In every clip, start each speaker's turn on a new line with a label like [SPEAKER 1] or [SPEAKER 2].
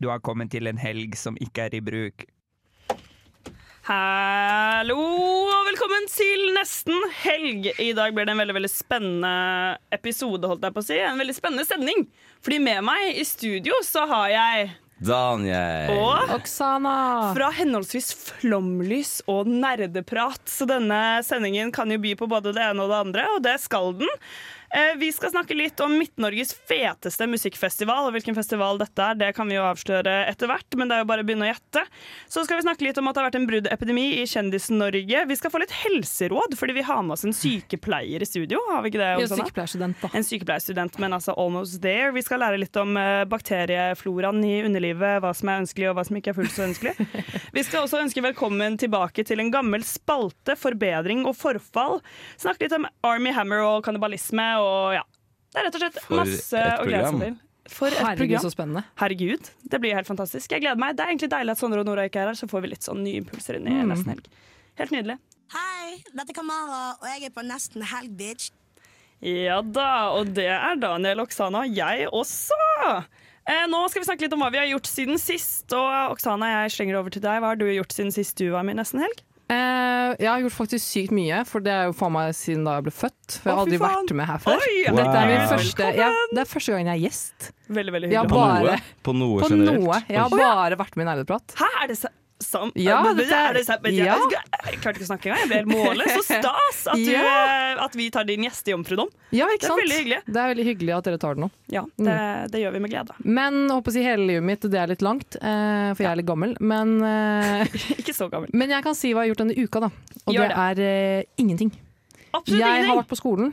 [SPEAKER 1] Du har kommet til en helg som ikke er i bruk.
[SPEAKER 2] Hallo og velkommen til nesten helg. I dag blir det en veldig veldig spennende episode. holdt jeg på å si En veldig spennende stemning. Fordi med meg i studio så har jeg
[SPEAKER 3] Daniel.
[SPEAKER 2] Og
[SPEAKER 4] Oksana!
[SPEAKER 2] fra henholdsvis flomlys og nerdeprat. Så denne sendingen kan jo by på både det ene og det andre, og det skal den. Eh, Vi skal snakke litt om Midt-Norges feteste musikkfestival, og hvilken festival dette er, det kan vi jo avsløre etter hvert, men det er jo bare å begynne å gjette. Så skal vi snakke litt om at det har vært en bruddepidemi i Kjendis-Norge. Vi skal få litt helseråd, fordi vi har med oss en sykepleier i studio, har vi ikke det?
[SPEAKER 4] Vi er
[SPEAKER 2] Oksana?
[SPEAKER 4] sykepleierstudent, da.
[SPEAKER 2] En sykepleierstudent, men altså almost there. Vi skal lære litt om eh, bakteriefloraen i underlivet, hva som er ønskelig og hva som ikke er fullt så ønskelig. Vi skal også ønske velkommen tilbake til en gammel spalte, forbedring og forfall. Snakke litt om Army Hammer og kannibalisme og ja. Det er rett og slett
[SPEAKER 3] For
[SPEAKER 2] masse
[SPEAKER 3] et
[SPEAKER 2] å glede seg
[SPEAKER 3] program.
[SPEAKER 2] til. For et
[SPEAKER 4] Herregud, så
[SPEAKER 2] program.
[SPEAKER 4] spennende.
[SPEAKER 2] Herregud, det blir helt fantastisk. Jeg gleder meg. Det er egentlig deilig at Sondre og Nora ikke er her, så får vi litt sånn nye impulser inn i
[SPEAKER 4] Mm.
[SPEAKER 2] nesten helg. Helt nydelig.
[SPEAKER 5] Hei, dette er Kamara, og jeg er på Nesten Helg, bitch.
[SPEAKER 2] Ja da, og det er Daniel, Oksana og jeg også. Eh, nå skal vi snakke litt om hva vi har gjort siden sist. Og Oksana, jeg slenger over til deg. Hva har du gjort siden sist du var med i Nesten helg?
[SPEAKER 4] Eh, jeg har gjort faktisk sykt mye, for det er jo faen meg siden da jeg ble født. For jeg
[SPEAKER 2] Å,
[SPEAKER 4] har
[SPEAKER 2] fy
[SPEAKER 4] aldri
[SPEAKER 2] faen.
[SPEAKER 4] vært med her før.
[SPEAKER 2] Oi,
[SPEAKER 4] Dette er min
[SPEAKER 3] Wow.
[SPEAKER 4] første jeg, Det er første gangen jeg er gjest.
[SPEAKER 2] Veldig, veldig
[SPEAKER 4] Ja,
[SPEAKER 2] hyggelig.
[SPEAKER 3] På noe?
[SPEAKER 4] Bare-
[SPEAKER 3] På noe
[SPEAKER 4] På
[SPEAKER 3] generelt?
[SPEAKER 4] noe. Jeg har
[SPEAKER 3] Oi.
[SPEAKER 4] bare vært med i Nerdeprat.
[SPEAKER 2] Hæ, er det sa- sam...
[SPEAKER 4] Ja,
[SPEAKER 2] er det,
[SPEAKER 4] dette er-
[SPEAKER 2] er det sa- men
[SPEAKER 4] ja.
[SPEAKER 2] Jeg, jeg klarte ikke å snakke engang. Jeg ble helt målløs. Så stas at, du,
[SPEAKER 4] Ja.
[SPEAKER 2] eh, at vi tar din gjestejomfrudom.
[SPEAKER 4] Ja, ikke
[SPEAKER 2] Det er
[SPEAKER 4] sant?
[SPEAKER 2] veldig hyggelig.
[SPEAKER 4] Det er veldig hyggelig at dere tar det nå.
[SPEAKER 2] Ja, det, det gjør vi med glede.
[SPEAKER 4] Men jeg håper å si hele livet mitt, det er litt langt, eh, for jeg er litt gammel. Men, eh,
[SPEAKER 2] Ikke så gammel.
[SPEAKER 4] men jeg kan si hva jeg har gjort denne uka, da. Og
[SPEAKER 2] Gjør
[SPEAKER 4] det er eh, ingenting.
[SPEAKER 2] Absolutt
[SPEAKER 4] jeg har
[SPEAKER 2] ingenting.
[SPEAKER 4] vært på skolen,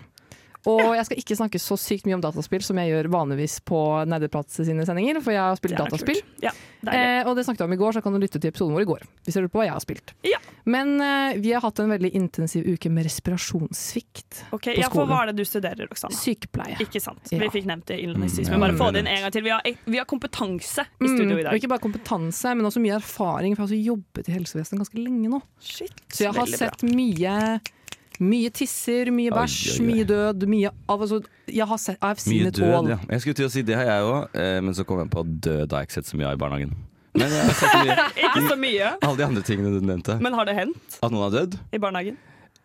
[SPEAKER 4] og jeg skal ikke snakke så sykt mye om dataspill som jeg gjør vanligvis på Nerdeprat sine sendinger, for jeg har
[SPEAKER 2] Det
[SPEAKER 4] spilt
[SPEAKER 2] er
[SPEAKER 4] dataspill.
[SPEAKER 2] kult. Ja, deilig.
[SPEAKER 4] Eh, og det snakket jeg om i går, så kan du lytte til episoden vår i går. Hvis du lurer på hva jeg har spilt.
[SPEAKER 2] Ja.
[SPEAKER 4] Men eh, vi har hatt en veldig intensiv uke med respirasjonssvikt.
[SPEAKER 2] Ok,
[SPEAKER 4] på
[SPEAKER 2] ja, for
[SPEAKER 4] skolen.
[SPEAKER 2] hva er det du studerer, Oksana?
[SPEAKER 4] Sykepleie.
[SPEAKER 2] Ikke sant.
[SPEAKER 4] Ja.
[SPEAKER 2] Vi fikk nevnt det innledningsvis.
[SPEAKER 3] Mm,
[SPEAKER 2] Men
[SPEAKER 3] ja,
[SPEAKER 2] bare få det inn
[SPEAKER 3] nevnt.
[SPEAKER 2] en gang til. Vi har, vi har kompetanse i
[SPEAKER 4] Mm,
[SPEAKER 2] studio i
[SPEAKER 4] og
[SPEAKER 2] dag.
[SPEAKER 4] ikke bare kompetanse, men også mye erfaring, for jeg har også jobbet i helsevesenet ganske lenge nå.
[SPEAKER 2] Shit.
[SPEAKER 4] Så jeg har
[SPEAKER 2] Veldig
[SPEAKER 4] sett mye mye tisser, mye
[SPEAKER 3] Oi,
[SPEAKER 4] bæsj,
[SPEAKER 3] oi, oi.
[SPEAKER 4] mye død, mye av altså, Jeg har sett I've seen
[SPEAKER 3] Mye
[SPEAKER 4] it all.
[SPEAKER 3] død, ja. Jeg skulle til å si det har jeg òg, men så kom jeg på at død har jeg ikke sett så mye av i barnehagen. Men jeg har sett mye
[SPEAKER 2] bra. Ikke så mye,
[SPEAKER 3] alle de andre tingene du nevnte.
[SPEAKER 2] men har det hendt
[SPEAKER 3] At noen har dødd?
[SPEAKER 2] i barnehagen?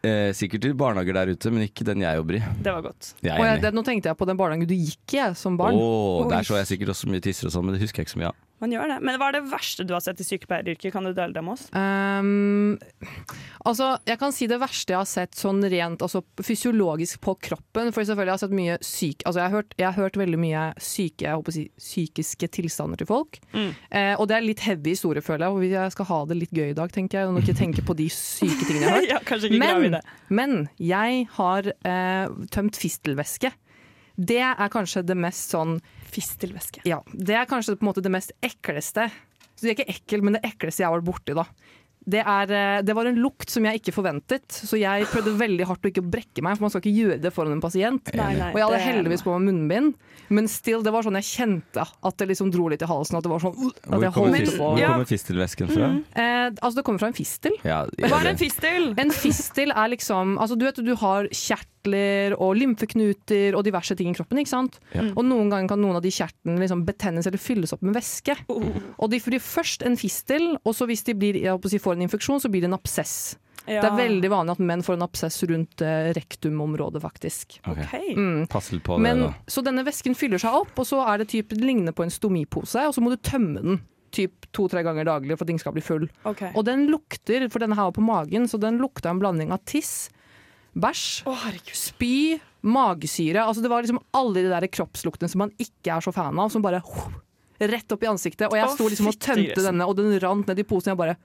[SPEAKER 3] Eh, sikkert i barnehager der ute, men ikke den jeg jobber i.
[SPEAKER 2] Det var godt.
[SPEAKER 3] Jeg
[SPEAKER 4] Og
[SPEAKER 3] er
[SPEAKER 4] jeg, det,
[SPEAKER 3] enig.
[SPEAKER 4] nå tenkte jeg på den barnehagen du gikk i jeg, som barn.
[SPEAKER 3] Åh,
[SPEAKER 2] Oi.
[SPEAKER 3] der så jeg sikkert også mye tisser og sånn, men det husker jeg ikke så mye av.
[SPEAKER 2] Man gjør det. Men hva er det verste du har sett i sykepleieryrket? Kan du dele det med oss?
[SPEAKER 4] Ehm, altså, jeg kan si det verste jeg har sett sånn rent altså, fysiologisk på kroppen. For selvfølgelig har jeg sett mye syk, altså, jeg, har hørt, jeg har hørt veldig mye syke, jeg håper å si, psykiske tilstander til folk.
[SPEAKER 2] Mm.
[SPEAKER 4] Eh, og det er litt heavy historie, føler jeg. Og jeg skal ha det litt gøy i dag, tenker jeg. Og ikke tenke på de syke tingene jeg har hørt.
[SPEAKER 2] ja, kanskje ikke grave i
[SPEAKER 4] Men,
[SPEAKER 2] det.
[SPEAKER 4] men jeg har eh, tømt fistelvæske. Det er kanskje det mest sånn
[SPEAKER 2] Fistelvæske.
[SPEAKER 4] Ja, det er kanskje på en måte det mest ekleste. Så det er ikke ekkelt, men det ekleste jeg har vært borti, da. Det, er, eh, det var en lukt som jeg ikke forventet, så jeg prøvde veldig hardt å ikke brekke meg, for man skal ikke gjøre det foran en pasient.
[SPEAKER 2] Nei, nei,
[SPEAKER 4] Og jeg hadde
[SPEAKER 2] det-
[SPEAKER 4] heldigvis på meg munnbind, men still, det var sånn jeg kjente at det liksom dro litt i halsen. At det var sånn uh, at
[SPEAKER 3] Hvor
[SPEAKER 4] jeg
[SPEAKER 3] kommer,
[SPEAKER 4] holdt
[SPEAKER 3] fis-
[SPEAKER 4] på.
[SPEAKER 3] hvor
[SPEAKER 2] Ja.
[SPEAKER 3] kommer fistelvæsken fra?
[SPEAKER 4] Eh, altså, det kommer fra en fistel.
[SPEAKER 3] Ja,
[SPEAKER 2] Hva er en fistel?
[SPEAKER 4] En fistel er liksom altså Du vet du har kjertler og lymfeknuter og diverse ting i kroppen. ikke sant?
[SPEAKER 3] Ja.
[SPEAKER 4] Og noen ganger kan noen av de kjertlene liksom betennes eller fylles opp med væske.
[SPEAKER 3] Oh.
[SPEAKER 4] Og de får først en fistel, og så hvis de blir, jeg holdt på å si, får en infeksjon, så blir det en absess.
[SPEAKER 2] Ja.
[SPEAKER 4] Det er veldig vanlig at menn får en absess rundt eh, rektumområdet, faktisk.
[SPEAKER 3] Ok,
[SPEAKER 2] Ok.
[SPEAKER 4] Mm.
[SPEAKER 3] Pass litt på
[SPEAKER 4] Men,
[SPEAKER 3] det, da.
[SPEAKER 4] så denne væsken fyller seg opp, og så er det typ, det ligner på en stomipose, og så må du tømme den typ to-tre ganger daglig for at den ikke skal bli full.
[SPEAKER 2] Ok.
[SPEAKER 4] Og den lukter, for denne her var på magen, så den lukta en blanding av tiss, bæsj,
[SPEAKER 2] Å, herregud.
[SPEAKER 4] spy, magesyre. Altså det var liksom alle de der kroppsluktene som man ikke er så fan av, som bare oh, rett opp i ansiktet. Og jeg
[SPEAKER 2] Å,
[SPEAKER 4] sto liksom og
[SPEAKER 2] fytti
[SPEAKER 4] tømte
[SPEAKER 2] grisen.
[SPEAKER 4] denne, og den rant ned i posen. Jeg bare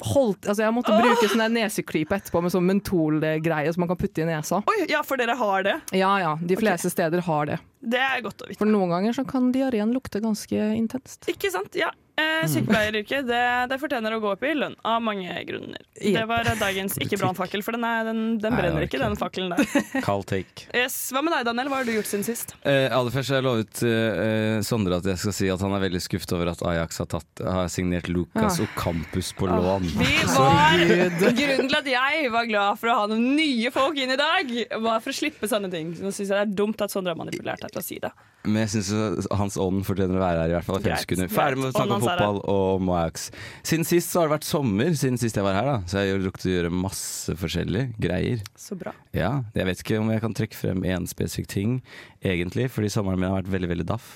[SPEAKER 4] holdt, altså jeg måtte bruke sånn der neseklype etterpå med sånn mentolgreie som man kan putte i nesa.
[SPEAKER 2] Oi, ja, for dere har det.
[SPEAKER 4] Ja ja, de fleste steder har det.
[SPEAKER 2] Det er godt å vite.
[SPEAKER 4] For noen ganger så kan diareen lukte ganske intenst.
[SPEAKER 2] Ikke sant? Ja, eh,
[SPEAKER 3] Mm.
[SPEAKER 2] sykepleieryrket det, det fortjener å gå opp i lønn av mange grunner.
[SPEAKER 4] Jepp.
[SPEAKER 2] Det var dagens ikke brannfakkel, for den, er, den, den
[SPEAKER 3] Nei, det var
[SPEAKER 2] brenner
[SPEAKER 3] ikke
[SPEAKER 2] ikke, den fakkelen der.
[SPEAKER 3] Kald take.
[SPEAKER 2] Yes. Hva med deg, Daniel? Hva har du gjort siden sist?
[SPEAKER 3] Eh, aller først har jeg lovet eh, eh, Sondre at jeg skal si at han er veldig skuffet over at Ajax har, tatt, har signert Lucas
[SPEAKER 4] Ah.
[SPEAKER 3] Ocampus på lån.
[SPEAKER 2] Vi var, grunnen til at jeg var glad for å ha noen nye folk inn i dag, var for å slippe sånne ting. Nå syns jeg det er dumt at Sondre har manipulert deg til å si det.
[SPEAKER 3] Men jeg syns hans ånd fortjener å være her, i hvert fall. i fem
[SPEAKER 2] Greit,
[SPEAKER 3] sekunder.
[SPEAKER 2] greit.
[SPEAKER 3] Ferdig med å snakke om
[SPEAKER 2] Ånden hans er
[SPEAKER 3] fotball og om Ajax. Siden sist så har det vært sommer, siden sist jeg var her, da. Så jeg har rukket å gjøre masse forskjellige greier.
[SPEAKER 2] Så bra.
[SPEAKER 3] Ja, Jeg vet ikke om jeg kan trekke frem én spesifikk ting, egentlig, fordi sommeren min har vært veldig, veldig daff.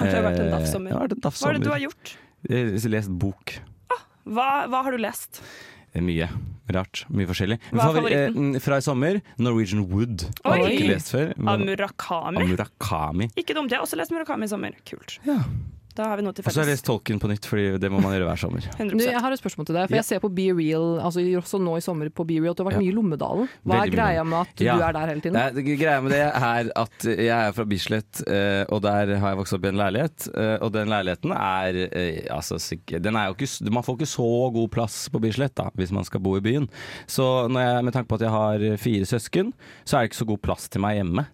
[SPEAKER 2] Har det vært en daff sommer?
[SPEAKER 3] Eh, det har vært en daff
[SPEAKER 2] Hva er det du har
[SPEAKER 3] sommer.
[SPEAKER 2] gjort?
[SPEAKER 3] Jeg har lest bok.
[SPEAKER 2] Hva, hva har du lest?
[SPEAKER 3] Det er Mye rart. Mye forskjellig.
[SPEAKER 2] Hva er
[SPEAKER 3] Favori- eh, mm, fra i sommer Norwegian Wood.
[SPEAKER 2] Oi!
[SPEAKER 3] Har ikke lest før. men-
[SPEAKER 2] Av Murakami?
[SPEAKER 3] Murakami.
[SPEAKER 2] Ikke dumt. Jeg har også lest Murakami i sommer. Kult.
[SPEAKER 3] Ja.
[SPEAKER 2] Da har vi noe til
[SPEAKER 3] Og så har
[SPEAKER 2] felles.
[SPEAKER 3] jeg lest Tolkien på nytt, Fordi det må man gjøre hver sommer.
[SPEAKER 2] 100
[SPEAKER 4] Du, jeg har et spørsmål til deg, for
[SPEAKER 3] Ja.
[SPEAKER 4] jeg ser på Be Real, altså også nå i sommer på Be Real, at du har vært
[SPEAKER 3] Ja.
[SPEAKER 4] mye i Lommedalen. Hva er
[SPEAKER 3] Veldig mye.
[SPEAKER 4] greia med at du
[SPEAKER 3] Ja.
[SPEAKER 4] er der hele tiden?
[SPEAKER 3] Nei, det greia med det er at jeg er fra Bislett, eh, og der har jeg vokst opp i en leilighet. eh, Og den leiligheten er eh, altså, sikk- den er jo ikke, s- Man får ikke så god plass på Bislett da, hvis man skal bo i byen. Så når jeg, med tanke på at jeg har fire søsken, så er det ikke så god plass til meg hjemme.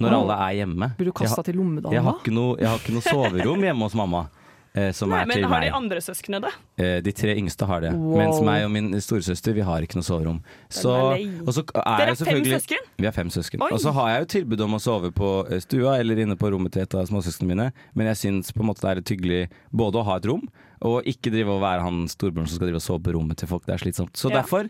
[SPEAKER 3] Når
[SPEAKER 4] Åh.
[SPEAKER 3] alle er
[SPEAKER 4] Blir
[SPEAKER 3] hjemme.
[SPEAKER 4] du
[SPEAKER 3] Jeg har-
[SPEAKER 4] kasta til Lommedalen
[SPEAKER 3] jeg har,
[SPEAKER 4] da?
[SPEAKER 3] ikke noe, jeg har ikke noe soverom hjemme hos mamma. eh, Som
[SPEAKER 2] Nei,
[SPEAKER 3] er
[SPEAKER 2] men
[SPEAKER 3] til
[SPEAKER 2] har
[SPEAKER 3] meg.
[SPEAKER 2] de andre søsknene det?
[SPEAKER 3] Eh, De tre yngste har det.
[SPEAKER 4] Wow.
[SPEAKER 3] Mens meg og min storesøster vi har ikke noe soverom. Så,
[SPEAKER 2] er lei.
[SPEAKER 3] og så er
[SPEAKER 2] Dere
[SPEAKER 3] jeg
[SPEAKER 2] er fem
[SPEAKER 3] selvfølgelig-
[SPEAKER 2] søsken?
[SPEAKER 3] Vi er fem søsken.
[SPEAKER 2] Oi.
[SPEAKER 3] Og så har jeg jo tilbud om å sove på eh, stua eller inne på rommet til et av småsøsknene mine, men jeg syns på en måte det er litt hyggelig både å ha et rom og ikke drive og være han storebroren som skal drive og sove på rommet til folk. Det er slitsomt. Så
[SPEAKER 2] Ja.
[SPEAKER 3] derfor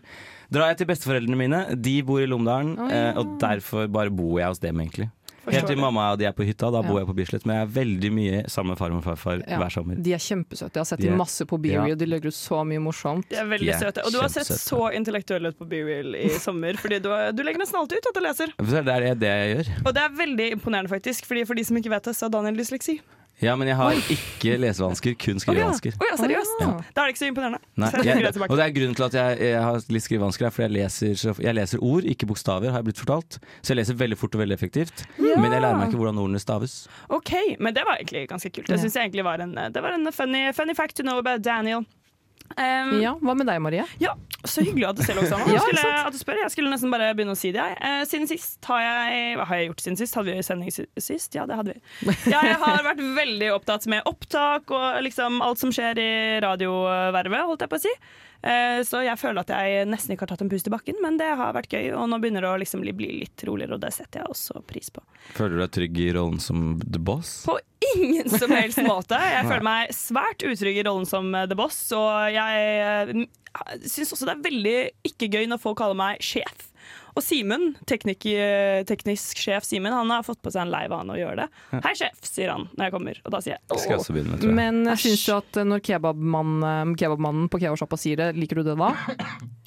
[SPEAKER 3] drar jeg til besteforeldrene mine. De bor i Lomdalen, eh, og derfor bare bor jeg hos dem, egentlig. Helt til
[SPEAKER 2] det.
[SPEAKER 3] mamma og de er på hytta,
[SPEAKER 4] Ja.
[SPEAKER 3] da bor jeg på Bislett, men jeg er veldig mye sammen med farmor og farfar hver sommer.
[SPEAKER 4] De er kjempesøte. Jeg har sett
[SPEAKER 3] De er-
[SPEAKER 4] dem masse på Be
[SPEAKER 3] Ja.
[SPEAKER 4] Real, de legger ut så mye morsomt.
[SPEAKER 2] De er veldig
[SPEAKER 3] De er
[SPEAKER 2] søte. Og du har sett
[SPEAKER 3] kjempesøte.
[SPEAKER 2] så intellektuell ut på BeReal i sommer, fordi du, du legger nesten alltid ut at du leser.
[SPEAKER 3] For Det er det jeg gjør.
[SPEAKER 2] Og det er veldig imponerende, faktisk, fordi for de som ikke vet det, så har Daniel dysleksi.
[SPEAKER 3] Ja, men jeg har ikke lesevansker, kun
[SPEAKER 2] Å ja.
[SPEAKER 3] skrivevansker.
[SPEAKER 2] Å ja, seriøst?
[SPEAKER 4] Ja.
[SPEAKER 2] Da er det ikke så imponerende.
[SPEAKER 3] Nei,
[SPEAKER 2] Så jeg trekker
[SPEAKER 3] jeg,
[SPEAKER 2] det tilbake.
[SPEAKER 3] og det er grunnen til at jeg, jeg har litt skrivevansker, er fordi jeg leser, så- jeg leser ord, ikke bokstaver, har jeg blitt fortalt. Så jeg leser veldig fort og veldig effektivt. Men jeg lærer meg ikke hvordan ordene staves.
[SPEAKER 2] OK, men det var egentlig ganske kult. Jeg synes jeg egentlig var en, det var en funny, funny fact to know about Daniel. Um,
[SPEAKER 4] Ja, Hva med deg, Marie?
[SPEAKER 2] Ja, så hyggelig at du selv også Anna.
[SPEAKER 4] Ja,
[SPEAKER 2] Jeg
[SPEAKER 4] ikke
[SPEAKER 2] skulle, at du spør. Jeg skulle nesten bare begynne å si det. Jeg. Eh, siden sist har jeg Hva har jeg gjort siden sist? Hadde vi sending si- sist? Ja, det hadde vi. Jeg har vært veldig opptatt med opptak og liksom alt som skjer i radiovervet, holdt jeg på å si. Eh, så jeg føler at jeg nesten ikke har tatt en pust i bakken, men det har vært gøy. Og nå begynner det å liksom bli- bli litt roligere, og det setter jeg også pris på.
[SPEAKER 3] Føler du deg trygg i rollen som the boss?
[SPEAKER 2] På ingen som helst måte. Jeg føler meg svært utrygg i rollen som eh, The Boss, og jeg eh, syns også det er veldig ikke gøy når folk kaller meg sjef. Og Simen, teknik, eh, teknisk sjef Simen, han har fått på seg en lei vane å gjøre det. Hei, sjef, sier han når jeg kommer, og da sier jeg
[SPEAKER 3] Det skal jeg også begynne med, tror jeg.
[SPEAKER 4] Men syns du at eh, når kebabmannen kebabmannen på kebabsjappa sier det, liker du det da?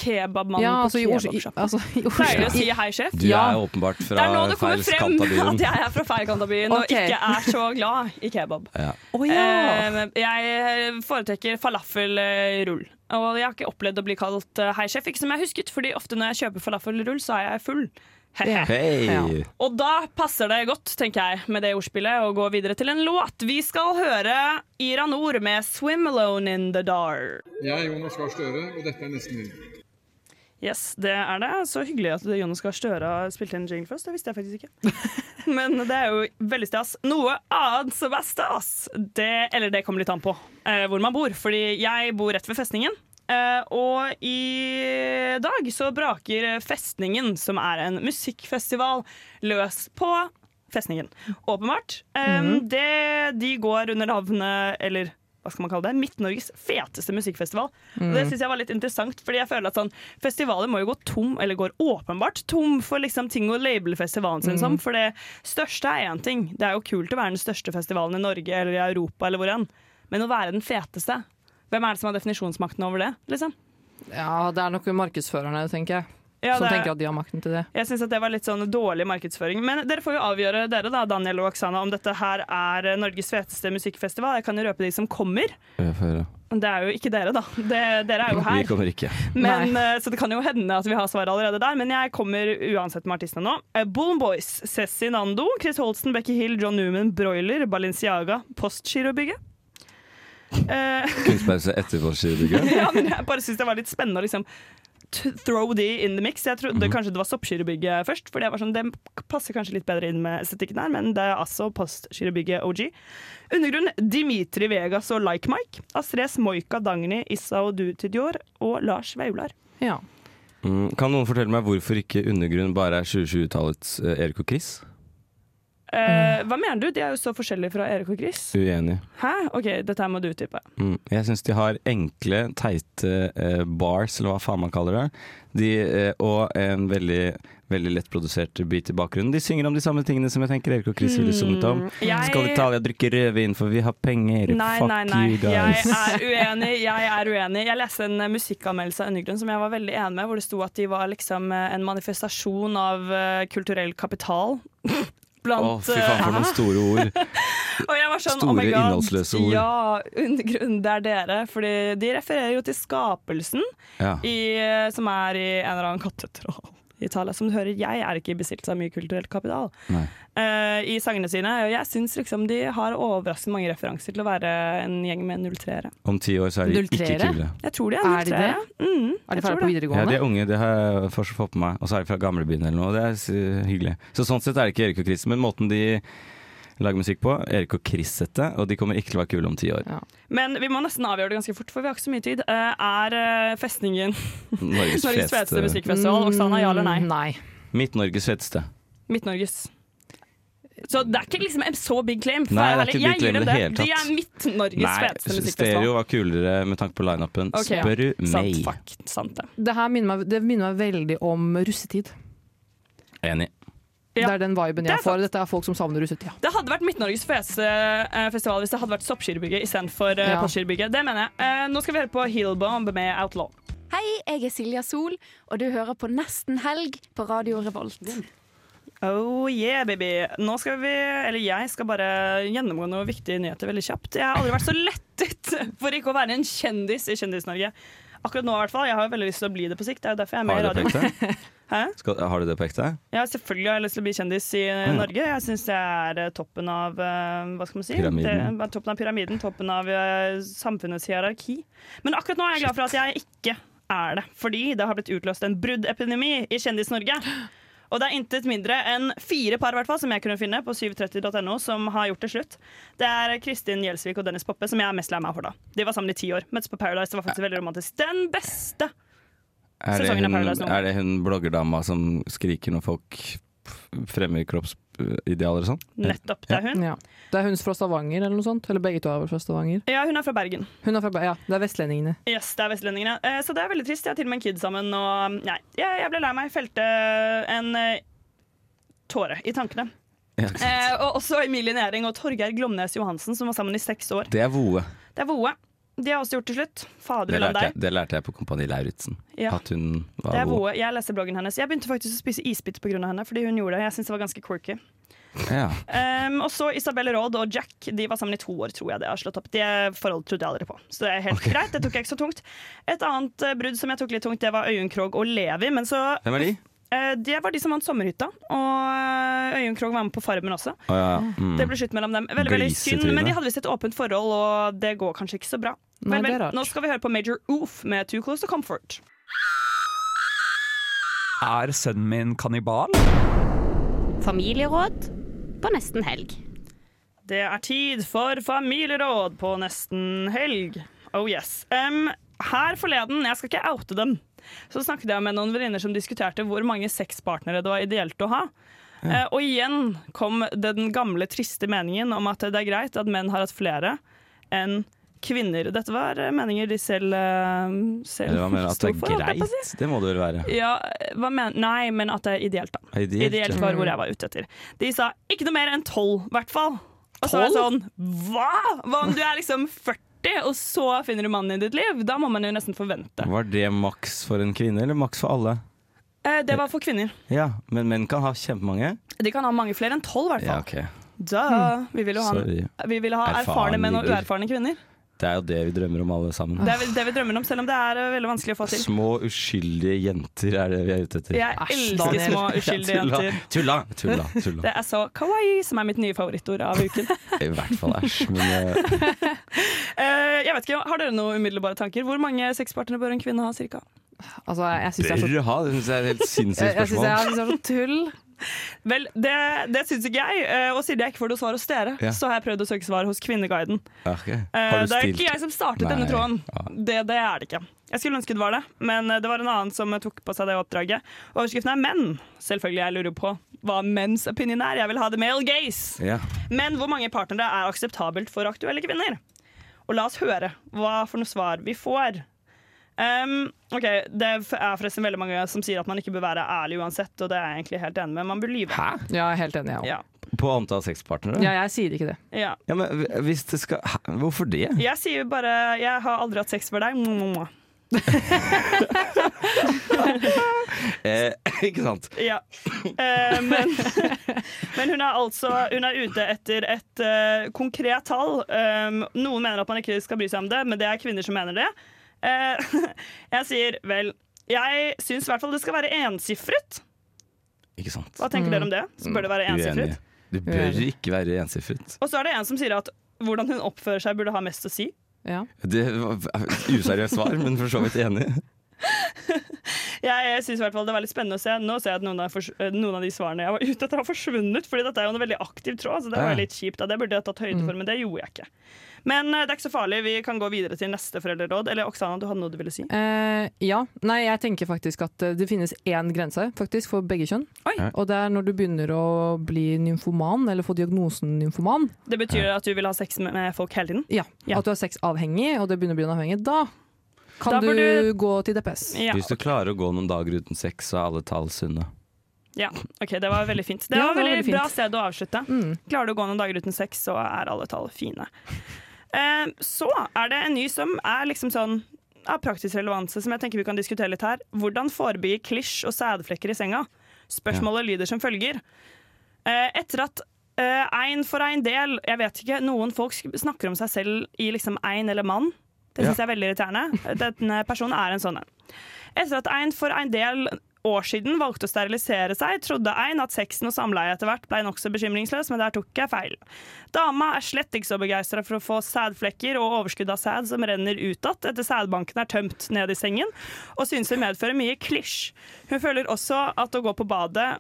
[SPEAKER 2] kebabmann
[SPEAKER 4] Ja,
[SPEAKER 2] på
[SPEAKER 4] altså i Oslo i-
[SPEAKER 2] kebabsjappa.
[SPEAKER 4] altså, i Oslo-
[SPEAKER 2] Pleier du å si hei, sjef?
[SPEAKER 3] Du
[SPEAKER 4] Ja.
[SPEAKER 3] er åpenbart
[SPEAKER 2] Det er nå
[SPEAKER 3] fra
[SPEAKER 2] det kommer
[SPEAKER 3] feil
[SPEAKER 2] frem
[SPEAKER 3] kant av byen.
[SPEAKER 2] at jeg er fra feil kant av byen og
[SPEAKER 4] Ok.
[SPEAKER 2] ikke er så glad i kebab.
[SPEAKER 3] Ja.
[SPEAKER 4] Å ja.
[SPEAKER 2] Eh, jeg foretrekker falafelrull. Og jeg har ikke opplevd å bli kalt eh, hei sjef, ikke som jeg husket, fordi ofte når jeg kjøper falafelrull, så er jeg full.
[SPEAKER 4] Ja.
[SPEAKER 3] Hei!
[SPEAKER 4] Ja.
[SPEAKER 2] Og da passer det godt, tenker jeg, med det ordspillet, å gå videre til en låt. Vi skal høre Ira Nord med 'Swim Alone In The Dark'.
[SPEAKER 6] Jeg er Jonas Gahr Støre, og dette er Nesten Helg.
[SPEAKER 2] Yes, det er det. Så hyggelig at Jonas Gahr Støre har spilt inn jingle først. Det visste jeg faktisk ikke. Men det er jo veldig stas. Noe annet som er stas, det, eller det kommer litt an på eh, hvor man bor. Fordi jeg bor rett ved festningen. Eh, og i dag så braker Festningen, som er en musikkfestival, løs på Festningen. Åpenbart. Eh, det, de går under navnet, eller hva skal man kalle det, Midt-Norges feteste musikkfestival. Og det syns jeg var litt interessant, fordi jeg føler at sånn, festivaler må jo gå tom, eller går åpenbart tom for liksom ting å label festivalen sin som. For det største er én ting. Det er jo kult å være den største festivalen i Norge eller i Europa eller hvor enn, men å være den feteste hvem er det som har definisjonsmakten over det? Liksom?
[SPEAKER 4] ja, det er nok markedsførerne, tenker jeg.
[SPEAKER 2] Ja,
[SPEAKER 4] som
[SPEAKER 2] det-
[SPEAKER 4] tenker at de har makten til det.
[SPEAKER 2] Jeg syns det var litt sånn dårlig markedsføring. Men dere får jo avgjøre, dere da, Daniel og Oksana, om dette her er Norges feteste musikkfestival. Jeg kan jo røpe de som kommer.
[SPEAKER 3] Jeg får høre.
[SPEAKER 2] Det er jo ikke dere, da. Det, dere er jo
[SPEAKER 3] Vi
[SPEAKER 2] her.
[SPEAKER 3] kommer ikke.
[SPEAKER 2] Men, eh, så det kan jo hende at vi har svaret allerede der, men jeg kommer uansett med artistene nå. Eh, Boom Boys, Cessi Nando, Chris Holsten, Becky Hill, John Newman, Broiler, Balenciaga, Postgirobygget. Eh,
[SPEAKER 3] Kunstpause etterpå, sier du ikke?
[SPEAKER 2] ja, men jeg bare syns det var litt spennende å liksom t- throw de in the mix. Jeg trodde kanskje det var soppskyrebygget først, for det var sånn, det passer kanskje litt bedre inn med estetikken her, men det er altså postskyrebygget OG. Undergrunn Dimitri Vegas og Like Mike. Astrid Moika, Dagny, Issa og du til Dior, og Lars Vaular.
[SPEAKER 4] Ja.
[SPEAKER 3] Mm, kan noen fortelle meg hvorfor ikke undergrunn bare er 2020-tallets eh, Erik og Chris?
[SPEAKER 2] Eh, Hva mener du? De er jo så forskjellige fra Erik og Chris.
[SPEAKER 3] Uenig.
[SPEAKER 2] Hæ? OK, dette her må du utdype.
[SPEAKER 3] Mm. Jeg syns de har enkle, teite eh, bars, eller hva faen man kaller det. De, eh, og en veldig, veldig lettprodusert beat i bakgrunnen. De synger om de samme tingene som jeg tenker Erik og Chris ville sunget om.
[SPEAKER 2] Hmm. Jeg-
[SPEAKER 3] Skal Italia drikke rødvin, for vi har penger.
[SPEAKER 2] Nei,
[SPEAKER 3] Fuck
[SPEAKER 2] nei, nei.
[SPEAKER 3] you guys.
[SPEAKER 2] Jeg er uenig. Jeg er uenig. Jeg leste en eh, musikkanmeldelse av Undergrunn som jeg var veldig enig med, hvor det sto at de var liksom eh, en manifestasjon av eh, kulturell kapital.
[SPEAKER 3] Å,
[SPEAKER 2] Blant
[SPEAKER 3] fy faen, for
[SPEAKER 2] eh,
[SPEAKER 3] noen store ord.
[SPEAKER 2] Og jeg var sånn,
[SPEAKER 3] store
[SPEAKER 2] oh my God,
[SPEAKER 3] innholdsløse ord.
[SPEAKER 2] Ja, Undergrunn, det er dere. Fordi de refererer jo til skapelsen,
[SPEAKER 3] Ja.
[SPEAKER 2] i, eh, som er i en eller annen katedral. I Italia. Som du hører, jeg er ikke i besittelse av mye kulturell kapital
[SPEAKER 3] Nei.
[SPEAKER 2] eh, i sangene sine. Og jeg syns liksom de har overraskende mange referanser til å være en gjeng med 03-ere.
[SPEAKER 3] Om ti år så er de ikke
[SPEAKER 4] 03-ere?
[SPEAKER 3] kule.
[SPEAKER 2] Jeg tror de er,
[SPEAKER 4] Er de det?
[SPEAKER 2] litt det? Mm,
[SPEAKER 4] Er de
[SPEAKER 2] jeg tror det.
[SPEAKER 4] ferdige på
[SPEAKER 3] Ja, de
[SPEAKER 4] videregående?
[SPEAKER 3] er unge, det har jeg fortsatt fått på meg. Og så er de fra gamlebyen eller noe. Det er s- hyggelig. Så sånn sett er det ikke Erik og Chris, men måten de lager musikk på, Erik og Chris-settet, og de kommer ikke til å være kule om ti år.
[SPEAKER 2] Men vi må nesten avgjøre det ganske fort, for vi har ikke så mye tid. Eh, er eh, festningen Norges
[SPEAKER 3] Norges,
[SPEAKER 2] feteste
[SPEAKER 3] feteste
[SPEAKER 2] musikkfestival? Oksana, ja eller nei?
[SPEAKER 4] Mm, Nei.
[SPEAKER 3] Midt-Norges feteste.
[SPEAKER 2] Midt-Norges. Så det er ikke liksom en så big claim. for
[SPEAKER 3] Nei,
[SPEAKER 2] å være
[SPEAKER 3] det er
[SPEAKER 2] ærlig.
[SPEAKER 3] ikke big claim i
[SPEAKER 2] jeg gir dem
[SPEAKER 3] det
[SPEAKER 2] det.
[SPEAKER 3] hele tatt.
[SPEAKER 2] De er Midt-Norges
[SPEAKER 3] Nei,
[SPEAKER 2] feteste
[SPEAKER 3] Stereo
[SPEAKER 2] musikkfestival.
[SPEAKER 3] var kulere med tanke på lineupen.
[SPEAKER 2] Ok, ja.
[SPEAKER 3] Spør du
[SPEAKER 2] Sant,
[SPEAKER 3] meg.
[SPEAKER 2] fuck, sant det.
[SPEAKER 4] Det her minner meg, det minner meg veldig om russetid.
[SPEAKER 3] Enig.
[SPEAKER 2] Ja.
[SPEAKER 4] Det er den viben
[SPEAKER 2] Det er
[SPEAKER 4] jeg får. Dette er folk som savner russetida.
[SPEAKER 2] Det hadde vært Midt-Norges feteste eh, festival hvis det hadde vært Soppskyrebygget istedenfor uh,
[SPEAKER 4] Ja.
[SPEAKER 2] Postgirobygget. Det mener jeg. Eh, nå skal vi høre på Hillbomb med Outlaw.
[SPEAKER 7] Hei, jeg er Silja Sol, og du hører på Nesten helg på Radio Revolt.
[SPEAKER 2] Oh yeah, baby. Nå skal vi, eller jeg skal bare gjennomgå noen viktige nyheter veldig kjapt. Jeg har aldri vært så lettet for ikke å være en kjendis i Kjendis-Norge. Akkurat nå, i hvert fall. Jeg har jo veldig lyst til å bli det på sikt. Det er jo derfor jeg er med i
[SPEAKER 3] Har du det på
[SPEAKER 2] radioen.
[SPEAKER 3] ekte?
[SPEAKER 2] Hæ?
[SPEAKER 3] Skal, har du det på ekte?
[SPEAKER 2] Ja, selvfølgelig har jeg lyst til å bli kjendis i eh, Norge. Jeg syns det er eh, toppen av eh, Hva skal man si?
[SPEAKER 3] Pyramiden.
[SPEAKER 2] Det, toppen av pyramiden. Toppen av eh, samfunnets hierarki. Men akkurat nå er jeg glad for at jeg ikke er det. Fordi det har blitt utløst en bruddepidemi i Kjendis-Norge. Og det er intet mindre enn fire par hvertfall, som jeg kunne finne på 730.no som har gjort det slutt. Det er Kristin Gjelsvik og Dennis Poppe som jeg er mest lei meg for. da. De var sammen i ti år. Møttes på Paradise. Det var faktisk veldig romantisk. Den beste!
[SPEAKER 3] Er det
[SPEAKER 2] Sesongen av
[SPEAKER 3] hun,
[SPEAKER 2] Paradise nå.
[SPEAKER 3] er det hun bloggerdama som skriker når folk f- fremmer kroppsidealer og sånn?
[SPEAKER 2] Nettopp. Det er hun.
[SPEAKER 4] Ja. Det er hun fra Stavanger eller noe sånt. Eller begge to er vel fra Stavanger.
[SPEAKER 2] Ja, hun er fra Bergen.
[SPEAKER 4] Hun er fra, Be- ja, det er vestlendingene.
[SPEAKER 2] Yes, det er vestlendingene. Eh, Så det er veldig trist. Jeg har til og med en kid sammen. Og mm, nei, jeg, jeg ble lei meg. Felte en eh, tåre i tankene.
[SPEAKER 3] Ja, ikke sant.
[SPEAKER 2] Eh, og også Emilie Næring og Torgeir Glomnes Johansen, som var sammen i seks år.
[SPEAKER 3] Det er voe.
[SPEAKER 2] Det er voe. De har også gjort til slutt. Fader
[SPEAKER 3] Det
[SPEAKER 2] land
[SPEAKER 3] lærte, jeg,
[SPEAKER 2] deg.
[SPEAKER 3] det lærte jeg på Kompani Lauritzen.
[SPEAKER 2] Ja.
[SPEAKER 3] At hun var
[SPEAKER 2] Det er
[SPEAKER 3] god.
[SPEAKER 2] voe. Jeg leser bloggen hennes. Jeg begynte faktisk å spise isbit pga. henne, fordi hun gjorde det. Jeg synes det var ganske quirky.
[SPEAKER 3] Ja.
[SPEAKER 2] Um, og så Isabel Råd og Jack De var sammen i to år, tror jeg det har slått opp. Det forholdet trodde jeg aldri på. Så det er helt greit, det tok jeg ikke så tungt. Et annet eh, brudd som jeg tok litt tungt, det var Øyunn Krogh og Levi. Men så
[SPEAKER 3] Hvem er de?
[SPEAKER 2] Eh, Det var de som vant Sommerhytta, og eh, Øyunn Krogh var med på Farmen også.
[SPEAKER 3] Å ja. mm.
[SPEAKER 2] Det ble slutt mellom dem. Veldig, veldig synd,
[SPEAKER 3] Grisetryne.
[SPEAKER 2] men de hadde visst et åpent forhold, og det går kanskje ikke så bra.
[SPEAKER 4] Nei,
[SPEAKER 2] Vel,
[SPEAKER 4] det er
[SPEAKER 2] vel,
[SPEAKER 4] rart.
[SPEAKER 2] nå skal vi høre på Major Oof med Too Close to Comfort.
[SPEAKER 1] Er sønnen min kannibal?
[SPEAKER 8] Familieråd på nesten helg.
[SPEAKER 2] Det er tid for familieråd på nesten helg. Oh yes. Em, her forleden, jeg skal ikke oute dem, så snakket jeg med noen venninner som diskuterte hvor mange sexpartnere det var ideelt å ha. Eh, og igjen kom den gamle, triste meningen om at det er greit at menn har hatt flere enn kvinner. Dette var eh, meninger de selv, eh, selv
[SPEAKER 3] Eller hva mener du? At det
[SPEAKER 2] sto for,
[SPEAKER 3] er
[SPEAKER 2] holdt jeg på å si.
[SPEAKER 3] greit? Det må det vel være.
[SPEAKER 2] Ja, hva men Nei, men at det er ideelt, da.
[SPEAKER 3] Ideelt,
[SPEAKER 2] Ideelt
[SPEAKER 3] ja.
[SPEAKER 2] var hvor jeg var ute etter. De sa ikke noe mer enn tolv, i hvert fall. Og så var jeg sånn Hva?! Hva om du er liksom 40, og så finner du mannen i ditt liv? Da må man jo nesten forvente.
[SPEAKER 3] Var det maks for en kvinne, eller maks for alle?
[SPEAKER 2] Eh, det var for kvinner.
[SPEAKER 3] Ja, men menn kan ha kjempemange.
[SPEAKER 2] De kan ha mange flere enn tolv, i hvert
[SPEAKER 3] Ja,
[SPEAKER 2] fall.
[SPEAKER 3] ok.
[SPEAKER 2] Da, vi vil jo ha,
[SPEAKER 3] Sorry.
[SPEAKER 2] vi vil ha erfarne menn og
[SPEAKER 3] Erfaringer.
[SPEAKER 2] uerfarne kvinner.
[SPEAKER 3] Det er jo det vi drømmer om alle sammen.
[SPEAKER 2] Det er vel det vi drømmer om, selv om det er eh, veldig vanskelig å få til.
[SPEAKER 3] Små uskyldige jenter er det vi er ute etter.
[SPEAKER 2] Jeg
[SPEAKER 4] Æsj,
[SPEAKER 2] elsker
[SPEAKER 4] Daniel.
[SPEAKER 2] små uskyldige jenter.
[SPEAKER 3] Tulla! Tulla! tulla,
[SPEAKER 2] Det er så kawaii som er mitt nye favorittord av uken.
[SPEAKER 3] tulla. I hvert fall æsj. Men eh,
[SPEAKER 2] Eh, jeg jeg vet ikke, Har dere noen umiddelbare tanker? Hvor mange sexpartnere bør en kvinne ha? Cirka?
[SPEAKER 4] Altså, jeg syns det er så
[SPEAKER 3] Bør ha? Det syns jeg er et helt
[SPEAKER 4] jeg,
[SPEAKER 3] sinnssykt
[SPEAKER 4] jeg synes jeg,
[SPEAKER 3] spørsmål.
[SPEAKER 4] jeg synes det er så tull.
[SPEAKER 2] Vel, Det, det syns ikke jeg, eh, og siden jeg ikke får noe svar hos dere,
[SPEAKER 3] Ja.
[SPEAKER 2] så har jeg prøvd å søke svar hos Kvinneguiden.
[SPEAKER 3] Ja, ok.
[SPEAKER 2] Eh,
[SPEAKER 3] Har du
[SPEAKER 2] det er ikke
[SPEAKER 3] stilt
[SPEAKER 2] jeg som startet
[SPEAKER 3] Nei.
[SPEAKER 2] denne tråden.
[SPEAKER 3] Ja.
[SPEAKER 2] Det, det er det ikke. Jeg skulle ønske det var det, men eh, det var en annen som tok på seg det oppdraget. Overskriften er menn. Selvfølgelig jeg lurer på hva menns opinion er. Jeg vil ha the male gaze.
[SPEAKER 3] ja.
[SPEAKER 2] Men hvor mange partnere er akseptabelt for aktuelle kvinner? Og la oss høre hva for noe svar vi får. Ehm, ok, Det er forresten veldig mange som sier at man ikke bør være ærlig uansett, og det er jeg egentlig helt enig med. Man bør lyve.
[SPEAKER 3] Hæ?
[SPEAKER 4] Ja, jeg er helt enig, jeg òg.
[SPEAKER 2] Ja.
[SPEAKER 3] På antall sexpartnere?
[SPEAKER 4] Ja, jeg sier ikke det.
[SPEAKER 2] Ja.
[SPEAKER 3] Ja, men hvis det skal Hæ? Hvorfor det?
[SPEAKER 2] Jeg sier bare 'jeg har aldri hatt sex med deg'. Mwah.
[SPEAKER 3] Eh, ikke sant?
[SPEAKER 2] Ja. Eh, men, men hun er altså hun er ute etter et eh, konkret tall. Um, noen mener at man ikke skal bry seg om det, men det er kvinner som mener det. Eh, jeg sier vel Jeg syns i hvert fall det skal være ensifret.
[SPEAKER 3] Ikke sant?
[SPEAKER 2] Hva tenker dere om det? Så bør det
[SPEAKER 3] Mm,
[SPEAKER 2] være ensifret.
[SPEAKER 3] Det bør ikke være ensifret.
[SPEAKER 2] Og så er det en som sier at hvordan hun oppfører seg, burde ha mest å si.
[SPEAKER 4] Ja.
[SPEAKER 3] Det var et useriøst svar, men for så vidt enig.
[SPEAKER 2] Jeg, jeg synes i hvert fall det var litt spennende å se. Nå ser jeg at noen av, fors- eh, noen av de svarene jeg var ute etter, har forsvunnet. Fordi dette er jo en veldig aktiv tråd, så det var
[SPEAKER 3] Ja.
[SPEAKER 2] litt kjipt. da. Det burde jeg tatt høyde for, men det gjorde jeg ikke. Men eh, det er ikke så farlig. Vi kan gå videre til neste foreldreråd. Eller Oksana, du hadde noe du ville si?
[SPEAKER 4] Eh, ja. Nei, jeg tenker faktisk at eh, det finnes én grense faktisk for begge kjønn.
[SPEAKER 2] Oi.
[SPEAKER 4] Og det er når du begynner å bli nymfoman, eller få diagnosen nymfoman.
[SPEAKER 2] Det betyr at du vil ha sex med- med folk hele tiden?
[SPEAKER 4] Ja,
[SPEAKER 2] Ja.
[SPEAKER 4] At du er sexavhengig, og det begynner å bli en avhengig. Da kan
[SPEAKER 2] Da
[SPEAKER 4] du,
[SPEAKER 2] bør du-
[SPEAKER 4] gå til DPS.
[SPEAKER 2] Ja.
[SPEAKER 3] Hvis du klarer å gå noen dager uten sex, så er alle tall sunne.
[SPEAKER 2] ja. OK, det var veldig fint. Mm. Det var
[SPEAKER 4] Ja, det var
[SPEAKER 2] veldig,
[SPEAKER 4] veldig fint.
[SPEAKER 2] bra sted å avslutte. Klarer du å gå noen dager uten sex, så er alle tall fine. Eh, så er det en ny som er liksom sånn av praktisk relevanse, som jeg tenker vi kan diskutere litt her. Hvordan forebygge klisj og sædflekker i senga? Spørsmålet lyder som følger. Eh, etter at eh, ein for ein del Jeg vet ikke, noen folk sk- snakker om seg selv i liksom ein eller mann. Det syns jeg er veldig irriterende. Denne personen er en sånn en. Etter at ein for en del år siden valgte å sterilisere seg, trodde ein at sexen og samleie etter hvert ble nokså bekymringsløs, men der tok jeg feil. Dama er slett ikke så begeistra for å få sædflekker og overskudd av sæd som renner utad etter sædbanken er tømt ned i sengen, og synes det medfører mye klisj. Hun føler også at å gå på badet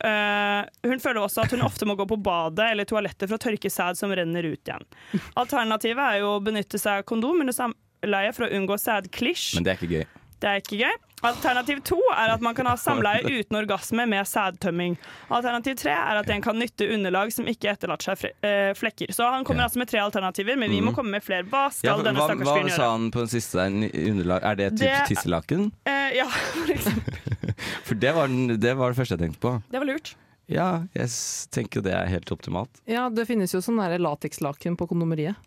[SPEAKER 2] Eh, hun føler også at hun ofte må gå på badet eller toalettet for å tørke sæd som renner ut igjen. Alternativet er jo å benytte seg av kondom under samleie for å unngå sædklisj.
[SPEAKER 3] Men det er ikke gøy.
[SPEAKER 2] Det er ikke gøy. Alternativ to er at man kan ha samleie uten orgasme med sædtømming. Alternativ tre er at en kan nytte underlag som ikke etterlater seg fre eh, flekker. Så han kommer
[SPEAKER 3] Ja. Mhm.
[SPEAKER 2] altså med tre alternativer, men vi må komme med flere. Hva
[SPEAKER 3] Ja,
[SPEAKER 2] skal
[SPEAKER 3] hva
[SPEAKER 2] denne stakkars
[SPEAKER 3] hva
[SPEAKER 2] fyren gjøre?
[SPEAKER 3] sa han på den siste der? ny- Underlag? Er det type
[SPEAKER 2] Det-
[SPEAKER 3] tisselaken?
[SPEAKER 2] Eh, ja, for eksempel.
[SPEAKER 3] For det var, den, det var det første jeg tenkte på.
[SPEAKER 2] Det var lurt.
[SPEAKER 3] Ja, jeg s- tenker jo det er helt optimalt.
[SPEAKER 4] Ja, det finnes jo sånn derre latekslaken på kondomeriet.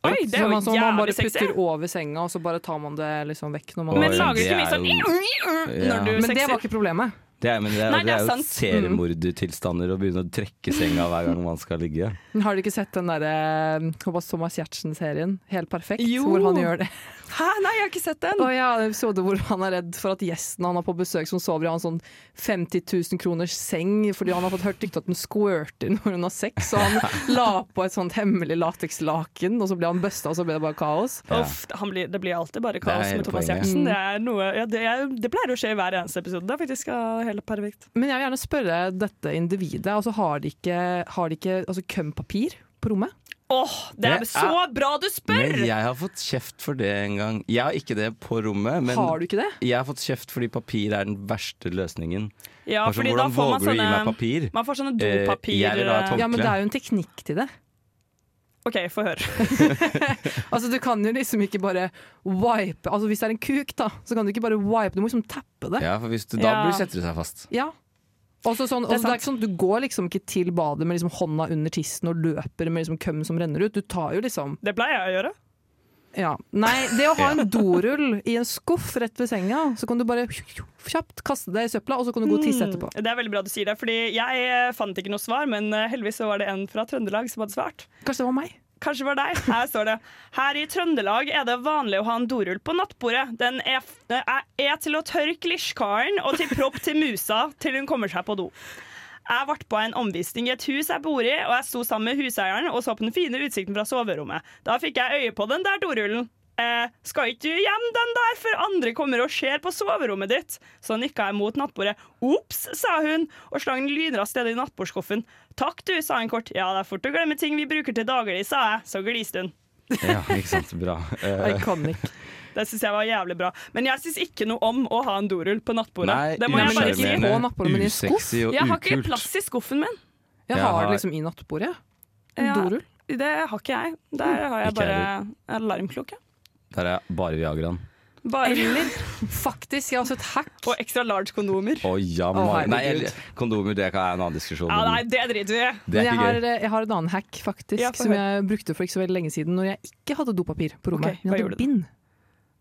[SPEAKER 2] Oi, det er
[SPEAKER 4] som
[SPEAKER 2] jo
[SPEAKER 4] man, som man bare
[SPEAKER 2] jævlig sexy.
[SPEAKER 4] putter over senga, og så bare tar man det liksom vekk når man
[SPEAKER 3] Oi,
[SPEAKER 2] Men lager
[SPEAKER 3] det
[SPEAKER 2] ikke mye
[SPEAKER 3] er
[SPEAKER 2] sånn
[SPEAKER 3] jo- Ja.
[SPEAKER 2] når du
[SPEAKER 4] Men det
[SPEAKER 2] sexer?
[SPEAKER 4] var ikke problemet.
[SPEAKER 3] Det er, men det er,
[SPEAKER 2] Nei, det
[SPEAKER 3] det
[SPEAKER 2] er
[SPEAKER 3] er,
[SPEAKER 2] sant.
[SPEAKER 3] jo seriemordertilstander å begynne å trekke senga hver gang man skal ligge.
[SPEAKER 4] Har du ikke sett den derre Thomas Giertsen-serien Helt perfekt?
[SPEAKER 2] Jo.
[SPEAKER 4] Hvor han gjør det.
[SPEAKER 2] Hæ, nei, jeg har ikke sett den.
[SPEAKER 4] Og jeg har en episode hvor han er redd for at gjesten han har på besøk som sover i en sånn 50 000 kroners seng fordi han har fått hørt rykte at den squirter når hun har sex, så han la på et sånt hemmelig latekslaken, og så ble han busta, og så ble det bare kaos.
[SPEAKER 3] Ja.
[SPEAKER 2] Uff, han blir, det blir alltid bare
[SPEAKER 3] er
[SPEAKER 2] kaos
[SPEAKER 3] hele
[SPEAKER 2] med Thomas
[SPEAKER 3] poenget.
[SPEAKER 2] Giertsen. Det, er noe, ja, det, er- det pleier å skje i hver eneste episode. Det er faktisk ja, helt perfekt.
[SPEAKER 4] Men jeg vil gjerne spørre dette individet, altså har de ikke, har de ikke altså, kømpapir på rommet?
[SPEAKER 2] Åh, det er
[SPEAKER 3] Det
[SPEAKER 2] så bra du spør!
[SPEAKER 3] Men jeg har fått kjeft for det en gang. Jeg har ikke det på rommet, men
[SPEAKER 4] har du ikke det?
[SPEAKER 3] jeg har fått kjeft fordi papir er den verste løsningen.
[SPEAKER 2] Ja,
[SPEAKER 3] Bare sånn,
[SPEAKER 2] fordi da
[SPEAKER 3] hvordan
[SPEAKER 2] får man
[SPEAKER 3] våger du å gi meg
[SPEAKER 2] sånne
[SPEAKER 3] papir?
[SPEAKER 2] Man får sånne
[SPEAKER 3] Eh,
[SPEAKER 2] dopapir...
[SPEAKER 3] jeg vil ha et hånd-
[SPEAKER 4] Ja, men det er jo en teknikk til det.
[SPEAKER 2] OK, få høre.
[SPEAKER 4] Altså Du kan jo liksom ikke bare wipe Altså Hvis det er en kuk, da, så kan du ikke bare wipe, du må liksom tappe det.
[SPEAKER 3] Ja, for hvis du,
[SPEAKER 2] Ja.
[SPEAKER 3] Da blir setter det seg fast.
[SPEAKER 4] Ja. Også sånn,
[SPEAKER 2] Det er
[SPEAKER 4] altså, det er ikke sånn, at du går liksom ikke til badet med liksom hånda under tissen og løper med liksom køm som renner ut. Du tar jo liksom
[SPEAKER 2] Det pleier jeg å gjøre.
[SPEAKER 4] ja. Nei, det å ha en dorull i en skuff rett ved senga, så kan du bare kjapt kaste det i søpla, og så kan du gå og tisse etterpå.
[SPEAKER 2] Mm, Det er veldig bra du sier det, fordi jeg eh, fant ikke noe svar, men eh, heldigvis så var det en fra Trøndelag som hadde svart.
[SPEAKER 4] Kanskje det var meg.
[SPEAKER 2] Kanskje det var deg. Her står det Her i Trøndelag er det vanlig å ha en dorull på nattbordet. Den er, er, er til å tørke lisjkaren og til propp til musa til hun kommer seg på do. Jeg ble på en omvisning i et hus jeg bor i, og jeg sto sammen med huseieren og så på den fine utsikten fra soverommet. Da fikk jeg øye på den der dorullen. Eh, skal ikke du hjem den der, for andre kommer og ser på soverommet ditt? Så nikka jeg mot nattbordet. Ops, sa hun, og slang den lynraskt ned i nattbordskuffen. Takk du, sa hun kort. Ja, det er fort å glemme ting vi bruker til daglig, sa jeg. Så gliste hun.
[SPEAKER 3] Ja, ikke sant. Bra. Eh,
[SPEAKER 4] Iconic.
[SPEAKER 2] Det syns jeg var jævlig bra. Men jeg syns ikke noe om å ha en dorull på nattbordet.
[SPEAKER 3] nei,
[SPEAKER 2] det må jeg bare si.
[SPEAKER 4] På nattbordet, men i skuff.
[SPEAKER 3] usexy og
[SPEAKER 2] Jeg har ikke
[SPEAKER 3] ukult.
[SPEAKER 2] plass i skuffen min.
[SPEAKER 4] Jeg
[SPEAKER 3] Jeg
[SPEAKER 4] har
[SPEAKER 3] har-
[SPEAKER 4] det liksom i nattbordet. En
[SPEAKER 2] Ja.
[SPEAKER 4] dorull.
[SPEAKER 2] Det har ikke jeg. Der har jeg
[SPEAKER 3] Ikke jeg
[SPEAKER 2] bare alarmklokke.
[SPEAKER 3] Der er bare Viagraen.
[SPEAKER 2] Bare
[SPEAKER 4] Eller faktisk, jeg har også et hack.
[SPEAKER 2] og extra large kondomer.
[SPEAKER 3] Å ja,
[SPEAKER 4] Å,
[SPEAKER 3] ma-
[SPEAKER 4] herregud.
[SPEAKER 3] Nei, eller, kondomer det kan- er en annen diskusjon.
[SPEAKER 2] Ja, nei,
[SPEAKER 3] men
[SPEAKER 2] det driter vi i.
[SPEAKER 4] Men
[SPEAKER 3] Det er
[SPEAKER 4] jeg
[SPEAKER 3] ikke
[SPEAKER 4] har,
[SPEAKER 3] gøy.
[SPEAKER 4] jeg har en annen hack faktisk,
[SPEAKER 2] Ja, få
[SPEAKER 4] som jeg brukte for ikke så veldig lenge siden når jeg ikke hadde dopapir på rommet.
[SPEAKER 2] Ok, hva
[SPEAKER 4] jeg
[SPEAKER 2] gjorde du?
[SPEAKER 4] hadde bind.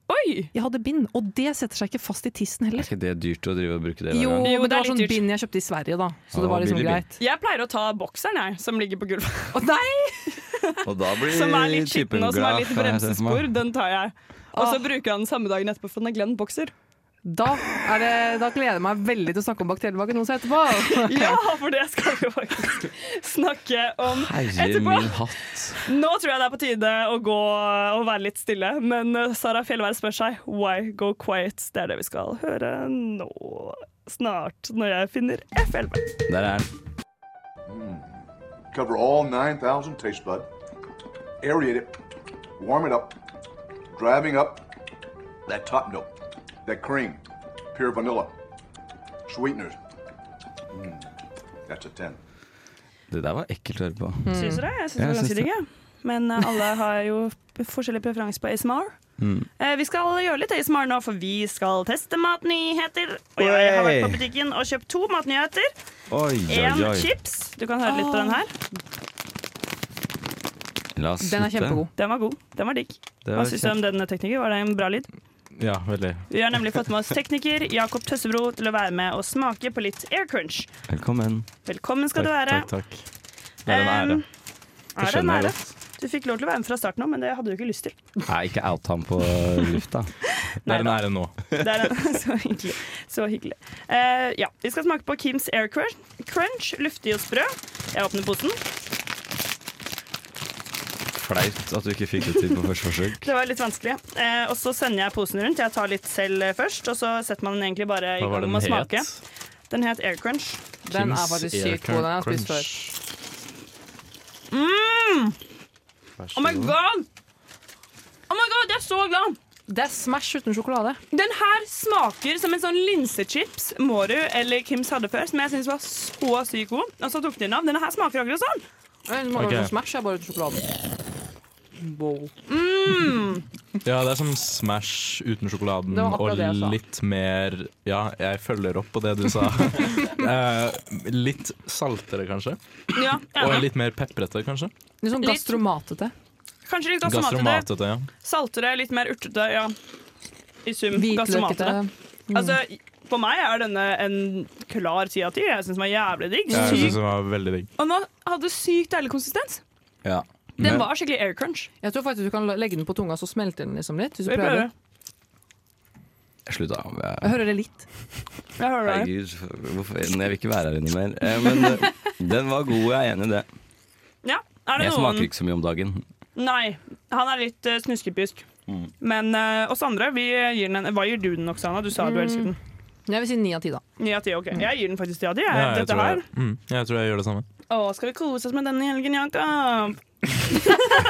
[SPEAKER 2] Oi!
[SPEAKER 4] Jeg hadde bind, og det setter seg ikke fast i tissen
[SPEAKER 3] Er
[SPEAKER 4] heller.
[SPEAKER 3] ikke det dyrt å drive og bruke det? hver
[SPEAKER 4] Jo,
[SPEAKER 3] gang?
[SPEAKER 2] Jo,
[SPEAKER 4] men
[SPEAKER 2] det
[SPEAKER 4] det
[SPEAKER 2] er
[SPEAKER 4] var sånn
[SPEAKER 2] litt dyrt.
[SPEAKER 4] bind jeg kjøpte i Sverige, da. Så
[SPEAKER 3] Ja,
[SPEAKER 4] det var liksom
[SPEAKER 3] billig bind.
[SPEAKER 4] greit.
[SPEAKER 2] Jeg pleier å ta bokseren jeg, som ligger på gulvet.
[SPEAKER 4] Å nei!
[SPEAKER 3] Og da blir
[SPEAKER 2] Som er litt skitten og som har litt
[SPEAKER 3] typen glad, kan jeg se for meg.
[SPEAKER 2] bremsespor. Den tar jeg. Og så
[SPEAKER 4] Ah.
[SPEAKER 2] bruker han den samme dagen etterpå, for den er Glenn bokser.
[SPEAKER 4] Da, er det, da gleder jeg meg veldig til å snakke om bakterievaginoser etterpå.
[SPEAKER 2] Ja, for det skal vi faktisk snakke om
[SPEAKER 3] Herre
[SPEAKER 2] etterpå.
[SPEAKER 3] min hatt.
[SPEAKER 2] Nå tror jeg det er på tide å gå og være litt stille, men eh, Sara Fjellvær spør seg why go quiet. Det er det vi skal høre nå snart, når jeg finner FLV.
[SPEAKER 3] Der er den.
[SPEAKER 8] Cover all 9,000 taste bud. Aerate it. Warm it up. Driving up that top note, that cream, pure vanilla, sweeteners. Mm, That's a 10.
[SPEAKER 3] Det der var ekkelt å høre på.
[SPEAKER 2] Syns du det? Jeg syns det var
[SPEAKER 3] Ja, jeg
[SPEAKER 2] ganske
[SPEAKER 3] syns
[SPEAKER 2] digg. jeg. Men eh, alle har jo forskjellig preferanse på ASMR.
[SPEAKER 3] Mm.
[SPEAKER 2] Eh, Vi skal gjøre litt ASMR nå, for vi skal teste matnyheter. Og jeg har vært på
[SPEAKER 3] Oi.
[SPEAKER 2] butikken og kjøpt to matnyheter.
[SPEAKER 3] Oi,
[SPEAKER 2] Én chips. Du kan høre litt på den her.
[SPEAKER 3] La oss
[SPEAKER 4] Den er
[SPEAKER 3] slutte.
[SPEAKER 4] kjempegod.
[SPEAKER 2] Den var god. Den var digg.
[SPEAKER 3] Det
[SPEAKER 2] Hva
[SPEAKER 3] var
[SPEAKER 2] syns du om den teknikken? Var det en bra lyd?
[SPEAKER 3] Ja, veldig.
[SPEAKER 2] Vi har nemlig fått med oss tekniker Jakob Tøssebro til å være med og smake på litt air crunch.
[SPEAKER 3] Velkommen.
[SPEAKER 2] Velkommen skal du være.
[SPEAKER 3] takk, takk. Det er en ære.
[SPEAKER 2] Em,
[SPEAKER 3] Det
[SPEAKER 2] er det en
[SPEAKER 3] skjønner
[SPEAKER 2] ære?
[SPEAKER 3] jeg godt.
[SPEAKER 2] Du fikk lov til å være med fra starten av, men det hadde du ikke lyst til.
[SPEAKER 3] Nei, ikke out ham på lufta.
[SPEAKER 2] Det er en
[SPEAKER 3] ære nå.
[SPEAKER 2] Det er en, så hyggelig. Så hyggelig. Eh, ja, vi skal smake på Kims air crunch, crunch luftig og sprø. Jeg åpner posen.
[SPEAKER 3] Flaut at du ikke fikk det til på første forsøk.
[SPEAKER 2] Det var litt vanskelig. Eh, og så sender jeg posen rundt. Jeg tar litt selv eh, først, og så setter man den egentlig bare i gang med å smake. Den het air crunch.
[SPEAKER 4] Den er faktisk sykt god. Den har jeg spist før.
[SPEAKER 2] Oh my god! Oh my god, jeg er så glad!
[SPEAKER 4] Det er Smash uten sjokolade.
[SPEAKER 2] Den her smaker som en sånn linsechips Mårud eller Kims hadde før, som jeg syns var så sykt god. Og så tok de den av. Denne her smaker akkurat sånn.
[SPEAKER 4] Den må
[SPEAKER 9] Ok.
[SPEAKER 4] være sånn Smash er bare uten sjokoladen. Wow.
[SPEAKER 9] Ja, det er som Smash uten sjokoladen
[SPEAKER 4] Det var akkurat
[SPEAKER 9] og
[SPEAKER 4] det jeg sa.
[SPEAKER 9] litt mer Ja, jeg følger opp på det du sa. Eh, litt saltere, kanskje.
[SPEAKER 2] Ja,
[SPEAKER 9] Og
[SPEAKER 2] enig.
[SPEAKER 9] litt mer peprete, kanskje.
[SPEAKER 4] Litt sånn
[SPEAKER 2] Litt-
[SPEAKER 4] gastromatete.
[SPEAKER 2] Kanskje litt gastromatete.
[SPEAKER 9] Gastromatete, ja.
[SPEAKER 2] Saltere, litt mer urtete. Ja. I sum
[SPEAKER 4] Hvitløkete.
[SPEAKER 2] gastromatete. Altså, for meg er denne en klar ti av ti. Jeg syns den var jævlig digg.
[SPEAKER 9] Jeg
[SPEAKER 2] Sykt-
[SPEAKER 9] synes den var veldig digg.
[SPEAKER 2] Og den hadde sykt deilig konsistens.
[SPEAKER 3] Ja.
[SPEAKER 2] Den var skikkelig air crunch.
[SPEAKER 4] Jeg tror faktisk du kan legge den på tunga, så smelter den liksom litt. Hvis du
[SPEAKER 2] Jeg
[SPEAKER 4] prøver.
[SPEAKER 2] prøver.
[SPEAKER 3] Slutt, da.
[SPEAKER 4] Jeg hører det litt.
[SPEAKER 2] Jeg hører deg.
[SPEAKER 3] Herregud, hvorfor? Nei, jeg vil ikke være her inne mer. Eh, Men eh, den var god, jeg er enig i det.
[SPEAKER 2] Ja, er det
[SPEAKER 3] Jeg
[SPEAKER 2] noen
[SPEAKER 3] smaker ikke så mye om dagen.
[SPEAKER 2] Nei, han er litt eh, snuskepjusk. Men eh, oss andre, vi gir den en Hva gir du den, Oksana? Du sa du elsket den.
[SPEAKER 4] Jeg vil si ni av ti, da.
[SPEAKER 2] Ni av ti, ok. Jeg gir den faktisk ti av ti. jeg.
[SPEAKER 9] Ja, jeg,
[SPEAKER 2] Dette
[SPEAKER 9] tror
[SPEAKER 2] her.
[SPEAKER 9] jeg, mm, jeg tror jeg gjør det samme.
[SPEAKER 2] Å, skal vi kose oss med denne helgen, Jakob?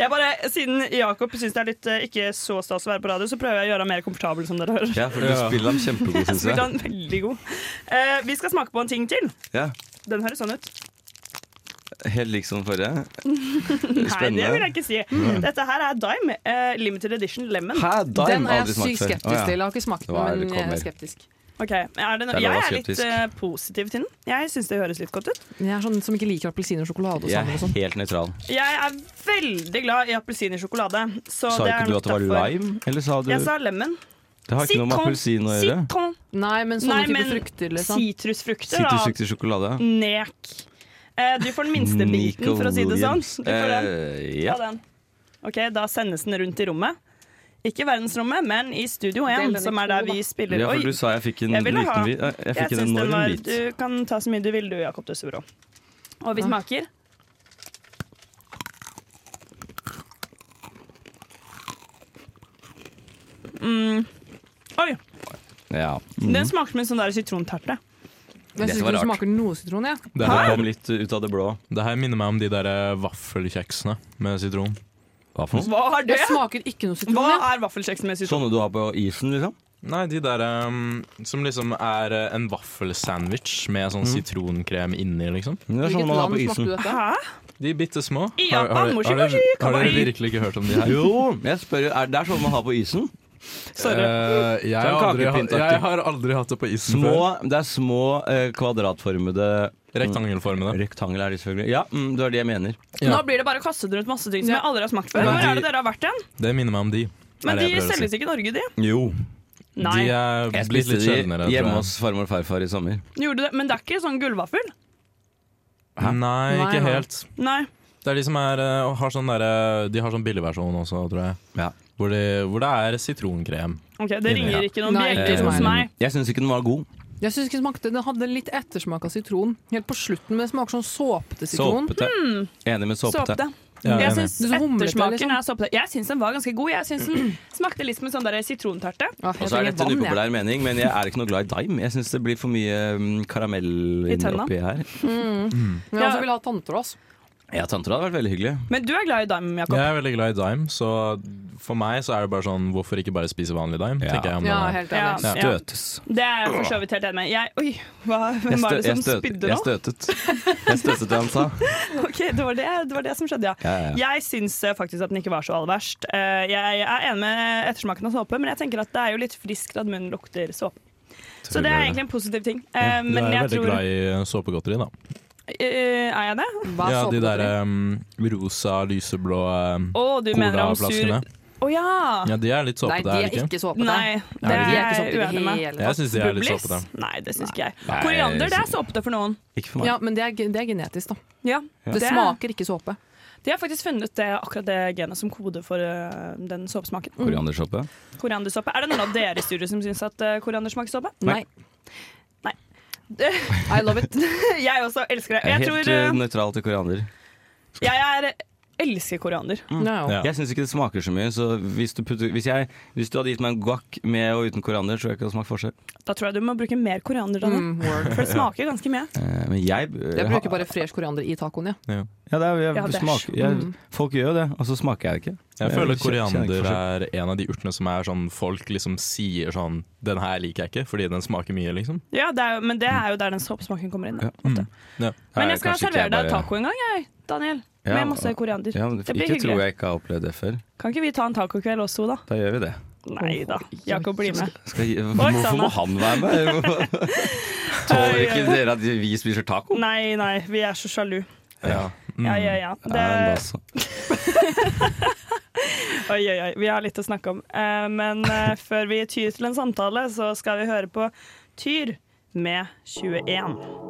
[SPEAKER 2] jeg bare, Siden Jakob syns det er litt eh, ikke så stas å være på radio, så prøver jeg å gjøre han mer komfortabel, som dere hører.
[SPEAKER 3] Ja, for du
[SPEAKER 9] Ja.
[SPEAKER 3] spiller dem kjempegod,
[SPEAKER 2] Jeg
[SPEAKER 3] syns
[SPEAKER 2] spiller
[SPEAKER 3] jeg.
[SPEAKER 2] han veldig god. Eh, vi skal smake på en ting til.
[SPEAKER 3] Ja,
[SPEAKER 2] Den høres sånn ut.
[SPEAKER 3] Helt lik som forrige.
[SPEAKER 2] Nei, det vil jeg
[SPEAKER 3] Spennende.
[SPEAKER 2] ikke si. Dette her er Dime. eh, limited edition lemon.
[SPEAKER 3] Hæ,
[SPEAKER 4] Den
[SPEAKER 3] dime?
[SPEAKER 4] er
[SPEAKER 3] Aldri
[SPEAKER 4] jeg
[SPEAKER 3] smakt
[SPEAKER 4] sykt
[SPEAKER 3] før. Å,
[SPEAKER 4] skeptisk
[SPEAKER 3] ja.
[SPEAKER 4] til. Jeg har ikke smakt den,
[SPEAKER 3] Da er det
[SPEAKER 4] men jeg er
[SPEAKER 3] kommer.
[SPEAKER 4] skeptisk.
[SPEAKER 2] Ok, er det no
[SPEAKER 3] Det er lov å
[SPEAKER 2] Jeg
[SPEAKER 3] være
[SPEAKER 2] er litt
[SPEAKER 3] skeptisk.
[SPEAKER 2] eh, positiv til den. Jeg syns det høres litt godt ut.
[SPEAKER 4] Jeg er sånn som ikke liker appelsin og
[SPEAKER 2] altså,
[SPEAKER 4] sjokolade og
[SPEAKER 3] Jeg
[SPEAKER 4] sammen og
[SPEAKER 3] er
[SPEAKER 4] sånn.
[SPEAKER 3] helt nøytral.
[SPEAKER 2] Jeg er veldig glad i appelsin i sjokolade. Så
[SPEAKER 3] Sa
[SPEAKER 2] det
[SPEAKER 3] ikke
[SPEAKER 2] er
[SPEAKER 3] du
[SPEAKER 2] nok
[SPEAKER 3] at det var
[SPEAKER 2] derfor.
[SPEAKER 3] lime? Eller sa du
[SPEAKER 2] Jeg sa lemon.
[SPEAKER 3] Det har ikke noe med
[SPEAKER 2] Sitron-
[SPEAKER 3] appelsin å gjøre.
[SPEAKER 2] Sitron.
[SPEAKER 4] Nei, men sånne
[SPEAKER 2] Nei,
[SPEAKER 4] type
[SPEAKER 2] men
[SPEAKER 4] frukter, liksom.
[SPEAKER 2] Sitrusfrukter, da.
[SPEAKER 3] Sitrusfruktig sjokolade.
[SPEAKER 2] Nek. Eh, Du får den minste biten, for å si det sånn.
[SPEAKER 3] Williams.
[SPEAKER 2] Du får den.
[SPEAKER 3] Mm, Eh,
[SPEAKER 2] Ta
[SPEAKER 3] ja.
[SPEAKER 2] den. Ok, Da sendes den rundt i rommet. Ikke i verdensrommet, men i Studio
[SPEAKER 7] Del
[SPEAKER 2] 1,
[SPEAKER 7] den i
[SPEAKER 2] som er
[SPEAKER 7] to,
[SPEAKER 2] der
[SPEAKER 7] da.
[SPEAKER 2] vi spiller.
[SPEAKER 3] Ja,
[SPEAKER 2] Oi,
[SPEAKER 3] for du sa jeg fikk
[SPEAKER 9] Mm,
[SPEAKER 3] en
[SPEAKER 2] Jeg ville
[SPEAKER 3] liten
[SPEAKER 2] ha-
[SPEAKER 3] bit. Eh, Jeg fikk en
[SPEAKER 2] syns den
[SPEAKER 3] enorm
[SPEAKER 2] var-
[SPEAKER 3] bit.
[SPEAKER 2] Du kan ta så mye du vil, du, Jakob Døssebro. Og vi smaker. Mm. Oi,
[SPEAKER 3] Ja.
[SPEAKER 9] Mm.
[SPEAKER 2] den smaker som en sånn der sitronterte.
[SPEAKER 4] Men Jeg
[SPEAKER 3] Dette
[SPEAKER 4] syns ikke
[SPEAKER 3] var
[SPEAKER 4] det
[SPEAKER 3] rart.
[SPEAKER 4] smaker noe sitron, jeg.
[SPEAKER 9] Det
[SPEAKER 3] Det
[SPEAKER 9] her,
[SPEAKER 3] kom litt ut av det blå.
[SPEAKER 9] det her minner meg om de der eh, vaffelkjeksene med sitron.
[SPEAKER 3] Hva for noe?
[SPEAKER 2] Hva er
[SPEAKER 4] Det
[SPEAKER 2] det?
[SPEAKER 4] smaker ikke noe sitron.
[SPEAKER 2] Hva
[SPEAKER 4] jeg.
[SPEAKER 2] er vaffelkjeks med sitron?
[SPEAKER 3] Sånne du har på isen, liksom?
[SPEAKER 9] Nei, de der um, som liksom er eh, en vaffelsandwich med sånn sitronkrem inni, liksom.
[SPEAKER 3] Det er
[SPEAKER 4] Hvilket
[SPEAKER 3] sånne man har
[SPEAKER 4] land
[SPEAKER 3] på
[SPEAKER 4] smakte
[SPEAKER 3] isen.
[SPEAKER 4] du dette?
[SPEAKER 9] Sånn.
[SPEAKER 2] Hæ?
[SPEAKER 9] De bitte små.
[SPEAKER 2] I
[SPEAKER 9] Har, har,
[SPEAKER 2] Japan,
[SPEAKER 9] har,
[SPEAKER 2] moshi,
[SPEAKER 9] dere,
[SPEAKER 2] moshi,
[SPEAKER 9] har dere
[SPEAKER 2] kawaii.
[SPEAKER 9] virkelig ikke hørt om de her?
[SPEAKER 3] Jo, jeg spør, er det er sånne man har på isen.
[SPEAKER 2] Sorry.
[SPEAKER 9] Eh, jeg, har
[SPEAKER 3] Sånn
[SPEAKER 9] aldri, hatt-
[SPEAKER 3] kakepyntaktig.
[SPEAKER 9] jeg har aldri hatt det på isen
[SPEAKER 3] Små,
[SPEAKER 9] før.
[SPEAKER 3] det er små eh, kvadratformede
[SPEAKER 9] Rektangelformene.
[SPEAKER 3] Rektangel er det selvfølgelig. Ja, mm, det var det jeg mener.
[SPEAKER 9] Ja.
[SPEAKER 2] Nå blir det bare kastet rundt masse ting som jeg aldri har smakt før.
[SPEAKER 9] Men
[SPEAKER 2] Hvor
[SPEAKER 9] de-
[SPEAKER 2] er det dere har vært hen?
[SPEAKER 9] Det minner meg om de. er
[SPEAKER 2] Men
[SPEAKER 9] det
[SPEAKER 2] de
[SPEAKER 9] jeg prøver å
[SPEAKER 2] selges
[SPEAKER 9] si.
[SPEAKER 2] ikke i Norge, de.
[SPEAKER 3] Jo.
[SPEAKER 2] Nei.
[SPEAKER 9] De er
[SPEAKER 3] Jeg
[SPEAKER 9] blitt
[SPEAKER 3] spiste
[SPEAKER 9] litt
[SPEAKER 3] de
[SPEAKER 9] sjeldnere. tror
[SPEAKER 3] hjemme
[SPEAKER 9] jeg.
[SPEAKER 3] hos farmor og farfar i sommer.
[SPEAKER 2] Gjorde det? Men det er ikke sånn gullvaffel?
[SPEAKER 9] Hæ? Nei,
[SPEAKER 4] Nei,
[SPEAKER 9] ikke
[SPEAKER 4] nei.
[SPEAKER 9] helt.
[SPEAKER 2] Nei.
[SPEAKER 9] Det er de som er, eh, og har sånn derre- de har sånn billigversjon også, tror jeg.
[SPEAKER 3] Ja.
[SPEAKER 9] Hvor, de, hvor det er sitronkrem.
[SPEAKER 2] Ok, Det ringer ikke noen
[SPEAKER 4] Nei,
[SPEAKER 2] bjeller
[SPEAKER 4] ikke
[SPEAKER 2] hos
[SPEAKER 4] meg.
[SPEAKER 2] meg.
[SPEAKER 3] Eh, Jeg syns ikke den var god.
[SPEAKER 4] Jeg syns ikke det smakte Det hadde litt ettersmak av sitron. Helt på slutten, men det smaker sånn såpete sitron.
[SPEAKER 3] Såpete. Enig med såpete.
[SPEAKER 2] Hmm. Såpete.
[SPEAKER 9] Ja,
[SPEAKER 2] Jeg
[SPEAKER 9] enig.
[SPEAKER 2] syns
[SPEAKER 4] Det er så humlete,
[SPEAKER 2] ettersmaken
[SPEAKER 4] liksom.
[SPEAKER 2] er såpete. Jeg syns den var ganske god. Jeg syns den smakte litt som en sånn der sitronterte.
[SPEAKER 4] Ja, jeg
[SPEAKER 3] Og så er
[SPEAKER 4] trenger
[SPEAKER 3] dette en
[SPEAKER 4] vann, jeg.
[SPEAKER 3] upopulær mening, men jeg er ikke noe glad i dime. Jeg syns det blir for mye mm, karamell
[SPEAKER 2] I
[SPEAKER 3] inni
[SPEAKER 2] tenna.
[SPEAKER 3] oppi her.
[SPEAKER 4] Men jeg også vil ha tanntrås.
[SPEAKER 3] Ja, tanter hadde vært veldig hyggelig.
[SPEAKER 2] Men du er glad i damen, Jakob.
[SPEAKER 9] Jeg er veldig glad i dime, så for meg så er det bare sånn Hvorfor ikke bare spise vanlig dime?
[SPEAKER 3] Ja.
[SPEAKER 9] tenker jeg om
[SPEAKER 4] Ja,
[SPEAKER 9] det.
[SPEAKER 4] helt enig.
[SPEAKER 2] Ja.
[SPEAKER 3] Støtes.
[SPEAKER 2] Det er jeg for så vidt helt enig med. Jeg, oi, hva,
[SPEAKER 3] Jeg,
[SPEAKER 2] hvem var
[SPEAKER 3] stø-
[SPEAKER 2] det
[SPEAKER 3] jeg,
[SPEAKER 2] som
[SPEAKER 3] støt,
[SPEAKER 2] spydde
[SPEAKER 3] jeg
[SPEAKER 2] nå?
[SPEAKER 3] støtet. Jeg støtet det han sa.
[SPEAKER 2] Ok, det var det, det var det som skjedde, ja.
[SPEAKER 3] Ja, ja, ja.
[SPEAKER 2] Jeg syns eh, faktisk at den ikke var så aller verst. Eh, Jeg er enig med ettersmaken av såpe, men jeg tenker at det er jo litt friskt at munnen lukter såpe. Så det er egentlig en positiv ting. Eh,
[SPEAKER 9] Du
[SPEAKER 2] Men
[SPEAKER 9] er
[SPEAKER 2] jeg
[SPEAKER 9] veldig
[SPEAKER 2] tror
[SPEAKER 9] glad i såpegodteri, da.
[SPEAKER 2] Eh, Er jeg det?
[SPEAKER 4] Hva er
[SPEAKER 9] Ja, de
[SPEAKER 3] eh,
[SPEAKER 4] såpegodteri?
[SPEAKER 9] der um, rosa, lyseblå um,
[SPEAKER 2] Å, du mener om sur Ah.
[SPEAKER 9] colaflaskene.
[SPEAKER 2] Å ja!
[SPEAKER 9] Ja, de er
[SPEAKER 4] Nei,
[SPEAKER 9] litt såpete,
[SPEAKER 4] de
[SPEAKER 9] er
[SPEAKER 4] er
[SPEAKER 9] de ikke?
[SPEAKER 4] ikke såpete.
[SPEAKER 2] Nei, det
[SPEAKER 4] de
[SPEAKER 2] er
[SPEAKER 4] er ikke
[SPEAKER 2] jeg
[SPEAKER 4] sånn- såpete
[SPEAKER 2] uenig
[SPEAKER 4] i det
[SPEAKER 2] med.
[SPEAKER 4] hele
[SPEAKER 9] Jeg
[SPEAKER 4] tatt.
[SPEAKER 9] syns de er litt
[SPEAKER 2] Bublis?
[SPEAKER 9] såpete.
[SPEAKER 2] Nei, det syns ikke jeg.
[SPEAKER 3] Nei,
[SPEAKER 2] Koriander, det er
[SPEAKER 3] så-
[SPEAKER 2] såpete for noen.
[SPEAKER 3] Ikke for meg.
[SPEAKER 4] Ja, men det er, ge- det er genetisk, da.
[SPEAKER 2] Ja,
[SPEAKER 4] Det smaker ikke såpe.
[SPEAKER 2] De har faktisk funnet det, akkurat det genet som kode for eh, den såpesmaken. Mm.
[SPEAKER 3] Koriandersoppe.
[SPEAKER 2] Koriandersoppe. Er det noen av dere i studio som syns at uh, koriander smaker såpe?
[SPEAKER 4] Nei.
[SPEAKER 2] Nei.
[SPEAKER 4] I love it.
[SPEAKER 2] Jeg også elsker det.
[SPEAKER 3] Jeg
[SPEAKER 2] Jeg,
[SPEAKER 3] er helt
[SPEAKER 2] tror,
[SPEAKER 3] eh,
[SPEAKER 2] eh,
[SPEAKER 3] nøytral til koriander.
[SPEAKER 2] jeg er, eh, elsker koriander.
[SPEAKER 4] Ja, ja.
[SPEAKER 9] Ja.
[SPEAKER 3] Jeg syns ikke det smaker så mye, så hvis du, putter, hvis, jeg, hvis du hadde gitt meg en guac med og uten koriander, tror jeg ikke det hadde smakt forskjell.
[SPEAKER 2] Da tror jeg du må bruke mer koriander, Danne.
[SPEAKER 4] Mm, word.
[SPEAKER 2] For det smaker ganske mye.
[SPEAKER 3] Eh, Men jeg
[SPEAKER 4] Jeg bruker bare fresh koriander i tacoen, ja.
[SPEAKER 3] Ja, det er, jeg,
[SPEAKER 2] Ja, det er-
[SPEAKER 3] smaker, jeg,
[SPEAKER 2] Mm.
[SPEAKER 3] folk gjør jo det, og så smaker jeg det ikke. Eh,
[SPEAKER 9] Jeg føler
[SPEAKER 3] kjenner ikke
[SPEAKER 9] koriander
[SPEAKER 3] forskjell.
[SPEAKER 9] er en av de urtene som er sånn folk liksom sier sånn Den her liker jeg ikke, fordi den smaker mye, liksom.
[SPEAKER 2] Ja, det er, jo- men det er jo der den såpesmaken kommer inn. Da. ofte. Men
[SPEAKER 9] Ja.
[SPEAKER 3] mm. Nei,
[SPEAKER 2] jeg skal
[SPEAKER 3] kanskje
[SPEAKER 2] servere
[SPEAKER 3] ikke, jeg
[SPEAKER 2] deg
[SPEAKER 3] bare-
[SPEAKER 2] taco en gang, jeg, Daniel.
[SPEAKER 3] Ja,
[SPEAKER 2] Med masse koriander.
[SPEAKER 3] Ja, men
[SPEAKER 2] Det blir
[SPEAKER 3] ikke
[SPEAKER 2] hyggelig.
[SPEAKER 3] tror jeg ikke har opplevd det før.
[SPEAKER 2] Kan ikke vi ta en tacokveld oss to, da?
[SPEAKER 3] Da gjør vi det.
[SPEAKER 2] Nei da. Jakob blir med.
[SPEAKER 3] Skal, jeg- hvorfor må han være med? Tåler ikke dere at vi spiser taco?
[SPEAKER 2] Nei, nei, vi er så sjalu.
[SPEAKER 9] Ja. Mm.
[SPEAKER 2] Ja, ja, ja.
[SPEAKER 3] Ja, men altså. da
[SPEAKER 2] Det,
[SPEAKER 3] så.
[SPEAKER 2] oi, oi, oi. Vi har litt å snakke om. Eh, men eh, før vi tyr til en samtale, så skal vi høre på Tyr med 21.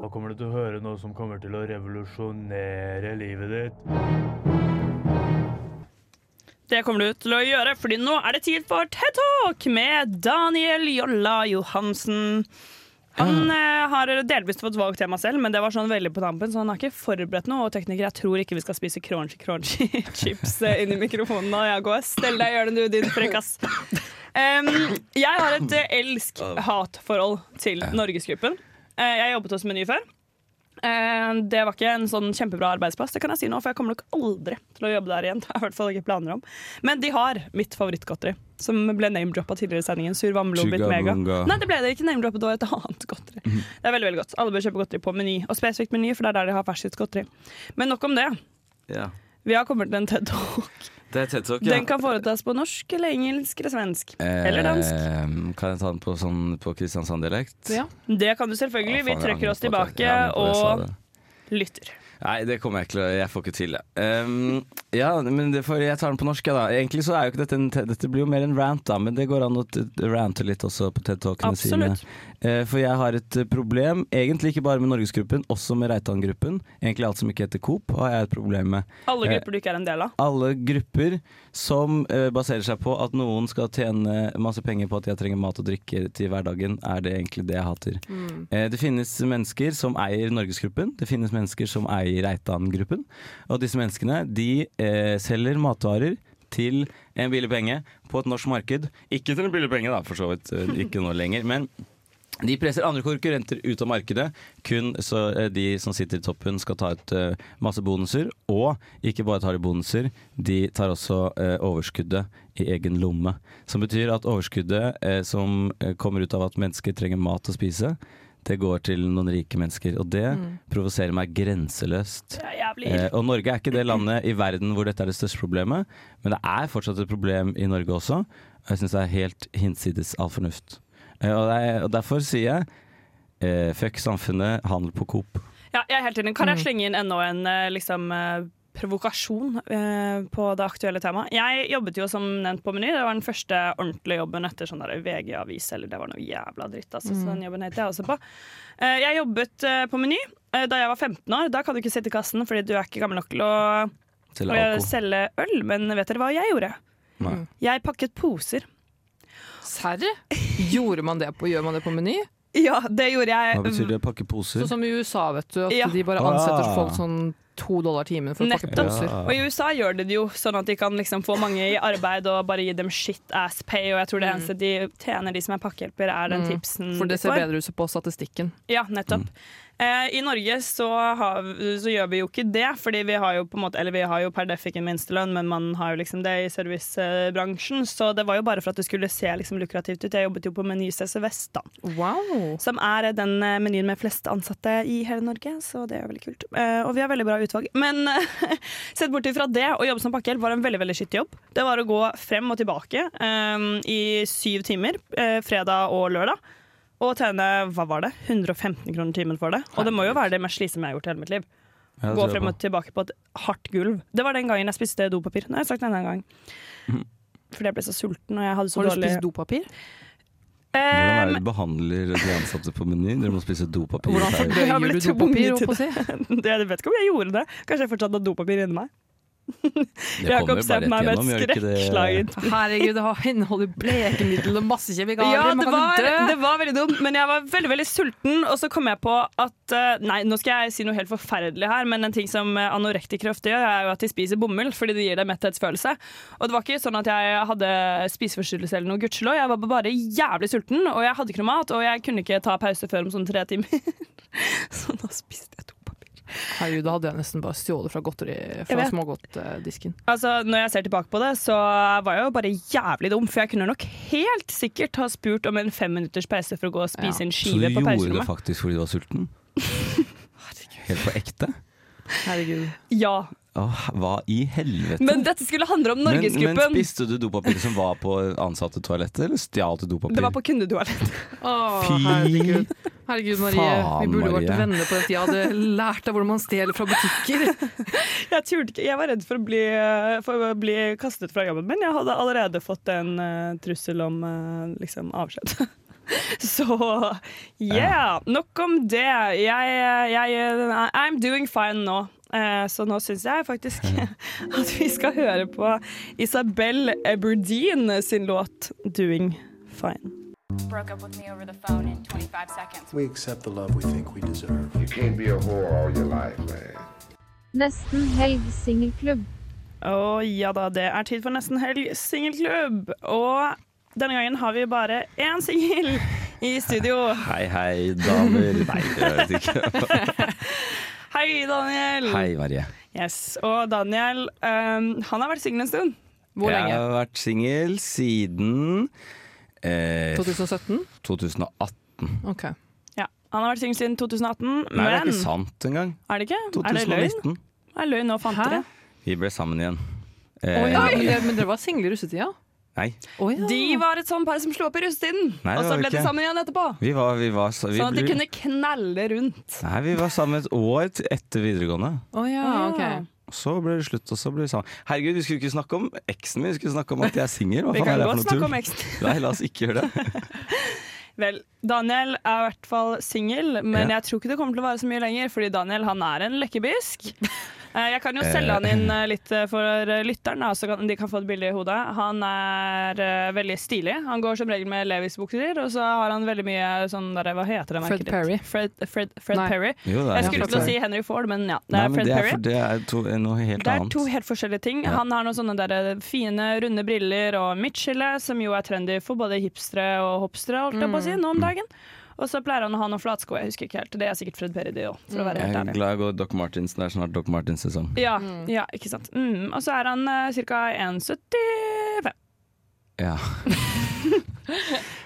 [SPEAKER 10] Da kommer du til å høre noe som kommer til å revolusjonere livet ditt.
[SPEAKER 2] Det kommer du til å gjøre, fordi nå er det tid for TED Talk med Daniel Jolla Johansen. Han eh, har delvis fått valgt tema selv, men det var sånn veldig på tampen, så han har ikke forberedt noe. Og tekniker, jeg tror ikke vi skal spise crunchy crunchy chips eh, inn i mikrofonen nå. Jeg går. Stell deg i hjørnet, du, din frekkas. Em, jeg har et eh, elsk-hat-forhold til Norgesgruppen. Eh, jeg jobbet hos Meny før. Eh, Det var ikke en sånn kjempebra arbeidsplass, det kan jeg si nå, for jeg kommer nok aldri til å jobbe der igjen. Det har jeg i hvert fall ikke planer om. Men de har mitt favorittgodteri, som ble name-droppa tidligere i sendingen. Sur Vamlobit Mega.
[SPEAKER 3] Chugabunga.
[SPEAKER 2] Nei, det ble det ikke name-droppet, det var et annet godteri. Det er veldig, veldig godt. Alle bør kjøpe godteri på Meny, og spesifikt Meny, for det er der de har ferskt godteri. Men nok om det.
[SPEAKER 3] Ja.
[SPEAKER 2] Vi har kommet til en TED Talk.
[SPEAKER 3] Det er TED Talk,
[SPEAKER 2] Den kan foretas på norsk eller engelsk eller svensk. Eller dansk.
[SPEAKER 3] Eh, kan jeg ta den på, sånn, på Kristiansand-dialekt?
[SPEAKER 4] Ja.
[SPEAKER 2] Det kan du selvfølgelig.
[SPEAKER 3] Å,
[SPEAKER 2] Vi
[SPEAKER 3] faen, jeg
[SPEAKER 2] trekker oss
[SPEAKER 3] angrer på at
[SPEAKER 2] tilbake
[SPEAKER 3] jeg- jeg angrer på at jeg sa
[SPEAKER 2] og
[SPEAKER 3] det.
[SPEAKER 2] lytter.
[SPEAKER 3] Nei, det kommer jeg ikke til å Jeg får ikke til det. Um, Ja, men det får, jeg tar den på norsk, ja da. Egentlig så er jo ikke dette en te- Dette blir jo mer en rant, da, men det går an å t- rante litt også på TED Talkene sine.
[SPEAKER 2] Absolutt.
[SPEAKER 3] Eh, For jeg har et eh, problem, egentlig ikke bare med Norgesgruppen, også med Reitan-gruppen. Egentlig alt som ikke heter Coop, har jeg et problem med.
[SPEAKER 2] Alle
[SPEAKER 3] Eh,
[SPEAKER 2] grupper du ikke er en del av.
[SPEAKER 3] alle grupper som eh, baserer seg på at noen skal tjene masse penger på at jeg trenger mat og drikke til hverdagen, er det egentlig det jeg hater. Eh, det finnes mennesker som eier Norgesgruppen, det finnes mennesker som eier Reitan-gruppen. Og disse menneskene de eh, selger matvarer til en billig penge på et norsk marked. Ikke til en billig penge, da, for så vidt. eh, Ikke nå lenger. men de presser andre konkurrenter ut av markedet, kun så eh, de som sitter i toppen skal ta ut eh, masse bonuser. Og ikke bare tar de bonuser, de tar også eh, overskuddet i egen lomme. Som betyr at overskuddet eh, som eh, kommer ut av at mennesker trenger mat å spise, det går til noen rike mennesker. Og det provoserer meg grenseløst.
[SPEAKER 2] Mm. Det er jævlig
[SPEAKER 3] Eh,
[SPEAKER 2] ille.
[SPEAKER 3] og Norge er ikke det landet i verden hvor dette er det største problemet, men det er fortsatt et problem i Norge også. Og jeg syns det er helt hinsides all fornuft. Eh, og, det er, og derfor sier jeg eh, fuck samfunnet, handel på Coop.
[SPEAKER 2] Ja, jeg er helt enig. Kan jeg slenge inn enda en eh, liksom, eh, provokasjon eh, på det aktuelle temaet? Jeg jobbet jo som nevnt på Meny. Det var den første ordentlige jobben etter sånn der VG-avis, eller det var noe jævla dritt, altså. Så den jobben heter jeg også på. Eh, Jeg jobbet eh, på Meny eh, da jeg var 15 år. Da kan du ikke sitte i kassen fordi du er ikke gammel nok til å å
[SPEAKER 3] Til alko.
[SPEAKER 2] selge øl. Men vet dere hva jeg gjorde?
[SPEAKER 3] Nei.
[SPEAKER 2] Jeg pakket poser.
[SPEAKER 4] Serr? Gjorde man det på, gjør man det på Meny?
[SPEAKER 2] Ja, det gjorde jeg. mm,
[SPEAKER 3] Hva betyr det? Pakke poser?
[SPEAKER 4] Sånn som i USA, vet du. At
[SPEAKER 2] Ja.
[SPEAKER 4] de bare ansetter
[SPEAKER 3] Ah.
[SPEAKER 4] folk sånn to dollar timen for å pakke
[SPEAKER 2] Nettopp.
[SPEAKER 4] poser.
[SPEAKER 2] Og i USA gjør de det jo sånn at de kan liksom få mange i arbeid og bare gi dem shit ass pay, og jeg tror det eneste de tjener, de som er pakkehjelper, er den tipsen
[SPEAKER 4] Mm. For det
[SPEAKER 2] de
[SPEAKER 4] ser
[SPEAKER 2] får.
[SPEAKER 4] bedre ut på statistikken.
[SPEAKER 2] Ja, nettopp.
[SPEAKER 3] Mm.
[SPEAKER 2] Eh, I Norge så, har, så gjør vi jo ikke det, fordi vi har jo på en måte Eller vi har jo per def ikke en minstelønn, men man har jo liksom det i servicebransjen, så det var jo bare for at det skulle se liksom lukrativt ut. Jeg jobbet jo på Meny CC Vest, da
[SPEAKER 4] Wow!
[SPEAKER 2] som er den eh, menyen med flest ansatte i hele Norge, så det er veldig kult. Eh, og vi har veldig bra utvalg. Men eh, sett bort ifra det, å jobbe som pakkehjelp var en veldig veldig skittig jobb. Det var å gå frem og tilbake eh, i syv timer eh, fredag og lørdag. Og tjene hva var det? 115 kroner timen for det. Og det må jo være det mest slitsomme jeg har gjort i hele mitt liv.
[SPEAKER 3] Ja,
[SPEAKER 2] Gå
[SPEAKER 3] det tror jeg
[SPEAKER 2] frem
[SPEAKER 3] på.
[SPEAKER 2] og tilbake på et hardt gulv. Det var den gangen jeg spiste dopapir. Nå har jeg sagt det en annen gang.
[SPEAKER 3] Mhm.
[SPEAKER 2] Fordi jeg ble så sulten og jeg hadde så
[SPEAKER 4] Har du
[SPEAKER 2] dårlig
[SPEAKER 4] spist dopapir?
[SPEAKER 3] Hvordan er
[SPEAKER 2] Eh,
[SPEAKER 3] det du behandler de ansatte på Meny? Dere må spise dopapir.
[SPEAKER 4] Hvordan
[SPEAKER 3] i pausen.
[SPEAKER 2] Jeg har
[SPEAKER 4] fordøyer
[SPEAKER 2] blitt
[SPEAKER 4] du dopapir?
[SPEAKER 2] tvunget til
[SPEAKER 4] holdt på å si?
[SPEAKER 2] Det, jeg vet ikke om jeg gjorde det. Kanskje jeg fortsatt har dopapir inni meg. Jakob ser på meg med
[SPEAKER 3] gjør
[SPEAKER 2] et
[SPEAKER 3] det ikke det?
[SPEAKER 2] skrekkslagen.
[SPEAKER 4] Herregud, det har- inneholder blekemiddel og masse kjemikalier.
[SPEAKER 2] Ja,
[SPEAKER 4] man
[SPEAKER 2] det
[SPEAKER 4] kan
[SPEAKER 2] var,
[SPEAKER 4] dø.
[SPEAKER 2] det var veldig dumt, men jeg var veldig veldig sulten. Og så kom jeg på at eh, Nei, nå skal jeg si noe helt forferdelig her, men en ting som eh, anorektikere ofte gjør, er jo at de spiser bomull fordi det gir deg metthetsfølelse. Og det var ikke sånn at jeg hadde spiseforstyrrelse eller noe, gudskjelov. Jeg var bare jævlig sulten, og jeg hadde ikke noe mat, og jeg kunne ikke ta pause før om sånn tre timer. Så da spiste jeg dopapir.
[SPEAKER 4] Herregud, da hadde jeg nesten bare stjålet fra, godteri-
[SPEAKER 2] Jeg
[SPEAKER 4] fra
[SPEAKER 2] vet.
[SPEAKER 4] smågodtdisken.
[SPEAKER 2] Altså, Når jeg ser tilbake på det, så var jeg jo bare jævlig dum. For jeg kunne nok helt sikkert ha spurt om en femminutters pause for å gå og spise
[SPEAKER 4] Ja.
[SPEAKER 2] en
[SPEAKER 3] Så du
[SPEAKER 2] skive på
[SPEAKER 3] gjorde det
[SPEAKER 2] pauserommet.
[SPEAKER 3] faktisk fordi du var sulten? Helt på ekte?
[SPEAKER 4] Herregud.
[SPEAKER 2] Ja.
[SPEAKER 3] Åh, hva i helvete?
[SPEAKER 2] Men dette skulle handle om
[SPEAKER 3] Men, men
[SPEAKER 2] Norgesgruppen.
[SPEAKER 3] spiste du dopapir som var på ansatte toaletter, eller stjal du dopapir?
[SPEAKER 2] det var på kundedoalett.
[SPEAKER 4] Å,
[SPEAKER 3] Fy
[SPEAKER 4] herregud. herregud, Marie.
[SPEAKER 3] faen,
[SPEAKER 4] vi burde vært
[SPEAKER 3] Marie.
[SPEAKER 4] venner på den tida. Hadde lært av hvordan man stjeler fra butikker.
[SPEAKER 2] Jeg turte ikke. Jeg var redd for å, bli, for å bli kastet fra jobben min. Jeg hadde allerede fått en eh, trussel om eh, liksom avskjed. Så yeah! Nok om det. Jeg, jeg I'm doing fine nå. Eh, Så nå syns jeg faktisk at vi skal høre på Isabel Eberdeen sin låt 'Doing Fine'.
[SPEAKER 11] broke up with me over the phone in 25 seconds.
[SPEAKER 12] We accept the love we think we deserve.
[SPEAKER 13] You can't be a whore all your life, man.
[SPEAKER 14] Nesten helg singelklubb.
[SPEAKER 2] Å ja da, det er tid for Nesten helg singelklubb. Og denne gangen har vi bare én singel i studio.
[SPEAKER 3] Hei, hei, damer. Nei, jeg vet ikke.
[SPEAKER 2] Hei, Daniel.
[SPEAKER 3] Hei, Marie.
[SPEAKER 2] Yes, Og Daniel, eh, han har vært singel en stund.
[SPEAKER 3] Jeg har vært singel siden eh,
[SPEAKER 4] 2017?
[SPEAKER 3] 2018.
[SPEAKER 4] Ok.
[SPEAKER 3] Eh,
[SPEAKER 2] Ja, Han har vært singel siden 2018,
[SPEAKER 3] Nei, det er
[SPEAKER 2] men
[SPEAKER 3] ikke sant engang.
[SPEAKER 2] Er det ikke? Er det løgn?
[SPEAKER 3] 2019.
[SPEAKER 2] Er det løgn nå fant dere?
[SPEAKER 3] Vi ble sammen igjen. Eh,
[SPEAKER 4] Å ja, men
[SPEAKER 3] nei.
[SPEAKER 4] det- men dere var single i russetida?
[SPEAKER 2] De var et sånt par som slo opp i russetiden,
[SPEAKER 3] Nei, det
[SPEAKER 2] og så
[SPEAKER 3] var vi
[SPEAKER 2] ble de
[SPEAKER 3] ikke.
[SPEAKER 2] sammen igjen etterpå.
[SPEAKER 3] Vi var, vi var, sa- vi
[SPEAKER 2] Sånn at de
[SPEAKER 3] ble-
[SPEAKER 2] kunne knalle rundt.
[SPEAKER 3] Nei, vi var sammen et år til- etter videregående.
[SPEAKER 4] Å ja, ok.
[SPEAKER 3] Så ble det slutt, og så ble det sånn. Herregud, vi skulle ikke snakke om eksen min, vi skulle snakke om at jeg er singel. Hva
[SPEAKER 2] Vi
[SPEAKER 3] faen
[SPEAKER 2] kan
[SPEAKER 3] er det
[SPEAKER 2] godt
[SPEAKER 3] for noe
[SPEAKER 2] snakke
[SPEAKER 3] tull?
[SPEAKER 2] om eksen.
[SPEAKER 3] Nei, la oss ikke gjøre det.
[SPEAKER 2] Vel, Daniel er i hvert fall singel, men
[SPEAKER 3] Ja.
[SPEAKER 2] jeg tror ikke det kommer til å vare så mye lenger, fordi Daniel han er en lekkebisk. Eh, Jeg kan jo
[SPEAKER 15] Eh.
[SPEAKER 2] selge han inn eh, litt eh, for eh, lytteren, da, så kan, de kan få et bilde i hodet. Han er eh, veldig stilig. Han går som regel med Levis-bukser, og så har han veldig mye sånn der, Hva heter det?
[SPEAKER 4] Fred
[SPEAKER 2] merket ditt?
[SPEAKER 4] Perry.
[SPEAKER 2] Fred, Fred, Fred
[SPEAKER 4] Nei.
[SPEAKER 2] Perry.
[SPEAKER 3] Jo, det er
[SPEAKER 2] jeg skulle
[SPEAKER 3] Fred
[SPEAKER 2] til å
[SPEAKER 3] Perry.
[SPEAKER 2] si Henry Ford, men ja. Det
[SPEAKER 3] Nei,
[SPEAKER 2] er
[SPEAKER 3] men
[SPEAKER 2] Fred
[SPEAKER 3] det er,
[SPEAKER 2] Perry.
[SPEAKER 3] for, det er to, noe helt
[SPEAKER 2] Det er
[SPEAKER 3] annet.
[SPEAKER 2] to helt forskjellige ting.
[SPEAKER 3] Ja.
[SPEAKER 2] Han har noen sånne der eh, fine, runde briller og midtskille, som jo er trendy for både hipstere og hopstere, holdt jeg på å
[SPEAKER 3] Mm.
[SPEAKER 2] si, nå om dagen. Og så pleier han å ha noen flatsko, jeg husker ikke helt. Det er sikkert Fred Perry, det òg, for å være
[SPEAKER 3] Mm. jeg
[SPEAKER 2] helt
[SPEAKER 3] er
[SPEAKER 2] ærlig.
[SPEAKER 3] glad jeg går Doc Martins. Det er snart Doc Martins-sesong.
[SPEAKER 2] Ja, ja, ikke sant. Mm. Og så er han uh, ca. 1,75.
[SPEAKER 3] Ja.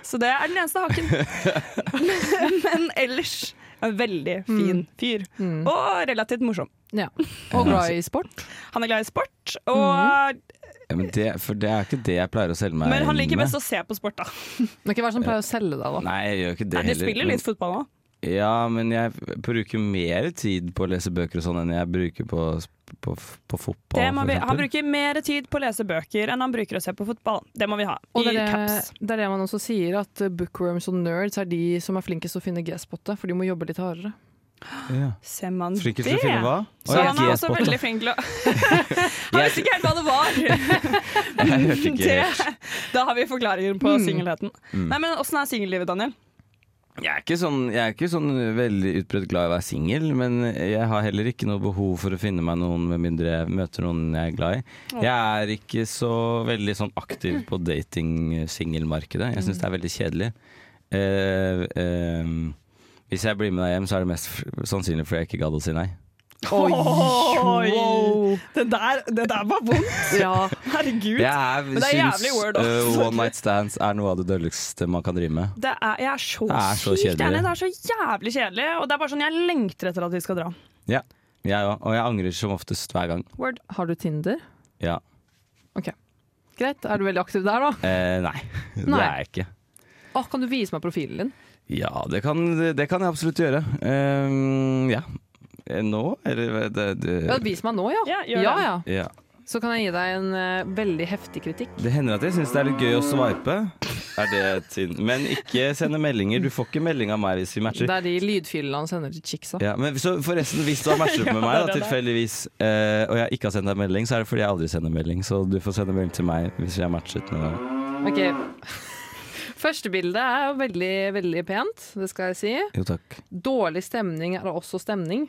[SPEAKER 2] Så det er den eneste haken. men, men ellers en veldig
[SPEAKER 3] Mm.
[SPEAKER 2] fin fyr. Og relativt morsom.
[SPEAKER 3] Eh,
[SPEAKER 4] Og
[SPEAKER 3] altså-
[SPEAKER 4] glad i sport.
[SPEAKER 2] Han er glad i sport, og,
[SPEAKER 3] Mm. Ja, men det, for det er ikke det jeg pleier å selge meg
[SPEAKER 2] men han liker
[SPEAKER 3] inn med.
[SPEAKER 2] best å se på sport, da.
[SPEAKER 4] Men ikke hva er det som pleier å selge deg, da?
[SPEAKER 3] Nei, jeg gjør ikke det
[SPEAKER 2] Nei, de
[SPEAKER 3] heller,
[SPEAKER 2] spiller
[SPEAKER 3] men-
[SPEAKER 2] litt fotball nå.
[SPEAKER 3] Ja, men jeg bruker mer tid på å lese bøker og sånn enn jeg bruker på, på, på fotball.
[SPEAKER 2] Det må
[SPEAKER 3] for
[SPEAKER 2] vi,
[SPEAKER 3] eksempel.
[SPEAKER 2] han bruker mer tid på å lese bøker enn han bruker å se på fotball. Det må vi ha.
[SPEAKER 4] Og
[SPEAKER 2] I
[SPEAKER 4] det er,
[SPEAKER 2] caps.
[SPEAKER 4] det, det er det man også sier, at eh, bookworms og nerds er de som er flinkest til å finne G-spottet, for de må jobbe litt hardere.
[SPEAKER 3] Ja.
[SPEAKER 2] Ser man
[SPEAKER 3] Flinkest
[SPEAKER 2] det?
[SPEAKER 3] til å finne hva?
[SPEAKER 2] Så
[SPEAKER 3] Å, ja,
[SPEAKER 2] han er også
[SPEAKER 3] G-spottet.
[SPEAKER 2] veldig flink til å Han visste ikke helt hva det var!
[SPEAKER 3] Jeg hørte ikke helt.
[SPEAKER 2] Det, da har vi forklaringen på singelheten.
[SPEAKER 3] Mm.
[SPEAKER 2] Nei, men Åssen er singellivet, Daniel?
[SPEAKER 3] Jeg er ikke sånn, jeg er ikke sånn veldig utbredt glad i å være singel, men jeg har heller ikke noe behov for å finne meg noen med mindre jeg møter noen jeg er glad i. Jeg er ikke så veldig sånn aktiv på dating-singelmarkedet. Jeg syns det
[SPEAKER 2] Mm.
[SPEAKER 3] er veldig kjedelig. Eh, eh, hvis jeg blir med deg hjem, så er det mest f- sannsynlig fordi jeg ikke gadd å si nei.
[SPEAKER 2] Oi! Det, der, det der var vondt!
[SPEAKER 4] Ja.
[SPEAKER 2] Herregud.
[SPEAKER 3] Jeg er,
[SPEAKER 2] men det er
[SPEAKER 3] syns
[SPEAKER 2] jævlig word, da.
[SPEAKER 3] eh, one night stands er noe av det dølleste man kan drive med.
[SPEAKER 2] Det er, jeg er så,
[SPEAKER 3] Det er så
[SPEAKER 2] sykt
[SPEAKER 3] kjedelig.
[SPEAKER 2] enig. Det er så jævlig kjedelig. Og det er bare sånn jeg lengter etter at vi skal dra.
[SPEAKER 3] Ja, jeg òg. Og jeg angrer som oftest hver gang.
[SPEAKER 4] Har du Tinder?
[SPEAKER 3] Ja.
[SPEAKER 4] Ok. Greit. Er du veldig aktiv der, da?
[SPEAKER 3] Eh, nei, det
[SPEAKER 4] Nei.
[SPEAKER 3] er jeg ikke.
[SPEAKER 4] Åh, kan du vise meg profilen din?
[SPEAKER 3] Ja, det kan, det kan jeg absolutt gjøre. Ehm, ja. Eh, Nå, eller det, det,
[SPEAKER 4] Ja, vis meg nå, ja.
[SPEAKER 2] Ja, gjør
[SPEAKER 4] ja,
[SPEAKER 2] det.
[SPEAKER 4] ja.
[SPEAKER 3] ja.
[SPEAKER 4] Så kan jeg gi deg en eh, veldig heftig kritikk.
[SPEAKER 3] det hender at jeg syns det er litt gøy å sveipe. Er det et syn? Men ikke sende meldinger. Du får ikke melding av meg hvis vi
[SPEAKER 4] Det
[SPEAKER 3] matcher.
[SPEAKER 4] er de lydfilene han sender til chicksa.
[SPEAKER 3] Ja, men så forresten, hvis du har matchet med
[SPEAKER 4] Ja,
[SPEAKER 3] meg, da,
[SPEAKER 4] det er det.
[SPEAKER 3] tilfeldigvis, eh, og jeg ikke har sendt deg melding, så er det fordi jeg aldri sender melding. Så du får sende melding til meg hvis jeg har matchet med deg.
[SPEAKER 4] Ok. Første bildet er jo veldig, veldig pent, det skal jeg si.
[SPEAKER 3] Jo takk.
[SPEAKER 4] Dårlig stemning er også stemning.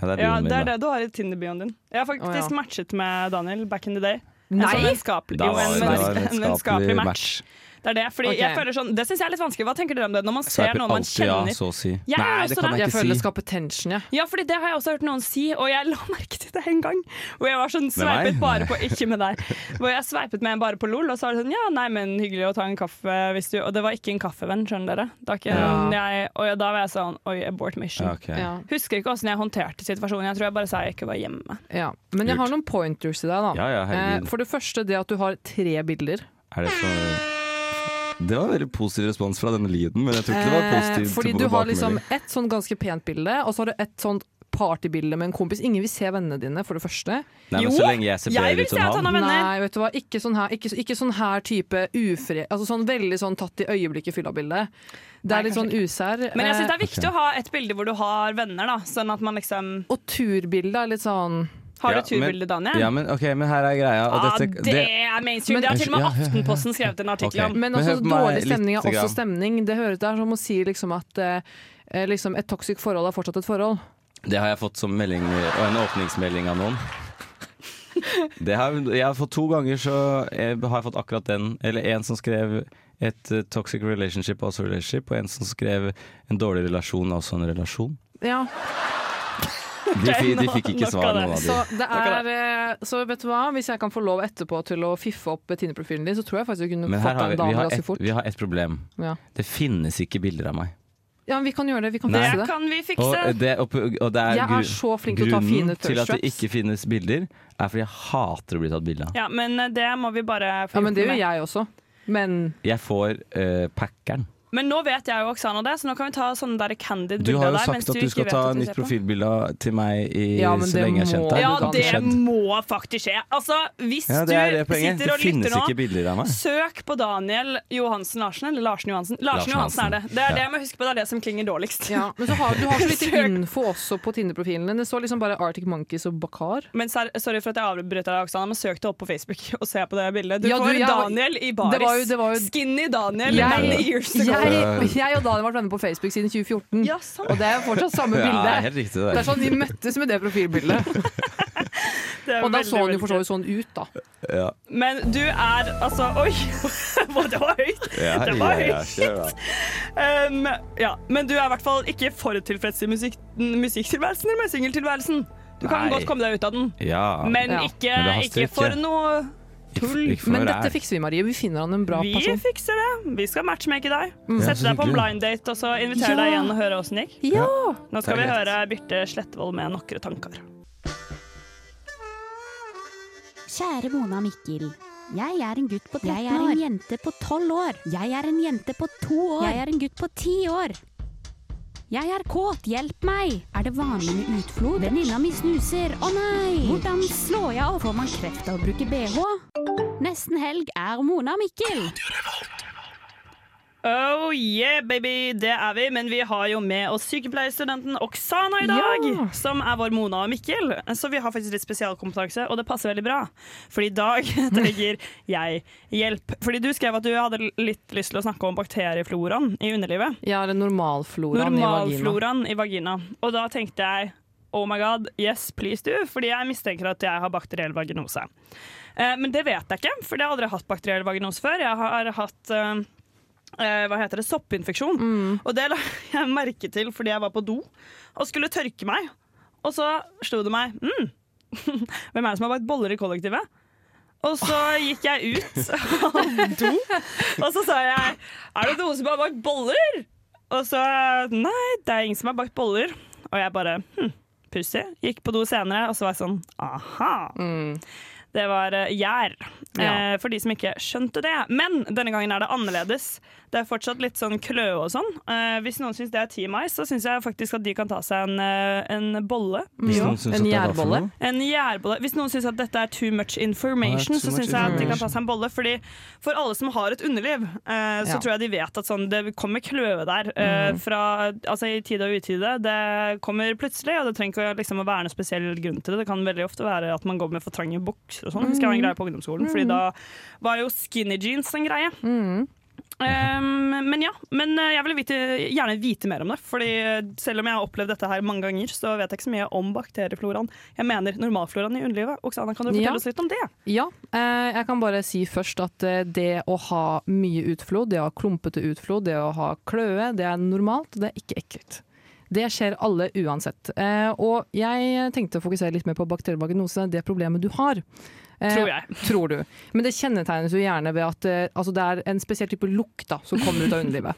[SPEAKER 3] Ja, det er
[SPEAKER 2] Ja,
[SPEAKER 3] bioen
[SPEAKER 2] det er
[SPEAKER 3] min, da.
[SPEAKER 2] det du har i Tinder-bioen din. Jeg har faktisk
[SPEAKER 4] Å, ja.
[SPEAKER 2] matchet med Daniel back in the day.
[SPEAKER 4] Nei!
[SPEAKER 2] En sånn vennskapelig-
[SPEAKER 3] Da
[SPEAKER 2] jo,
[SPEAKER 3] var-
[SPEAKER 2] en
[SPEAKER 3] det var en
[SPEAKER 2] vennskapelig- en
[SPEAKER 3] vennskapelig
[SPEAKER 2] vennskapelig match.
[SPEAKER 3] match.
[SPEAKER 2] Det er det, fordi
[SPEAKER 4] Ok.
[SPEAKER 2] jeg føler sånn Det syns jeg er litt vanskelig. Hva tenker dere om det? Når man ser
[SPEAKER 3] Sveiper
[SPEAKER 2] noen man
[SPEAKER 3] alltid ja,
[SPEAKER 2] kjenner
[SPEAKER 3] så å si.
[SPEAKER 2] Jeg gjør
[SPEAKER 3] Nei,
[SPEAKER 2] også
[SPEAKER 3] det kan
[SPEAKER 2] det.
[SPEAKER 3] jeg
[SPEAKER 4] Jeg
[SPEAKER 3] ikke
[SPEAKER 4] føler det
[SPEAKER 3] si.
[SPEAKER 4] skaper tension, jeg.
[SPEAKER 2] Ja, fordi det har jeg også hørt noen si, og jeg la merke til det en gang. Hvor jeg var sånn
[SPEAKER 4] Med meg?
[SPEAKER 2] sveipet bare på
[SPEAKER 4] Nei.
[SPEAKER 2] Ikke med deg. Hvor jeg sveipet med en bare på LOL, og så var det sånn ja, nei, men hyggelig å ta en kaffe hvis du Og det var ikke en kaffevenn, skjønner dere. Det var ikke
[SPEAKER 4] Ja.
[SPEAKER 2] jeg, og da var jeg sånn oi, abort mission.
[SPEAKER 4] Ja, ok. Ja.
[SPEAKER 2] Husker ikke åssen jeg håndterte situasjonen, jeg tror jeg bare sa jeg ikke var hjemme.
[SPEAKER 4] Ja. Men jeg har noen pointers til deg, da.
[SPEAKER 3] Ja, ja,
[SPEAKER 4] Eh,
[SPEAKER 3] herregud.
[SPEAKER 4] for det første det at du har tre bilder.
[SPEAKER 3] Er det for Det var en veldig positiv respons fra denne lyden, men jeg tror ikke det var
[SPEAKER 4] Eh,
[SPEAKER 3] positiv
[SPEAKER 4] fordi du har liksom et sånn ganske pent bilde, og så har du et sånn partybilde med en kompis. Ingen vil se vennene dine, for det første.
[SPEAKER 3] Nei, men Jo, så lenge jeg ser jeg bedre vil ut se enn at han han. har venner.
[SPEAKER 4] Nei, vet du hva. Ikke sånn her, ikke, ikke sånn her type ufri... Altså sånn veldig sånn tatt i øyeblikket fylla-bilde. Det
[SPEAKER 2] Nei,
[SPEAKER 4] er litt sånn usær.
[SPEAKER 2] Men jeg syns det er
[SPEAKER 4] Eh,
[SPEAKER 2] viktig å ha et bilde hvor du har venner, da. Sånn at man liksom
[SPEAKER 4] Eh, Og turbilde er litt sånn
[SPEAKER 2] Har du turbilde, Daniel?
[SPEAKER 3] Ja, men, ok, men her er greia. Og
[SPEAKER 2] ah,
[SPEAKER 3] dette,
[SPEAKER 2] det er mainstream!
[SPEAKER 4] Men-
[SPEAKER 2] Det har til og med
[SPEAKER 3] Ja, ja, ja, ja.
[SPEAKER 2] Aftenposten skrevet en artikkel
[SPEAKER 3] Ok.
[SPEAKER 2] om.
[SPEAKER 4] Men
[SPEAKER 3] Men
[SPEAKER 4] altså,
[SPEAKER 3] hør på meg
[SPEAKER 4] dårlig stemning er
[SPEAKER 3] lite
[SPEAKER 4] også
[SPEAKER 3] grann.
[SPEAKER 4] stemning. Det høres der som å si liksom at eh, eh, liksom et toksisk forhold er fortsatt et forhold.
[SPEAKER 3] det har jeg fått som melding, og en åpningsmelding av noen. Det har, jeg har fått to ganger, så jeg har jeg fått akkurat den. Eller en som skrev et eh, toxic relationship er også relationship, og en som skrev en dårlig relasjon er også en relasjon.
[SPEAKER 4] Ja.
[SPEAKER 3] De, fi- de fikk ikke svar, noen av
[SPEAKER 4] Så,
[SPEAKER 3] de.
[SPEAKER 4] det er, eh, så vet du hva, hvis jeg kan få lov etterpå til å fiffe opp Tinder-profilen din, så tror jeg faktisk du kunne
[SPEAKER 3] Men her
[SPEAKER 4] fått
[SPEAKER 3] har vi,
[SPEAKER 4] en
[SPEAKER 3] vi,
[SPEAKER 4] dame
[SPEAKER 3] har
[SPEAKER 4] ganske
[SPEAKER 3] et,
[SPEAKER 4] fort.
[SPEAKER 3] vi har et problem.
[SPEAKER 4] Ja.
[SPEAKER 3] Det finnes ikke bilder av meg.
[SPEAKER 4] ja, men vi kan gjøre det. Vi kan
[SPEAKER 3] Nei.
[SPEAKER 4] fikse
[SPEAKER 3] Det
[SPEAKER 4] det.
[SPEAKER 2] kan vi
[SPEAKER 3] Og eh, det, og, og det er
[SPEAKER 4] Jeg er
[SPEAKER 3] gru-
[SPEAKER 4] så flink til å ta fine
[SPEAKER 3] Grunnen til at det
[SPEAKER 4] thirst traps.
[SPEAKER 3] ikke finnes bilder, er fordi jeg hater å bli tatt bilde av.
[SPEAKER 2] Ja, men eh, det må vi bare få
[SPEAKER 4] Ja, men
[SPEAKER 2] gjort
[SPEAKER 4] det
[SPEAKER 2] noe med.
[SPEAKER 4] gjør jeg også. Men
[SPEAKER 3] Jeg får uh, packeren.
[SPEAKER 2] Men nå vet jeg jo Oksana det, så nå kan vi ta sånne der candid
[SPEAKER 3] Du
[SPEAKER 2] bilder
[SPEAKER 3] har
[SPEAKER 2] av
[SPEAKER 3] jo
[SPEAKER 2] deg, mens
[SPEAKER 3] sagt at du
[SPEAKER 2] ikke
[SPEAKER 3] skal
[SPEAKER 2] vet
[SPEAKER 3] ta
[SPEAKER 2] at du
[SPEAKER 3] nytt
[SPEAKER 2] ser på.
[SPEAKER 3] profilbilde til meg i,
[SPEAKER 2] Ja, men
[SPEAKER 3] så
[SPEAKER 2] det
[SPEAKER 3] lenge jeg har kjent deg.
[SPEAKER 2] Ja,
[SPEAKER 3] har
[SPEAKER 2] det
[SPEAKER 3] ikke skjedd.
[SPEAKER 2] må faktisk skje. Altså, hvis
[SPEAKER 3] Ja, det er det
[SPEAKER 2] du
[SPEAKER 3] poenget.
[SPEAKER 2] sitter og
[SPEAKER 3] Det finnes
[SPEAKER 2] lytter nå,
[SPEAKER 3] ikke bilder av meg.
[SPEAKER 2] søk på Daniel Johansen Larsen, eller Larsen Johansen. Larsen,
[SPEAKER 3] Larsen
[SPEAKER 2] Johansen er det. Det er
[SPEAKER 3] Ja.
[SPEAKER 2] det jeg må huske på, det er det som klinger dårligst.
[SPEAKER 4] Ja, men så har, du har så lite info også på Tinder-profilen din. Det står liksom bare Arctic Monkeys og Bakar.
[SPEAKER 2] Men ser, sorry for at jeg avbrøt deg, Oksana, men søk det opp på Facebook og se på det bildet. Du
[SPEAKER 4] Ja, du,
[SPEAKER 2] får
[SPEAKER 4] jeg-
[SPEAKER 2] Daniel i baris.
[SPEAKER 4] Det var jo- det var jo-
[SPEAKER 2] Skinny Daniel
[SPEAKER 4] Jeg,
[SPEAKER 2] many years ago.
[SPEAKER 4] jeg, jeg og Daniel har vært venner på Facebook siden 2014, og det er fortsatt samme
[SPEAKER 3] Ja,
[SPEAKER 4] bilde.
[SPEAKER 3] det er helt riktig, det der.
[SPEAKER 4] er sånn Vi møttes med det profilbildet.
[SPEAKER 2] er
[SPEAKER 4] og da
[SPEAKER 2] veldig,
[SPEAKER 4] så han jo
[SPEAKER 2] veldig
[SPEAKER 4] for så vidt sånn ut, da.
[SPEAKER 3] Ja.
[SPEAKER 2] Men du er altså Oi! det var høyt!
[SPEAKER 3] Ja,
[SPEAKER 2] det var
[SPEAKER 3] ja, ja,
[SPEAKER 2] høyt.
[SPEAKER 3] kjør da.
[SPEAKER 2] Um, ja, men du er i hvert fall ikke for tilfreds i musikk, musikktilværelsen eller med singeltilværelsen. Du kan
[SPEAKER 3] Nei.
[SPEAKER 2] godt komme deg ut av den,
[SPEAKER 3] Ja.
[SPEAKER 2] men,
[SPEAKER 3] Ja.
[SPEAKER 2] Ikke,
[SPEAKER 3] Men det haster
[SPEAKER 2] ikke for noe tull.
[SPEAKER 3] ikke for noe
[SPEAKER 4] Men
[SPEAKER 3] ræl.
[SPEAKER 4] dette fikser vi, Marie. Vi finner han en bra
[SPEAKER 2] Vi
[SPEAKER 4] person.
[SPEAKER 2] fikser det. Vi skal matchmake deg.
[SPEAKER 4] Mm. Ja,
[SPEAKER 2] Sette
[SPEAKER 4] så
[SPEAKER 2] deg på en
[SPEAKER 4] hyggelig.
[SPEAKER 2] blind date og så invitere
[SPEAKER 4] Ja.
[SPEAKER 2] deg igjen og høre åssen det gikk.
[SPEAKER 4] Ja.
[SPEAKER 2] Nå skal
[SPEAKER 4] Det
[SPEAKER 2] vi
[SPEAKER 4] er greit.
[SPEAKER 2] høre Birte Slettevold med 'Nokre tanker'.
[SPEAKER 15] Kjære Mona og Mikkel. Jeg er en gutt på 13 år. Jeg er en jente på 12 år. Jeg er en jente på 2 år. Jeg er en gutt på 10 år. Jeg er kåt, hjelp meg! Er det vanlig med utflod? Venninna mi snuser, å nei! Hvordan slår jeg av? Får man kreft av å bruke bh? Nesten helg er Mona og Mikkel.
[SPEAKER 2] Oh yeah, baby! Det er vi, men vi har jo med oss sykepleierstudenten Oksana i dag. Som er vår Mona og Mikkel. Så vi har faktisk litt spesialkompetanse, og det passer veldig bra. For i dag trenger jeg hjelp. Fordi du skrev at du hadde litt lyst til å snakke om bakteriefloraen i underlivet.
[SPEAKER 4] Ja, eller normalfloraen i vagina.
[SPEAKER 2] Normalfloraen i vagina. Og da tenkte jeg oh my god, yes, please do, fordi jeg mistenker at jeg har bakteriell vaginose. Eh, men det vet jeg ikke, for jeg har aldri hatt bakteriell vaginose før. Jeg har hatt eh, eh, hva heter det, soppinfeksjon.
[SPEAKER 4] Mm.
[SPEAKER 2] Og det la jeg merke til fordi jeg var på do og skulle tørke meg. Og så slo det meg mm, Hvem er det som har bakt boller i kollektivet? Og så gikk jeg ut av do, og så sa jeg Er det noen som har bakt boller? Og så Nei, det er ingen som har bakt boller. Og jeg bare hm, pussig. Gikk på do senere, og så var jeg sånn aha. Det var eh, gjær, eh,
[SPEAKER 4] Ja.
[SPEAKER 2] for de som ikke skjønte det. Men denne gangen er det annerledes. Det er fortsatt litt sånn kløe og sånn. Eh, hvis noen syns det er team ice, så syns jeg faktisk at de kan ta seg en, eh, en bolle. de
[SPEAKER 4] Hvis
[SPEAKER 3] Sånn
[SPEAKER 4] noen
[SPEAKER 2] også.
[SPEAKER 4] syns En at det er hva for gjærbolle? noe?
[SPEAKER 2] En gjærbolle. Hvis noen syns at dette er too much information,
[SPEAKER 4] Ah,
[SPEAKER 2] så
[SPEAKER 4] too much
[SPEAKER 2] syns jeg at de kan
[SPEAKER 4] information.
[SPEAKER 2] ta seg en bolle. Fordi for alle som har et underliv, eh, så
[SPEAKER 4] Ja.
[SPEAKER 2] tror jeg de vet at sånn, det kommer kløe der. eh,
[SPEAKER 4] Mm.
[SPEAKER 2] fra, altså, I tide og utide. Det kommer plutselig, og det trenger ikke å, liksom, å være noen spesiell grunn til det. Det kan veldig ofte være at man går med for trange bukser og sånn. Det skal være en greie på ungdomsskolen, fordi
[SPEAKER 4] Mm.
[SPEAKER 2] da var jo skinny jeans en greie. Um, men ja, men eh, jeg vil vite, gjerne vite mer om det. Fordi eh, selv om jeg har opplevd dette her mange ganger, så vet jeg ikke så mye om bakteriefloraen. Jeg mener normalfloraen i underlivet. Oksana, kan du fortelle
[SPEAKER 4] Ja.
[SPEAKER 2] oss litt om det?
[SPEAKER 4] Ja, eh, jeg kan bare si først at eh, det å ha mye utflod, det å ha klumpete utflod, det å ha kløe, det er normalt, det er ikke ekkelt. Det skjer alle uansett. Eh, og jeg tenkte å fokusere litt mer på bakterievaginose, det problemet du har. Eh,
[SPEAKER 2] Tror jeg.
[SPEAKER 4] Tror du. Men det kjennetegnes jo gjerne ved at eh, altså det er en spesiell type lukt da, som kommer ut av underlivet.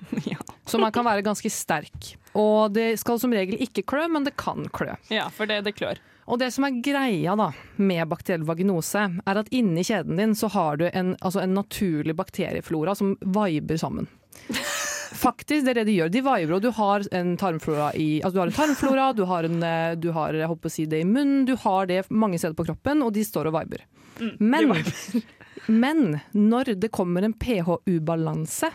[SPEAKER 4] Som kan være ganske sterk. Og det skal som regel ikke klø, men det kan klø.
[SPEAKER 2] Ja, for det, klør.
[SPEAKER 4] Og det som er greia da, med bakteriell vaginose, er at inni kjeden din så har du en, altså en naturlig bakterieflora som viber sammen. Faktisk, det er det de gjør. De viber, og du har en tarmflora i Altså, du har en tarmflora, du har, en, eh, du har jeg håper å si det i munnen, du har det mange steder på kroppen, og de står og viber. Men, men når det kommer en pH-ubalanse,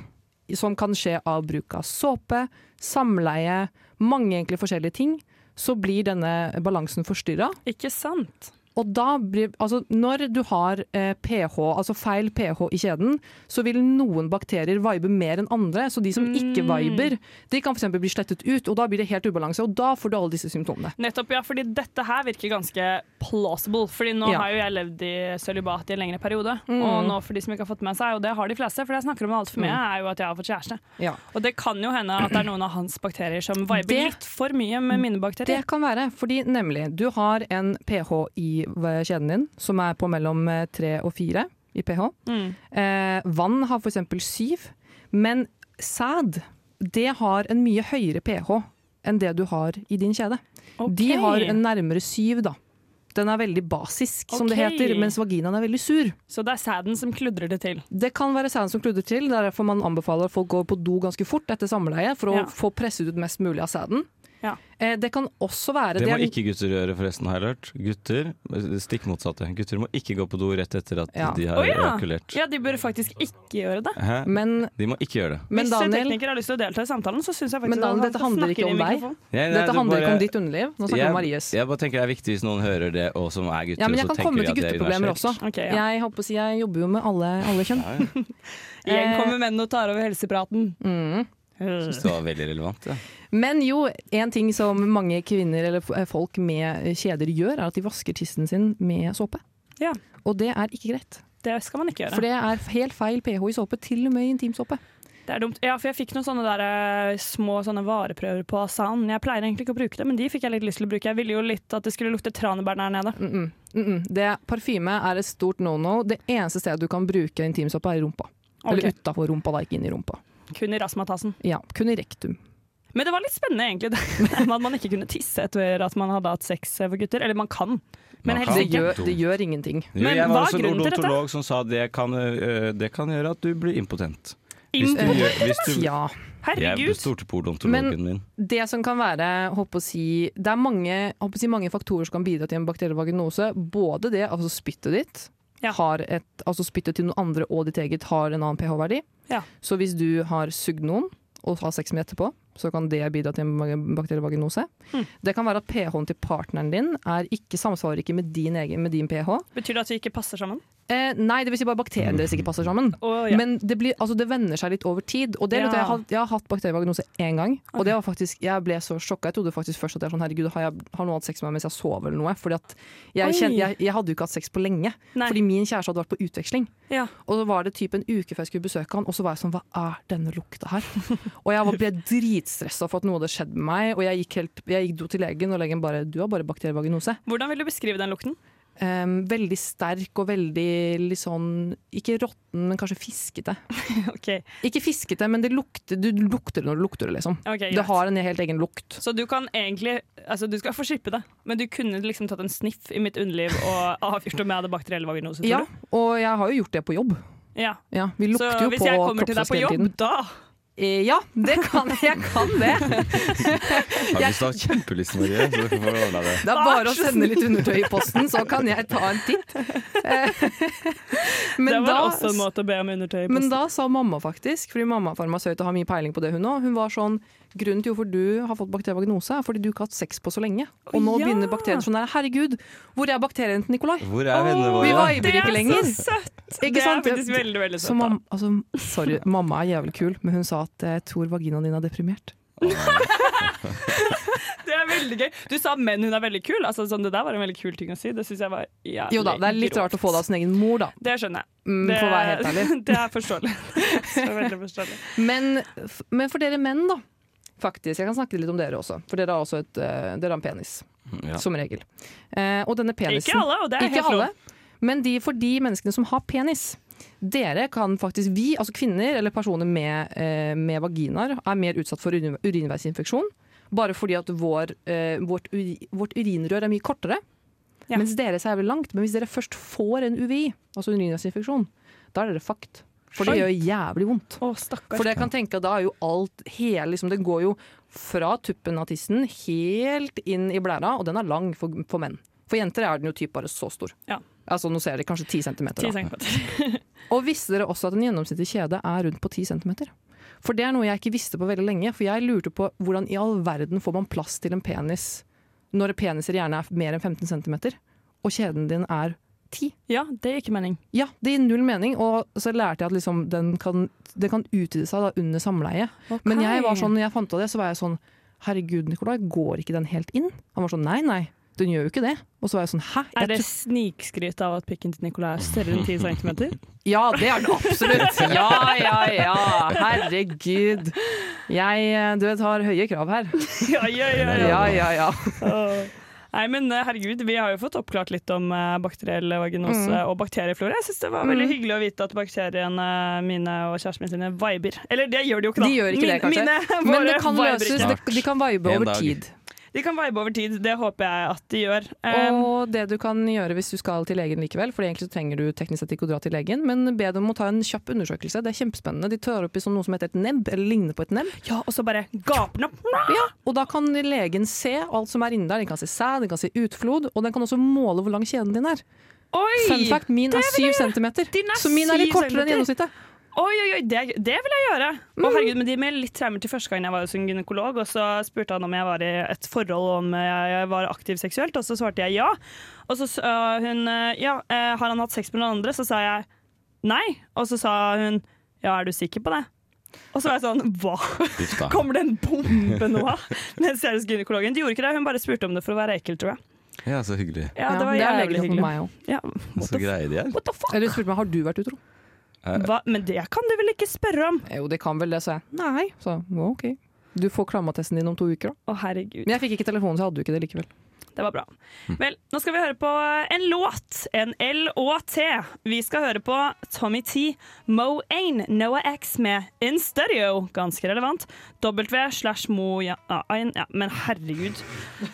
[SPEAKER 4] som kan skje av bruk av såpe, samleie, mange egentlig forskjellige ting, så blir denne balansen forstyrra.
[SPEAKER 2] Ikke sant?
[SPEAKER 4] Og da blir, altså når du har eh, pH, altså feil pH i kjeden, så vil noen bakterier vibe mer enn andre. Så de som ikke viber, de kan f.eks. bli slettet ut, og da blir det helt ubalanse. Og da får du alle disse symptomene.
[SPEAKER 2] Nettopp, ja, fordi dette her virker ganske plausible. Fordi nå
[SPEAKER 4] Ja.
[SPEAKER 2] har jo jeg levd i sølibat i en lengre periode.
[SPEAKER 4] Mm.
[SPEAKER 2] Og nå for de som ikke har fått med seg, og det har de fleste, for det jeg snakker om altfor mye,
[SPEAKER 4] Mm.
[SPEAKER 2] er jo at jeg har fått kjæreste.
[SPEAKER 4] Ja.
[SPEAKER 2] Og det kan jo hende at det er noen av hans bakterier som viber
[SPEAKER 4] Det-
[SPEAKER 2] litt for mye med mine bakterier.
[SPEAKER 4] Det kan være, fordi nemlig du har en pH i v- kjeden din som er på mellom eh, 3 og 4 i pH.
[SPEAKER 2] Mm.
[SPEAKER 4] Eh, vann har f.eks. 7, men sæd det har en mye høyere pH enn det du har i din kjede. De har en nærmere 7 da, Den er veldig basisk, som det
[SPEAKER 2] Ok.
[SPEAKER 4] heter, mens vaginaen er veldig sur.
[SPEAKER 2] Så det er sæden som kludrer det til?
[SPEAKER 4] Det kan være sæden som kludrer til. Det er derfor man anbefaler at folk går på do ganske fort etter samleie, for å
[SPEAKER 2] Ja.
[SPEAKER 4] få presset ut mest mulig av sæden. Eh, Det kan også være
[SPEAKER 3] Det må
[SPEAKER 4] er-
[SPEAKER 3] ikke gutter gjøre, forresten, har jeg lært. Gutter, stikk motsatte. Gutter må ikke gå på do rett etter at
[SPEAKER 4] Ja. Mm.
[SPEAKER 3] de har
[SPEAKER 2] Å ja.
[SPEAKER 3] ejakulert.
[SPEAKER 2] ja, de burde faktisk ikke gjøre det.
[SPEAKER 3] Hæ?
[SPEAKER 4] Men-
[SPEAKER 3] de må ikke gjøre det.
[SPEAKER 4] Men
[SPEAKER 2] Hvis
[SPEAKER 4] Daniel-
[SPEAKER 2] tekniker har lyst til å delta i samtalen, så syns jeg faktisk
[SPEAKER 4] Men Daniel,
[SPEAKER 2] at han
[SPEAKER 4] dette handler
[SPEAKER 2] snakker
[SPEAKER 4] ikke om
[SPEAKER 2] i
[SPEAKER 4] deg.
[SPEAKER 2] mikrofonen.
[SPEAKER 3] Nei, nei,
[SPEAKER 4] Dette
[SPEAKER 3] det
[SPEAKER 4] handler
[SPEAKER 3] bare-
[SPEAKER 4] ikke om ditt underliv. Nå snakker vi
[SPEAKER 3] jeg,
[SPEAKER 4] om Maries.
[SPEAKER 3] Jeg bare tenker det er viktig hvis noen hører det og som er gutter,
[SPEAKER 4] Ja, men
[SPEAKER 3] så
[SPEAKER 4] jeg kan
[SPEAKER 3] tenker
[SPEAKER 4] komme
[SPEAKER 3] de
[SPEAKER 4] til
[SPEAKER 3] at det er
[SPEAKER 4] gutteproblemer også.
[SPEAKER 3] universelt.
[SPEAKER 2] Ok, ja.
[SPEAKER 4] Jeg, håper å si, jeg jobber jo med alle, alle kjønn. Eh,
[SPEAKER 2] Igjen kommer menn og tar over helsepraten.
[SPEAKER 4] Mm.
[SPEAKER 2] Eh,
[SPEAKER 3] Synes det var veldig relevant. Ja.
[SPEAKER 4] Men jo, en ting som mange kvinner eller f- eh, folk med kjeder gjør, er at de vasker tissen sin med såpe. Og det er ikke greit.
[SPEAKER 2] Det skal man ikke gjøre.
[SPEAKER 4] For det er helt feil pH i såpe, til og med i intimsåpe.
[SPEAKER 2] Det er dumt. Ja, for jeg fikk noen sånne der, eh, små sånne vareprøver på Asan. Jeg pleier egentlig ikke å bruke det, men de fikk jeg litt lyst til å bruke. Jeg ville jo litt at det skulle lukte tranebær der nede.
[SPEAKER 4] Mm -mm. Det, parfyme er et stort no-no. Det eneste stedet du kan bruke intimsåpe, er i rumpa. Eller
[SPEAKER 2] Ok.
[SPEAKER 4] utafor rumpa, da, ikke inn i rumpa.
[SPEAKER 2] Kun i rasmatassen.
[SPEAKER 4] Ja, kun i rektum.
[SPEAKER 2] Men det var litt spennende, egentlig. det med At man ikke kunne tisse etter at man hadde hatt sex eh, for gutter. Eller man kan, men helst
[SPEAKER 4] det,
[SPEAKER 2] ikke.
[SPEAKER 4] gjør, det gjør ingenting.
[SPEAKER 3] Jo,
[SPEAKER 2] Men
[SPEAKER 3] jeg
[SPEAKER 2] hva
[SPEAKER 3] var
[SPEAKER 2] er
[SPEAKER 3] også en
[SPEAKER 2] grunnen til dette?
[SPEAKER 3] odontolog som sa det kan, øh, det kan gjøre at du blir impotent. Hvis du
[SPEAKER 4] Impotent?
[SPEAKER 3] gjør- hvis du-
[SPEAKER 4] Ja.
[SPEAKER 3] Jeg
[SPEAKER 4] Herregud.
[SPEAKER 3] stolte på odontologen min.
[SPEAKER 4] det som kan være håper å si, Det er mange, håper å si, mange faktorer som kan bidra til en bakterievaginose. Både det, altså spyttet ditt, har et, altså spyttet til noen andre og ditt eget har en annen pH-verdi.
[SPEAKER 2] Ja.
[SPEAKER 4] Så hvis du har sugd noen og har sex med etterpå, så kan det bidra til en bakterievaginose. Det kan være at pH-en til partneren din er ikke samsvarer ikke med din, egen, med din pH.
[SPEAKER 2] Betyr det at vi ikke passer sammen?
[SPEAKER 4] Eh, nei, det vil si bare bakteriene deres ikke passer sammen.
[SPEAKER 2] Å, ja.
[SPEAKER 4] Men det, blir, altså, det vender seg litt over tid. Og det, vet du,
[SPEAKER 2] Ja.
[SPEAKER 4] jeg, har, jeg har hatt bakterievagnose én gang, og det var faktisk, jeg ble så sjokka. Jeg trodde faktisk først at jeg, var sånn, herregud, har jeg har noen hatt sex med meg mens jeg sover eller noe. Fordi at
[SPEAKER 2] Oi.
[SPEAKER 4] jeg, kjente, jeg, jeg hadde jo ikke hatt sex på lenge,
[SPEAKER 2] Nei.
[SPEAKER 4] fordi min kjæreste hadde vært på utveksling.
[SPEAKER 2] Ja.
[SPEAKER 4] Og så var det typ en uke før jeg skulle besøke han, og så var jeg sånn Hva er denne lukta her? og jeg var- ble dritstressa for at noe hadde skjedd med meg, og jeg gikk, helt, jeg gikk do til legen, og legen bare Du har bare bakterievagnose.
[SPEAKER 2] Hvordan vil du beskrive den lukten?
[SPEAKER 4] Em, veldig sterk og veldig litt sånn Ikke råtten, men kanskje fiskete. Ikke fiskete, men det lukter, du lukter det når du lukter det, liksom.
[SPEAKER 2] Ok,
[SPEAKER 4] det
[SPEAKER 2] greit.
[SPEAKER 4] har en helt egen lukt.
[SPEAKER 2] Så du kan egentlig Altså, du skal få slippe det, men du kunne liksom tatt en sniff i mitt underliv og avgjort om jeg hadde bakteriell vaginose, tror
[SPEAKER 4] Ja,
[SPEAKER 2] du?
[SPEAKER 4] og jeg har jo gjort det på jobb.
[SPEAKER 2] Ja.
[SPEAKER 4] Ja, vi lukter
[SPEAKER 2] Så
[SPEAKER 4] jo
[SPEAKER 2] hvis
[SPEAKER 4] på
[SPEAKER 2] jeg kommer til deg
[SPEAKER 4] kroppsvæske
[SPEAKER 2] på
[SPEAKER 4] hele
[SPEAKER 2] jobb,
[SPEAKER 4] tiden.
[SPEAKER 2] da
[SPEAKER 4] Eh, Ja, det kan jeg kan det.
[SPEAKER 3] Har du snart kjempelyst, Marie? Så får vi ordna det.
[SPEAKER 4] Det er bare å sende litt undertøy i posten, så kan jeg ta en titt. Eh,
[SPEAKER 2] Det var også en måte å be om undertøy i
[SPEAKER 4] Men
[SPEAKER 2] posten.
[SPEAKER 4] da sa mamma faktisk, fordi mamma er farmasøyt og har mye peiling på det hun òg, hun var sånn Grunnen til hvorfor du har fått bakterievagnose, er fordi du ikke har hatt sex på så lenge. Og nå
[SPEAKER 2] ja.
[SPEAKER 4] begynner bakteriene sånn her. Herregud, hvor er bakteriene til Nikolai?
[SPEAKER 3] Hvor er vennene våre?
[SPEAKER 4] Vi viber
[SPEAKER 2] Det
[SPEAKER 4] ikke
[SPEAKER 2] er
[SPEAKER 4] lenger.
[SPEAKER 2] så søtt! Det
[SPEAKER 4] Ikke
[SPEAKER 2] er
[SPEAKER 4] sant?
[SPEAKER 2] faktisk veldig, veldig
[SPEAKER 4] Så
[SPEAKER 2] søtt, da.
[SPEAKER 4] mam- altså, sorry, mamma er jævlig kul, men hun sa at jeg tror vaginaen din er deprimert.
[SPEAKER 2] Det er veldig gøy. Du sa 'men hun er veldig kul'. Altså, sånn, det der var en veldig kul ting å si. Det syns jeg var jævlig
[SPEAKER 4] Jo da, det er litt
[SPEAKER 2] grovt.
[SPEAKER 4] rart å få det av sin egen mor, da.
[SPEAKER 2] Det skjønner jeg.
[SPEAKER 4] Mm,
[SPEAKER 2] det,
[SPEAKER 4] for å være helt ærlig.
[SPEAKER 2] det er forståelig. Det er veldig forståelig.
[SPEAKER 4] Men, f- men for dere menn, da. Faktisk, Jeg kan snakke litt om dere også, for dere har også et, eh, dere har en penis.
[SPEAKER 2] Ja.
[SPEAKER 4] Som regel. Eh, og denne
[SPEAKER 2] Ikke
[SPEAKER 4] penisen
[SPEAKER 2] alle, og det er
[SPEAKER 4] Ikke
[SPEAKER 2] helt lov.
[SPEAKER 4] alle, Men de, for de menneskene som har penis dere kan faktisk, Vi, altså kvinner eller personer med, eh, med vaginaer, er mer utsatt for urin, urinveisinfeksjon. Bare fordi at vår, eh, vårt, uri, vårt urinrør er mye kortere. Mens deres er vel langt. Men hvis dere først får en UVI, altså urinveisinfeksjon, da er dere fucked. For det gjør
[SPEAKER 2] Skjønt.
[SPEAKER 4] jævlig vondt.
[SPEAKER 2] Å, stakkars.
[SPEAKER 4] For det jeg kan tenke at da er jo alt hele liksom, Det går jo fra tuppen av tissen helt inn i blæra, og den er lang for, for menn. For jenter er den jo typ bare så stor.
[SPEAKER 2] Ja.
[SPEAKER 4] Altså Nå ser dere kanskje 10 cm.
[SPEAKER 2] 10 centimeter.
[SPEAKER 4] Og visste dere også at en gjennomsnittlig kjede er rundt på 10 cm? For det er noe jeg ikke visste på veldig lenge, for jeg lurte på hvordan i all verden får man plass til en penis når peniser gjerne er mer enn 15 cm, og kjeden din er 10
[SPEAKER 2] Ja, det gir ikke mening.
[SPEAKER 4] ja, det gir null mening, og så lærte jeg at liksom den kan, det kan utvide seg da under samleie.
[SPEAKER 2] Ok.
[SPEAKER 4] Men jeg var sånn, når jeg fant av det, så var jeg sånn Herregud, Nikolai, går ikke den helt inn? Han var sånn nei, nei, den gjør jo ikke det. Og så var jeg sånn hæ?
[SPEAKER 2] Er det
[SPEAKER 4] Jeg
[SPEAKER 2] snikskryt av at pikken til Nicolai er større enn 10 cm?
[SPEAKER 4] tro- ja, det er den absolutt! Ja, ja, ja! Herregud. Jeg eh, du vet, har høye krav her.
[SPEAKER 2] ja, ja, ja.
[SPEAKER 4] Ja, ja, ja.
[SPEAKER 2] Åh. Nei, men eh, herregud, Vi har jo fått oppklart litt om eh, bakteriell vaginose
[SPEAKER 4] Mm.
[SPEAKER 2] og bakterieflora. Jeg synes Det var veldig
[SPEAKER 4] Mm.
[SPEAKER 2] hyggelig å vite at bakteriene mine og kjæresten min sine viber. Eller det gjør de jo ikke, da.
[SPEAKER 4] De gjør ikke det,
[SPEAKER 2] Min-
[SPEAKER 4] kanskje.
[SPEAKER 2] Mine,
[SPEAKER 4] Men
[SPEAKER 2] våre
[SPEAKER 4] det kan
[SPEAKER 2] viber
[SPEAKER 4] løses.
[SPEAKER 2] ikke.
[SPEAKER 4] det- De kan vibe
[SPEAKER 3] En
[SPEAKER 4] over
[SPEAKER 3] dag.
[SPEAKER 4] tid.
[SPEAKER 2] De kan vibe over tid, det håper jeg at de gjør. Um,
[SPEAKER 4] Og det du kan gjøre hvis du skal til legen likevel, for egentlig så trenger du teknisk sett ikke å dra til legen, men be dem om å ta en kjapp undersøkelse. Det er kjempespennende. De tar opp i sånn noe som heter et nebb, eller ligner på et nebb.
[SPEAKER 2] Ja, Og så bare gaper den opp.
[SPEAKER 4] Ja, og da kan legen se alt som er inni der. Den kan se sæd, den kan se utflod, og den kan også måle hvor lang kjeden din er.
[SPEAKER 2] Oi,
[SPEAKER 4] Fun fact, min
[SPEAKER 2] det
[SPEAKER 4] er
[SPEAKER 2] vil
[SPEAKER 4] syv
[SPEAKER 2] jeg gjøre.
[SPEAKER 4] centimeter,
[SPEAKER 2] Din er
[SPEAKER 4] så min er litt
[SPEAKER 2] syv
[SPEAKER 4] kortere enn
[SPEAKER 2] centimeter.
[SPEAKER 4] gjennomsnittet.
[SPEAKER 2] Oi, oi, oi, det, det vil jeg gjøre! Å, herregud, men De med litt traumer til første gang jeg var hos en gynekolog, og så spurte han om jeg var i et forhold og om jeg var aktiv seksuelt, og så svarte jeg ja. Og så sa hun ja, eh, har han hatt sex med noen andre? Så sa jeg nei. Og så sa hun ja, er du sikker på det? Og så var jeg sånn hva?
[SPEAKER 3] Uff da.
[SPEAKER 2] Kommer det en bombe nå? Mens jeg er hos gynekologen. De gjorde ikke det, hun bare spurte om det for å være ekkel, tror jeg.
[SPEAKER 3] Ja, så hyggelig.
[SPEAKER 2] Ja, det var
[SPEAKER 4] det er
[SPEAKER 2] jævlig
[SPEAKER 4] legen for
[SPEAKER 2] hyggelig.
[SPEAKER 4] meg òg.
[SPEAKER 2] Ja.
[SPEAKER 3] Så greie de er.
[SPEAKER 4] Eller du spurte meg har du vært utro.
[SPEAKER 3] Eh,
[SPEAKER 2] Hva? Men det kan du vel ikke spørre om?
[SPEAKER 4] Jo, det kan vel det, sa jeg. Nei. Så «Å, OK. Du får klammatesten din om to uker, da.
[SPEAKER 2] Å, herregud.
[SPEAKER 4] Men jeg fikk ikke telefonen, så jeg hadde jo ikke det likevel.
[SPEAKER 2] Det var bra. Vel, nå skal vi høre på en låt. En L-Å-T. Vi skal høre på Tommy T, Mo Ain, Noah X med In Studio. Ganske relevant. W slash Mo ja, ja, Ain, ja, Men herregud.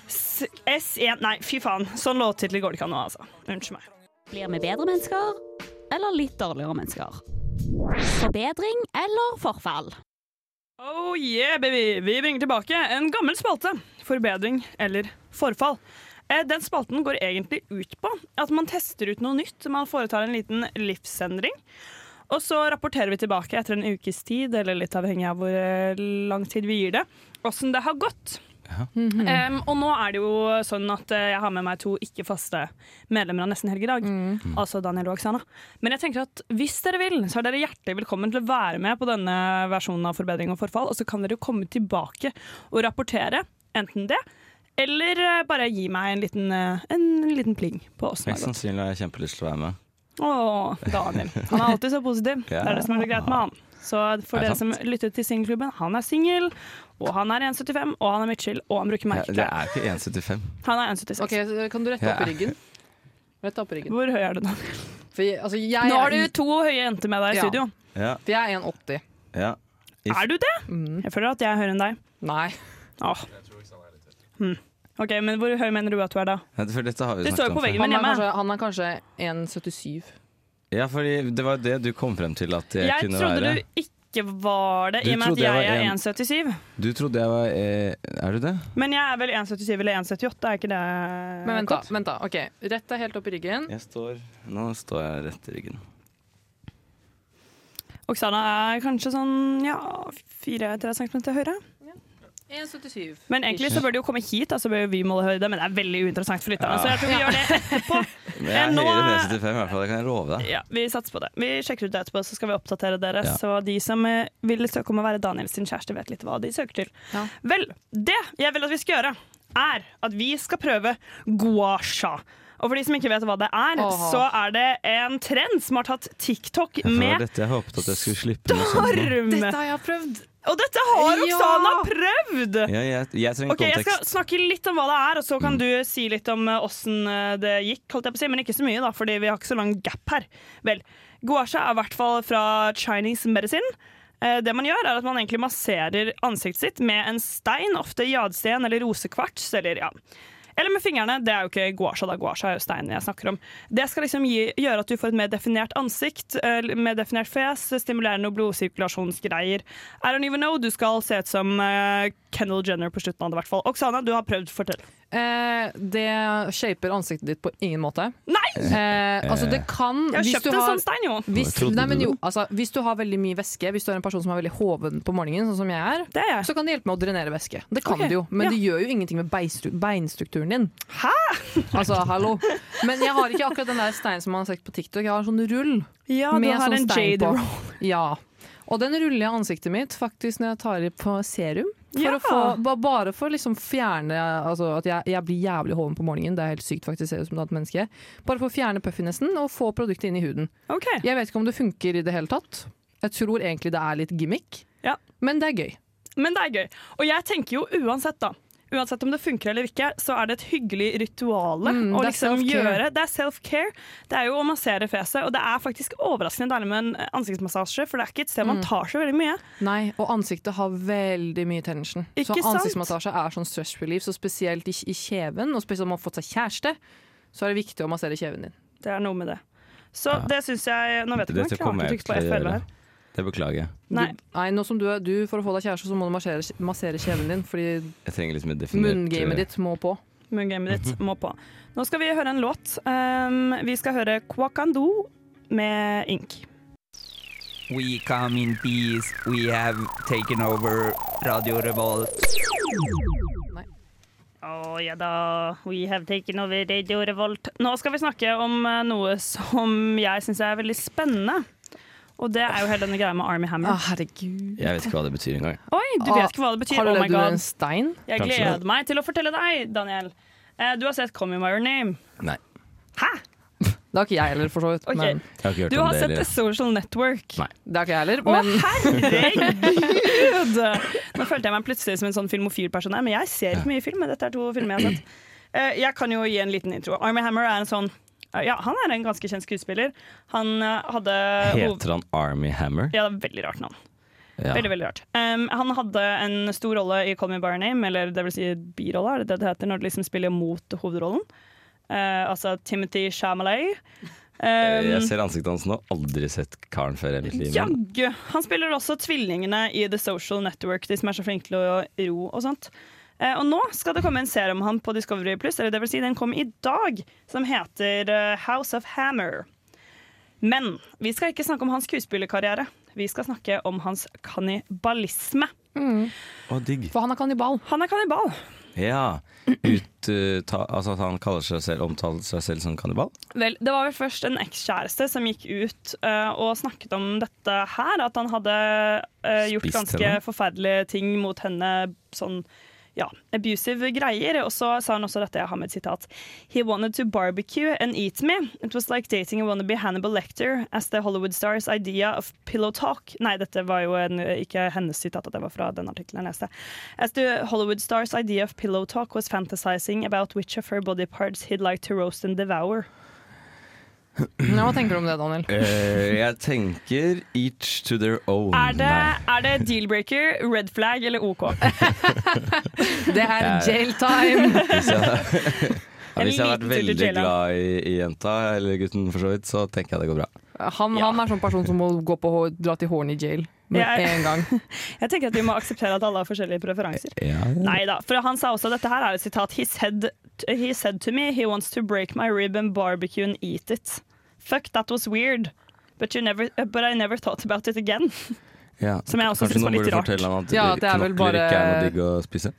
[SPEAKER 2] S- S1 Nei, fy faen. Sånn låttittel går det ikke an nå, altså. Unnskyld meg.
[SPEAKER 16] Blir vi bedre mennesker, eller litt dårligere mennesker? Forbedring eller forfall?
[SPEAKER 2] Oh yeah, baby! Vi bringer tilbake en gammel spalte. Forbedring eller forfall. Eh, Den spalten går egentlig ut på at man tester ut noe nytt. Man foretar en liten livsendring. Og så rapporterer vi tilbake etter en ukes tid, eller litt avhengig av hvor eh, lang tid vi gir det, åssen det har gått. Em, og nå er det jo sånn at eh, jeg har med meg to ikke-faste medlemmer av Nesten Helg i dag. Altså Daniel og Oksana. Men jeg tenker at hvis dere vil, så er dere hjertelig velkommen til å være med på denne versjonen av Forbedring og forfall. Og så kan dere jo komme tilbake og rapportere enten det, eller eh, bare gi meg en liten, eh, en liten pling på åssen det
[SPEAKER 3] Mest
[SPEAKER 2] har gått.
[SPEAKER 3] sannsynlig har jeg kjempelyst til å være med.
[SPEAKER 2] Å, Daniel. Han er alltid så positiv. Det er det som er så greit med han. Så for
[SPEAKER 3] Er det
[SPEAKER 2] dere som lytter til singelklubben, han er singel, og han er 1,75, og han er midtskill, og han bruker
[SPEAKER 3] Jeg, jeg
[SPEAKER 2] merkeklær.
[SPEAKER 3] er ikke 1,75.
[SPEAKER 2] Han er 1,76.
[SPEAKER 4] kan du rette
[SPEAKER 3] Ja.
[SPEAKER 4] opp ryggen? Rett opp ryggen.
[SPEAKER 2] Hvor høy er du, Daniel?
[SPEAKER 4] For jeg, altså, jeg
[SPEAKER 2] Nå
[SPEAKER 4] er-
[SPEAKER 2] har du to høye jenter med deg i
[SPEAKER 4] Ja.
[SPEAKER 2] studio.
[SPEAKER 3] Ja,
[SPEAKER 4] For jeg er 1,80.
[SPEAKER 3] ja. If-
[SPEAKER 2] Er du det?
[SPEAKER 4] Mm.
[SPEAKER 2] Jeg føler at jeg er høyere enn deg.
[SPEAKER 4] Nei.
[SPEAKER 2] Åh. Mm. Ok, Men hvor høy mener du at du er da?
[SPEAKER 3] Ja, For dette har vi
[SPEAKER 2] Det
[SPEAKER 3] snakket
[SPEAKER 2] står jo
[SPEAKER 3] om
[SPEAKER 2] på
[SPEAKER 3] før.
[SPEAKER 2] veggen min
[SPEAKER 4] Han er
[SPEAKER 2] hjemme.
[SPEAKER 4] kanskje, han er kanskje 1,77.
[SPEAKER 3] Ja, fordi det var det du kom frem til at jeg,
[SPEAKER 2] Jeg
[SPEAKER 3] kunne
[SPEAKER 2] trodde du
[SPEAKER 3] være.
[SPEAKER 2] ikke var det,
[SPEAKER 3] Du
[SPEAKER 2] i og med at
[SPEAKER 3] trodde jeg
[SPEAKER 2] jeg er
[SPEAKER 3] var en-
[SPEAKER 2] 1,77.
[SPEAKER 3] Du trodde jeg var eh, Er du det?
[SPEAKER 2] Men jeg er vel 1,77 eller 1,78, er ikke det
[SPEAKER 4] Men vent da, vent da. ok. Rett deg helt opp i ryggen.
[SPEAKER 3] Jeg står Nå står jeg rett i ryggen.
[SPEAKER 2] Oksana er kanskje sånn ja, 4-3 cm til høyre.
[SPEAKER 4] 1,77.
[SPEAKER 2] Men egentlig så bør de jo komme hit, da, så bør jo vi måle høyde. Men det er veldig uinteressant for lytterne, så jeg tror vi gjør det etterpå.
[SPEAKER 3] Men jeg er
[SPEAKER 2] Eh, nå
[SPEAKER 3] høyere enn
[SPEAKER 2] er-
[SPEAKER 3] 1,75 i hvert fall, det kan jeg love deg.
[SPEAKER 2] Ja, Vi satser på det. Vi sjekker ut det etterpå, så skal vi oppdatere dere.
[SPEAKER 3] Ja.
[SPEAKER 2] Så de som eh, vil søke om å være Daniel sin kjæreste, vet litt hva de søker til. Vel, det jeg vil at vi skal gjøre, er at vi skal prøve guasha. Og for de som ikke vet hva det er,
[SPEAKER 3] Åh.
[SPEAKER 2] så er det en trend som har tatt TikTok
[SPEAKER 3] Ja, for det var
[SPEAKER 2] med
[SPEAKER 3] dette jeg håpet at jeg skulle slippe noe sånt. nå.
[SPEAKER 2] storm!
[SPEAKER 4] Dette har jeg prøvd.
[SPEAKER 2] Og dette har
[SPEAKER 4] Ja.
[SPEAKER 2] Oksana prøvd!
[SPEAKER 3] Ja, jeg, jeg trenger
[SPEAKER 2] Ok, Jeg skal
[SPEAKER 3] kontekst.
[SPEAKER 2] snakke litt om hva det er, og så kan du si litt om eh, åssen eh, det gikk. Holdt jeg på å si, men ikke så mye, da, fordi vi har ikke så lang gap her. Vel, Guasha er i hvert fall fra Chinese medicine. Eh, Det man gjør er at man egentlig masserer ansiktet sitt med en stein, ofte jadsten eller rosekvarts. Eller, ja. eller med fingrene. Det er jo ikke guasha, da. Guasha er jo steinen jeg snakker om. Det skal liksom gi, gjøre at du får et mer definert ansikt, eh, mer definert fjes, stimulere noe blodsirkulasjonsgreier. I don't even know. Du skal se ut som eh, Kendall Jenner på slutten av det, i hvert fall. Oksana, du har prøvd. Fortell.
[SPEAKER 4] Eh, det shaper ansiktet ditt på ingen måte.
[SPEAKER 2] Nei!
[SPEAKER 4] Eh, altså det kan
[SPEAKER 2] Jeg har
[SPEAKER 4] hvis
[SPEAKER 2] kjøpt
[SPEAKER 4] du
[SPEAKER 2] en sånn stein, jo.
[SPEAKER 4] Hvis,
[SPEAKER 2] Trodde
[SPEAKER 4] nei,
[SPEAKER 2] du
[SPEAKER 4] men
[SPEAKER 2] det?
[SPEAKER 4] jo altså, hvis du har veldig mye væske, hvis du er en person som er veldig hoven på morgenen, sånn som jeg er, så kan det hjelpe med å drenere væske. Det kan
[SPEAKER 2] Ok,
[SPEAKER 4] det jo, men
[SPEAKER 2] ja.
[SPEAKER 4] det gjør jo ingenting med beinstru beinstrukturen din.
[SPEAKER 2] Hæ?
[SPEAKER 4] Altså, hallo. Men jeg har ikke akkurat den der steinen som man har sett på TikTok. Jeg har en sånn rull sånn
[SPEAKER 2] Ja, du har en jade roll.
[SPEAKER 4] Ja. Og den ruller jeg ansiktet mitt faktisk når jeg tar på serum. For
[SPEAKER 2] Ja.
[SPEAKER 4] å få, ba- bare for å liksom fjerne altså at jeg, jeg blir jævlig hoven på morgenen. Det er helt sykt faktisk, ser ut som et annet menneske. Bare for å fjerne puffinessen og få produktet inn i huden. Jeg vet ikke om det funker i det hele tatt. Jeg tror egentlig det er litt gimmick,
[SPEAKER 2] Ja.
[SPEAKER 4] men det er gøy.
[SPEAKER 2] Men det er gøy. Og jeg tenker jo uansett, da. uansett om det funker eller ikke, så er det et hyggelig ritual
[SPEAKER 4] Mm,
[SPEAKER 2] å
[SPEAKER 4] det er
[SPEAKER 2] liksom
[SPEAKER 4] self-care.
[SPEAKER 2] gjøre. Det er self-care. Det er jo å massere fjeset, og det er faktisk overraskende deilig med en ansiktsmassasje, for det er ikke et sted man
[SPEAKER 4] Mm.
[SPEAKER 2] tar så veldig mye.
[SPEAKER 4] Nei, og ansiktet har veldig mye tension.
[SPEAKER 2] Ikke
[SPEAKER 4] så
[SPEAKER 2] sant?
[SPEAKER 4] ansiktsmassasje er sånn stress relief, så spesielt i, i kjeven, og spesielt om man har fått seg kjæreste, så er det viktig å massere kjeven din.
[SPEAKER 2] Det er noe med det. Så det syns jeg Nå vet jeg
[SPEAKER 3] Dette
[SPEAKER 2] ikke om
[SPEAKER 3] kommer
[SPEAKER 2] jeg klarte å trykke på
[SPEAKER 3] jeg til å
[SPEAKER 2] F11
[SPEAKER 3] gjøre.
[SPEAKER 2] her.
[SPEAKER 3] Det beklager jeg.
[SPEAKER 2] Nei.
[SPEAKER 4] Du, nei, nå som du, er- du For å få deg kjæreste, så må du massere, massere kjeven din, fordi
[SPEAKER 3] Jeg trenger liksom et definert
[SPEAKER 4] munngamet ditt må på.
[SPEAKER 2] Moongamet ditt må på. Nå skal vi høre en låt. Um, vi skal høre Kwakando med Ink.
[SPEAKER 1] We come in peace, we have taken over Radio Revolt.
[SPEAKER 2] Å ja da, we have taken over Radio Revolt. Nå skal vi snakke om eh, noe som jeg syns er veldig spennende. Og det er jo hele denne greia med Army Hammer.
[SPEAKER 4] Ah. herregud.
[SPEAKER 3] Jeg vet ikke hva det betyr engang.
[SPEAKER 2] Oi, du vet ikke hva det betyr.
[SPEAKER 4] Har du
[SPEAKER 2] Oh my
[SPEAKER 4] levd under
[SPEAKER 2] God.
[SPEAKER 4] en stein?
[SPEAKER 2] Jeg gleder meg til å fortelle deg, Daniel. Eh, Du har sett Come In By Your Name.
[SPEAKER 3] Nei.
[SPEAKER 4] Det har ikke jeg heller, for så vidt.
[SPEAKER 2] Ok.
[SPEAKER 4] Men
[SPEAKER 3] Jeg har ikke hørt
[SPEAKER 2] Du
[SPEAKER 3] om
[SPEAKER 2] har
[SPEAKER 3] det
[SPEAKER 2] sett
[SPEAKER 3] heller.
[SPEAKER 2] The Social Network.
[SPEAKER 3] Nei.
[SPEAKER 4] det har ikke jeg heller.
[SPEAKER 2] Å,
[SPEAKER 4] Men
[SPEAKER 2] herregud! Nå følte jeg meg plutselig som en sånn filmofil person her, men jeg ser ikke mye film. men Dette er to filmer jeg har sett. Eh, Jeg kan jo gi en liten intro. Army Hammer er en sånn eh, Ja, han er en ganske kjent skuespiller. Han eh, hadde hoved-
[SPEAKER 3] Heter han Army Hammer?
[SPEAKER 2] Ja, det er veldig rart navn.
[SPEAKER 3] Ja.
[SPEAKER 2] Veldig, veldig rart. Um, han hadde en stor rolle i Call Me By Your Name, eller det vil si birolle, er det det det heter når du liksom spiller mot hovedrollen? Eh, altså Timothy Shamalay.
[SPEAKER 3] Eh, Jeg ser ansiktet hans nå. Aldri sett karen før i mitt liv. men-
[SPEAKER 2] Jaggu! Han spiller også tvillingene i The Social Network, de som er så flinke til å ro og sånt. Eh, og nå skal det komme en serie om han på Discovery Pluss, eller det vil si den kom i dag, som heter eh, House of Hammer. Men vi skal ikke snakke om hans skuespillerkarriere. Vi skal snakke om hans kannibalisme.
[SPEAKER 3] Å, digg.
[SPEAKER 4] For han er kannibal.
[SPEAKER 2] Han er kannibal.
[SPEAKER 3] Ja. Ut, uh, ta, altså at han kaller seg selv, omtaler seg selv som kannibal?
[SPEAKER 2] Vel, det var vel først en ekskjæreste som gikk ut eh, og snakket om dette her. At han hadde eh, gjort
[SPEAKER 3] Spist
[SPEAKER 2] ganske
[SPEAKER 3] henne.
[SPEAKER 2] forferdelige ting mot henne. Sånn ja, abusive greier. Og så sa han også dette, jeg har med et sitat. He wanted to barbecue and eat me. It was like dating a wannabe Hannibal Lecter as the Hollywood stars idea of pillow talk. Nei, dette var jo en, ikke hennes sitat, det var fra den artikkelen jeg leste. As the Hollywood stars idea of pillow talk was fantasizing about which of her body parts he'd like to roast and devour.
[SPEAKER 4] Ja, hva tenker du om det, Daniel?
[SPEAKER 3] Eh, jeg tenker each to their own.
[SPEAKER 2] Er det,
[SPEAKER 3] Nei.
[SPEAKER 2] er det deal-breaker, red flag eller OK?
[SPEAKER 4] det er
[SPEAKER 3] Jeg-
[SPEAKER 4] jail time!
[SPEAKER 3] Hvis jeg, ja, hvis jeg
[SPEAKER 4] liten
[SPEAKER 3] har vært
[SPEAKER 4] tur til
[SPEAKER 3] veldig
[SPEAKER 4] jaila.
[SPEAKER 3] glad i, i jenta, eller gutten for så vidt, så tenker jeg det går bra.
[SPEAKER 4] Han, han er sånn person som må gå på hå- dra til Horny jail med
[SPEAKER 2] Jeg-
[SPEAKER 4] en gang.
[SPEAKER 2] Jeg tenker at vi må akseptere at alle har forskjellige preferanser. Nei da, for han sa også dette her er et sitat. He said, he said to me he wants to break my rib and barbecue and eat it. Fuck, that was weird. But, you never, uh, but I never thought about it again.
[SPEAKER 3] Ja.
[SPEAKER 2] Som jeg også
[SPEAKER 3] Kanskje
[SPEAKER 2] synes var
[SPEAKER 3] noen
[SPEAKER 2] litt
[SPEAKER 3] burde
[SPEAKER 2] rart.
[SPEAKER 3] fortelle han at
[SPEAKER 4] Ja, det er vel
[SPEAKER 3] knokler ikke er noe
[SPEAKER 4] bare-
[SPEAKER 3] digg å spise.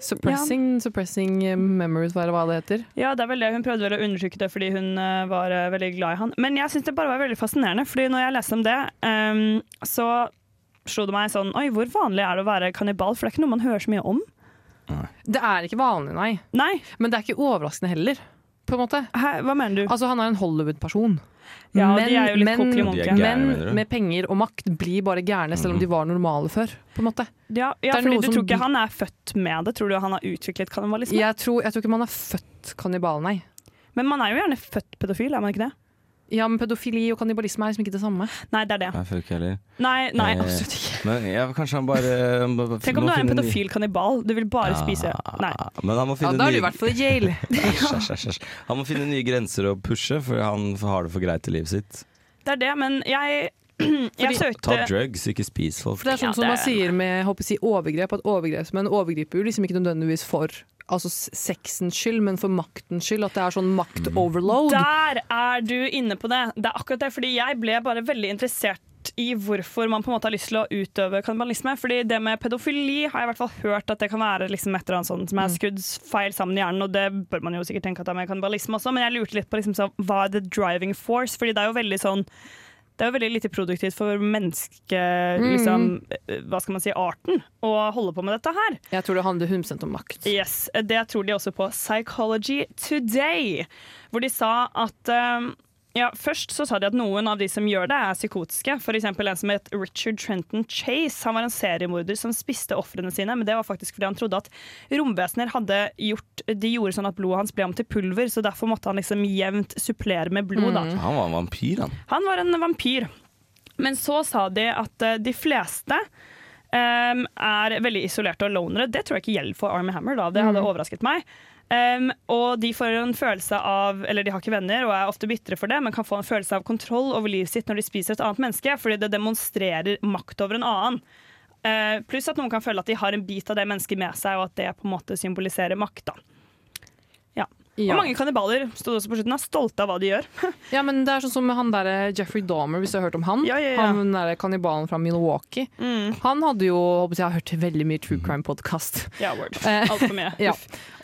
[SPEAKER 4] Suppressing, suppressing eh, memories, hva er det- hva det heter.
[SPEAKER 2] Ja, det er vel det. Hun prøvde vel å undersøke det fordi hun eh, var eh, veldig glad i han. Men jeg syns det bare var veldig fascinerende, fordi når jeg leste om det, ehm, så slo det meg sånn Oi, hvor vanlig er det å være kannibal? For det er ikke noe man hører så mye om.
[SPEAKER 4] Det er ikke vanlig, nei. Men det er ikke overraskende heller. På en måte.
[SPEAKER 2] hva mener du?
[SPEAKER 4] Altså, han er en Hollywood-person.
[SPEAKER 2] Ja, de er jo litt
[SPEAKER 4] men,
[SPEAKER 2] kokelige munker. De er gærne,
[SPEAKER 4] men
[SPEAKER 2] mener du?
[SPEAKER 4] med penger og makt blir bare gærne, selv om de var normale før. På en måte.
[SPEAKER 2] Ja,
[SPEAKER 4] Det
[SPEAKER 2] ja
[SPEAKER 4] er
[SPEAKER 2] fordi
[SPEAKER 4] noe
[SPEAKER 2] du
[SPEAKER 4] som
[SPEAKER 2] tror ikke
[SPEAKER 4] blir-
[SPEAKER 2] han er født med det? Tror du han har utviklet kannibalisme?
[SPEAKER 4] Jeg, tror, jeg tror ikke man er født kannibal, nei.
[SPEAKER 2] Men man er jo gjerne født pedofil, er man ikke det?
[SPEAKER 4] Ja, men pedofili og kannibalisme er liksom ikke det samme.
[SPEAKER 2] Nei, det er det.
[SPEAKER 3] Nei, føler ikke jeg heller.
[SPEAKER 2] Nei, nei,
[SPEAKER 3] Eh,
[SPEAKER 2] absolutt ikke.
[SPEAKER 3] Men ja, kanskje han bare
[SPEAKER 2] Tenk om du er en pedofil kannibal. Du vil bare spise Nei.
[SPEAKER 3] Men han må finne nye-
[SPEAKER 4] fall i jail.
[SPEAKER 3] Æsj, æsj, æsj, æsj. Han må finne nye grenser å pushe, for han har det for greit i livet sitt.
[SPEAKER 2] Det er det, men jeg, jeg søkte
[SPEAKER 3] Ta drugs, ikke spis folk.
[SPEAKER 4] For det er sånn som man sier med håper jeg, å si, overgrep, at overgrepsmenn overgriper jo liksom ikke nødvendigvis for altså, s- sexens skyld, men for maktens skyld. At det er sånn makt-overload.
[SPEAKER 2] Der er du inne på det. Det er akkurat det, fordi jeg ble bare veldig interessert i hvorfor man på en måte har lyst til å utøve kannibalisme. Fordi det med pedofili har jeg i hvert fall hørt at det kan være liksom et eller annet sånt som er skuddsfeil sammen i hjernen, og det bør man jo sikkert tenke at det er med kannibalisme også, men jeg lurte litt på liksom sånn, hva er the driving force? Fordi det er jo veldig sånn det er jo veldig lite produktivt for menneske,
[SPEAKER 4] Mm.
[SPEAKER 2] liksom, eh, hva skal man si, arten å holde på med dette her.
[SPEAKER 4] Jeg tror det handler 100 om makt.
[SPEAKER 2] Yes, Det tror de også på Psychology Today, hvor de sa at eh, Ja, først så sa de at noen av de som gjør det, er psykotiske. F.eks. en som het Richard Trenton Chase. Han var en seriemorder som spiste ofrene sine, men det var faktisk fordi han trodde at romvesener hadde gjort De gjorde sånn at blodet hans ble om til pulver, så derfor måtte han liksom jevnt supplere med blod, da.
[SPEAKER 3] Han var en vampyr, han.
[SPEAKER 2] Han var en vampyr. Men så sa de at eh, de fleste em, er veldig isolerte og lonere. Det tror jeg ikke gjelder for Army Hammer, da. det hadde overrasket meg. Em, og de får en følelse av Eller de har ikke venner og er ofte bitre for det, men kan få en følelse av kontroll over livet sitt når de spiser et annet menneske, fordi det demonstrerer makt over en annen. Eh, pluss at noen kan føle at de har en bit av det mennesket med seg, og at det på en måte symboliserer makt. da. Ja.
[SPEAKER 4] Ja.
[SPEAKER 2] Og mange kannibaler stod også på slutten, er stolte av hva de gjør.
[SPEAKER 4] Ja, men det er sånn som han der eh, Jeffrey Dahmer, hvis du har hørt om han.
[SPEAKER 2] ja. Mm.
[SPEAKER 4] Han der kannibalen fra Milwaukee. Han hadde jo håper jeg, jeg har hørt veldig mye true crime-podkast.
[SPEAKER 2] Ja, word.
[SPEAKER 4] Eh,
[SPEAKER 2] Altfor mye.
[SPEAKER 4] ja.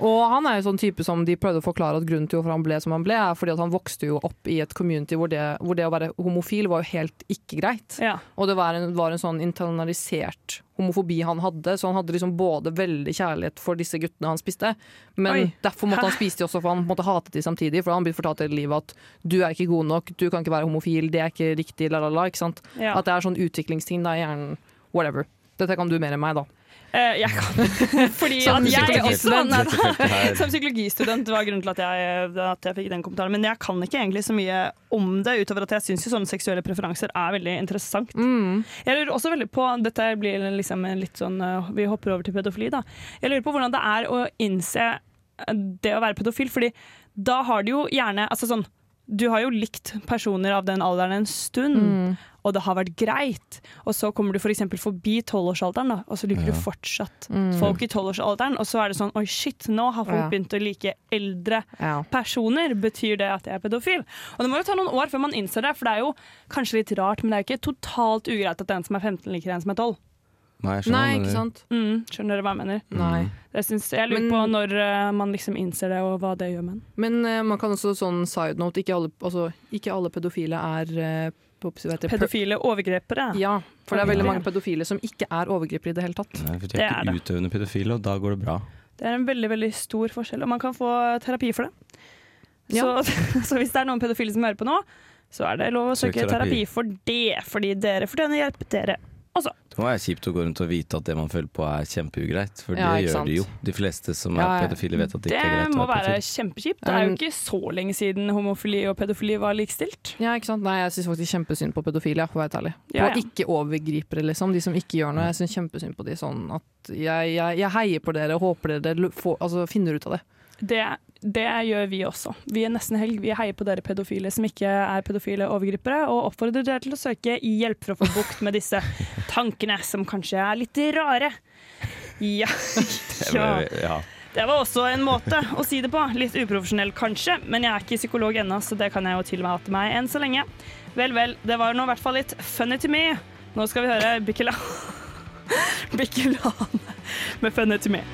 [SPEAKER 4] Og han er jo sånn type som de prøvde å forklare at grunnen til hvorfor han ble som han ble, er fordi at han vokste jo opp i et community hvor det, hvor det å være homofil var jo helt ikke greit. Og det var en, var en sånn internalisert homofobi han hadde, så han hadde liksom både veldig kjærlighet for disse guttene han spiste, men
[SPEAKER 2] Oi.
[SPEAKER 4] derfor måtte han
[SPEAKER 2] Hæ?
[SPEAKER 4] spise de også, for han måtte hate de samtidig, for han ble fortalt hele livet at du er ikke god nok, du kan ikke være homofil, det er ikke riktig, la la la, ikke sant?
[SPEAKER 2] Ja.
[SPEAKER 4] At det er sånn utviklingsting da i hjernen, whatever. Dette kan du mer enn meg da.
[SPEAKER 2] Eh, jeg kan Fordi
[SPEAKER 4] Som
[SPEAKER 2] at jeg også
[SPEAKER 4] psykologistudent.
[SPEAKER 2] nei,
[SPEAKER 4] Dette feltet her.
[SPEAKER 2] da. Som psykologistudent var grunnen til at jeg, at jeg fikk den kommentaren. Men jeg kan ikke egentlig så mye om det, utover at jeg syns sånne seksuelle preferanser er veldig interessant. Jeg lurer også veldig på Dette blir liksom en litt sånn eh, Vi hopper over til pedofili, da. Jeg lurer på hvordan det er å innse det å være pedofil, fordi da har du jo gjerne Altså sånn du har jo likt personer av den alderen en stund,
[SPEAKER 4] Mm.
[SPEAKER 2] og det har vært greit. Og så kommer du f.eks. forbi tolvårsalderen, da, og så liker
[SPEAKER 4] Ja.
[SPEAKER 2] du fortsatt
[SPEAKER 4] Mm.
[SPEAKER 2] folk i tolvårsalderen. Og så er det sånn oi, shit, nå har folk
[SPEAKER 4] Ja.
[SPEAKER 2] begynt å like eldre
[SPEAKER 4] Ja.
[SPEAKER 2] personer. Betyr det at jeg er pedofil? Og det må jo ta noen år før man innser det, for det er jo kanskje litt rart, men det er jo ikke totalt ugreit at en som er 15 liker en som er 12.
[SPEAKER 3] Nei, jeg skjønner
[SPEAKER 4] Nei,
[SPEAKER 3] hva du- Mm.
[SPEAKER 4] ikke sant?
[SPEAKER 2] Mm, skjønner dere hva jeg mener?
[SPEAKER 4] Nei.
[SPEAKER 2] Jeg, syns, jeg lurer
[SPEAKER 4] Men-
[SPEAKER 2] på når eh, man liksom innser det, og hva det gjør med en.
[SPEAKER 4] Men eh, man kan også sånn side note, ikke alle, altså, ikke alle pedofile er eh, på- hva heter det, per-
[SPEAKER 2] Pedofile overgrepere.
[SPEAKER 4] Ja, for det er veldig mange pedofile som ikke er overgripere i det hele tatt.
[SPEAKER 3] Nei, for de er ikke utøvende pedofile, og da går det bra.
[SPEAKER 2] Det er en veldig veldig stor forskjell, og man kan få terapi for det. Så, så hvis det er noen pedofile som hører på nå, så er det lov å
[SPEAKER 3] Søk
[SPEAKER 2] søke terapi
[SPEAKER 3] terapi.
[SPEAKER 2] for det, fordi dere fortjener hjelp, dere også.
[SPEAKER 3] Det må være kjipt å gå rundt og vite at det man føler på er kjempeugreit, for
[SPEAKER 2] Ja,
[SPEAKER 3] det
[SPEAKER 2] ikke
[SPEAKER 3] gjør
[SPEAKER 2] sant?
[SPEAKER 3] de jo. De fleste som er pedofile vet at det
[SPEAKER 2] det
[SPEAKER 3] ikke er greit
[SPEAKER 2] må
[SPEAKER 3] å være
[SPEAKER 2] være
[SPEAKER 3] pedofil.
[SPEAKER 2] kjempekjipt. Det er jo ikke så lenge siden homofili og pedofili var likestilt.
[SPEAKER 4] Ja, ikke sant? Nei, jeg syns faktisk kjempesynd på pedofile, ja, for å være helt ærlig.
[SPEAKER 2] Ja,
[SPEAKER 4] Og
[SPEAKER 2] ja.
[SPEAKER 4] ikke overgripere, liksom. De som ikke gjør noe. Jeg syns kjempesynd på de sånn at jeg, jeg, jeg heier på dere og håper dere lu- får, altså, finner ut av det.
[SPEAKER 2] Det, det gjør vi også. Vi er nesten helg. Vi heier på dere pedofile som ikke er pedofile overgripere, og oppfordrer dere til å søke hjelp for å få bukt med disse tankene, som kanskje er litt rare. Ja. ja.
[SPEAKER 3] Ja.
[SPEAKER 2] Det var også en måte å si det på. Litt uprofesjonell kanskje, men jeg er ikke psykolog ennå, så det kan jeg jo tilmate meg enn så lenge. Vel, vel, det var nå i hvert fall litt funny to me. Nå skal vi høre Bikkelan. Bikkelan med funny to me.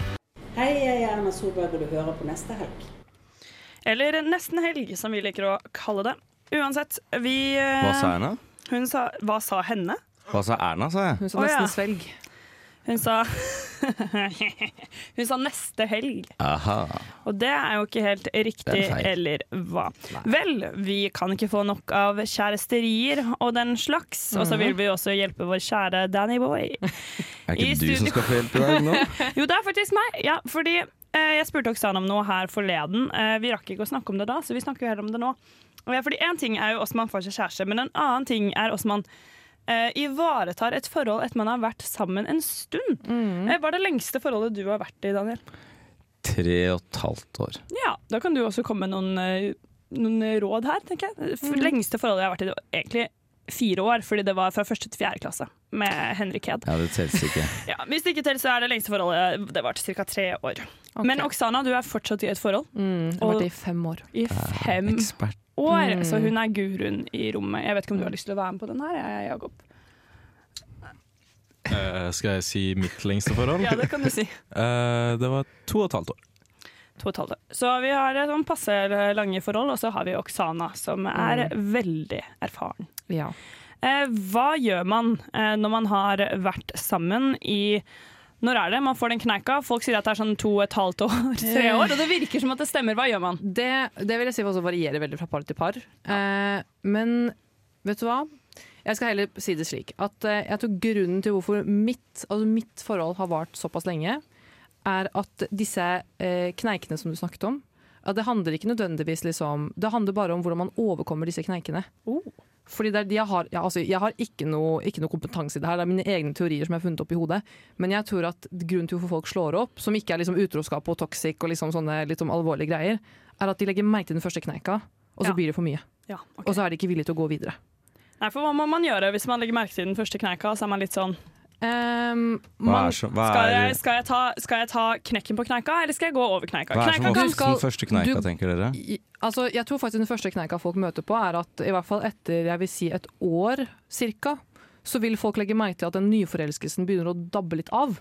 [SPEAKER 17] Hei, jeg er Erna Solberg, og du hører på neste helg.
[SPEAKER 2] Eller Nesten helg, som vi liker å kalle det. Uansett, vi eh,
[SPEAKER 3] Hva sa Erna?
[SPEAKER 2] Hun sa Hva sa henne?
[SPEAKER 3] Hva sa Erna, sa jeg?
[SPEAKER 2] Å, ja. Hun sa Hun sa neste helg.
[SPEAKER 3] Aha.
[SPEAKER 2] Og det er jo ikke helt riktig,
[SPEAKER 3] Det er feil.
[SPEAKER 2] eller hva. Vel, vi kan ikke få nok av kjæresterier og den slags, og så
[SPEAKER 3] Mhm.
[SPEAKER 2] vil vi også hjelpe vår kjære Danny Boy.
[SPEAKER 3] Er det
[SPEAKER 2] I
[SPEAKER 3] ikke du som
[SPEAKER 2] studio-
[SPEAKER 3] skal få hjelp i dag nå?
[SPEAKER 2] jo, det er faktisk meg. Ja, fordi eh, jeg spurte Oksana om noe her forleden. Eh, vi rakk ikke å snakke om det da, så vi snakker jo heller om det nå. Og ja, fordi Én ting er jo hvordan man får seg kjæreste, men en annen ting er hvordan man eh, ivaretar et forhold etter man har vært sammen en stund.
[SPEAKER 3] Mhm.
[SPEAKER 2] Eh, hva er det lengste forholdet du har vært i, Daniel?
[SPEAKER 3] Tre og et halvt år.
[SPEAKER 2] Ja, Da kan du også komme med noen, eh, noen råd her, tenker jeg. For Lengste forholdet jeg har vært i, det var egentlig fire år, fordi det var fra første til fjerde klasse med Henrik Hed.
[SPEAKER 3] Ja, det telles ikke.
[SPEAKER 2] Ja, hvis det ikke til, så er det lengste forholdet eh, Det var til ca. tre år. Men Oksana, du er fortsatt i et forhold.
[SPEAKER 4] Jeg har vært Mm, det i fem år.
[SPEAKER 2] i fem år, så hun er guruen i rommet. Jeg vet ikke om du har lyst til å være med på den her, jeg, Jakob.
[SPEAKER 9] Eh, skal jeg si mitt lengste forhold?
[SPEAKER 2] Ja, det kan du si.
[SPEAKER 9] Eh, det var to og et halvt år.
[SPEAKER 2] To og et halvt år. Så vi har et sånn passe lange forhold, og så har vi Oksana, som er veldig erfaren.
[SPEAKER 4] Ja.
[SPEAKER 2] Eh, hva gjør man eh, når man har vært sammen i Når er det man får den kneika? Folk sier at det er sånn to og et halvt år, tre
[SPEAKER 4] Eh.
[SPEAKER 2] år, og det virker som at det stemmer. Hva gjør man?
[SPEAKER 4] Det, det vil jeg si også varierer veldig fra par til par. Eh, men vet du hva? Jeg skal heller si det slik at eh, jeg tror grunnen til hvorfor mitt, altså mitt forhold har vart såpass lenge, er at disse eh, kneikene som du snakket om, ja, det handler ikke nødvendigvis liksom Det handler bare om hvordan man overkommer disse kneikene. Fordi det er, de jeg, har, ja, altså, jeg har ikke noe, ikke noe kompetanse i det her, det er mine egne teorier som jeg har funnet opp i hodet. Men jeg tror at grunnen til hvorfor folk slår opp, som ikke er liksom utroskap og toxic og liksom sånne litt sånn alvorlige greier, er at de legger merke til den første kneika, og så
[SPEAKER 2] Ja.
[SPEAKER 4] blir det for mye.
[SPEAKER 2] Ja, ok.
[SPEAKER 4] Og så er de ikke villige til å gå videre.
[SPEAKER 2] Nei, for Hva må man gjøre hvis man legger merke til den første kneika? Så er man litt sånn Ehm,
[SPEAKER 3] Hva er, så, hva
[SPEAKER 2] skal,
[SPEAKER 3] er,
[SPEAKER 2] jeg, skal, jeg ta, skal jeg ta knekken på kneika, eller skal jeg gå over kneika?
[SPEAKER 3] hva er som
[SPEAKER 2] Kneika kan-
[SPEAKER 3] oftest den første kneika,
[SPEAKER 4] du-
[SPEAKER 3] tenker dere?
[SPEAKER 4] I- Altså, jeg tror faktisk den første kneika folk møter på, er at i hvert fall etter jeg vil si et år cirka, så vil folk legge merke til at den nyforelskelsen begynner å dabbe litt av.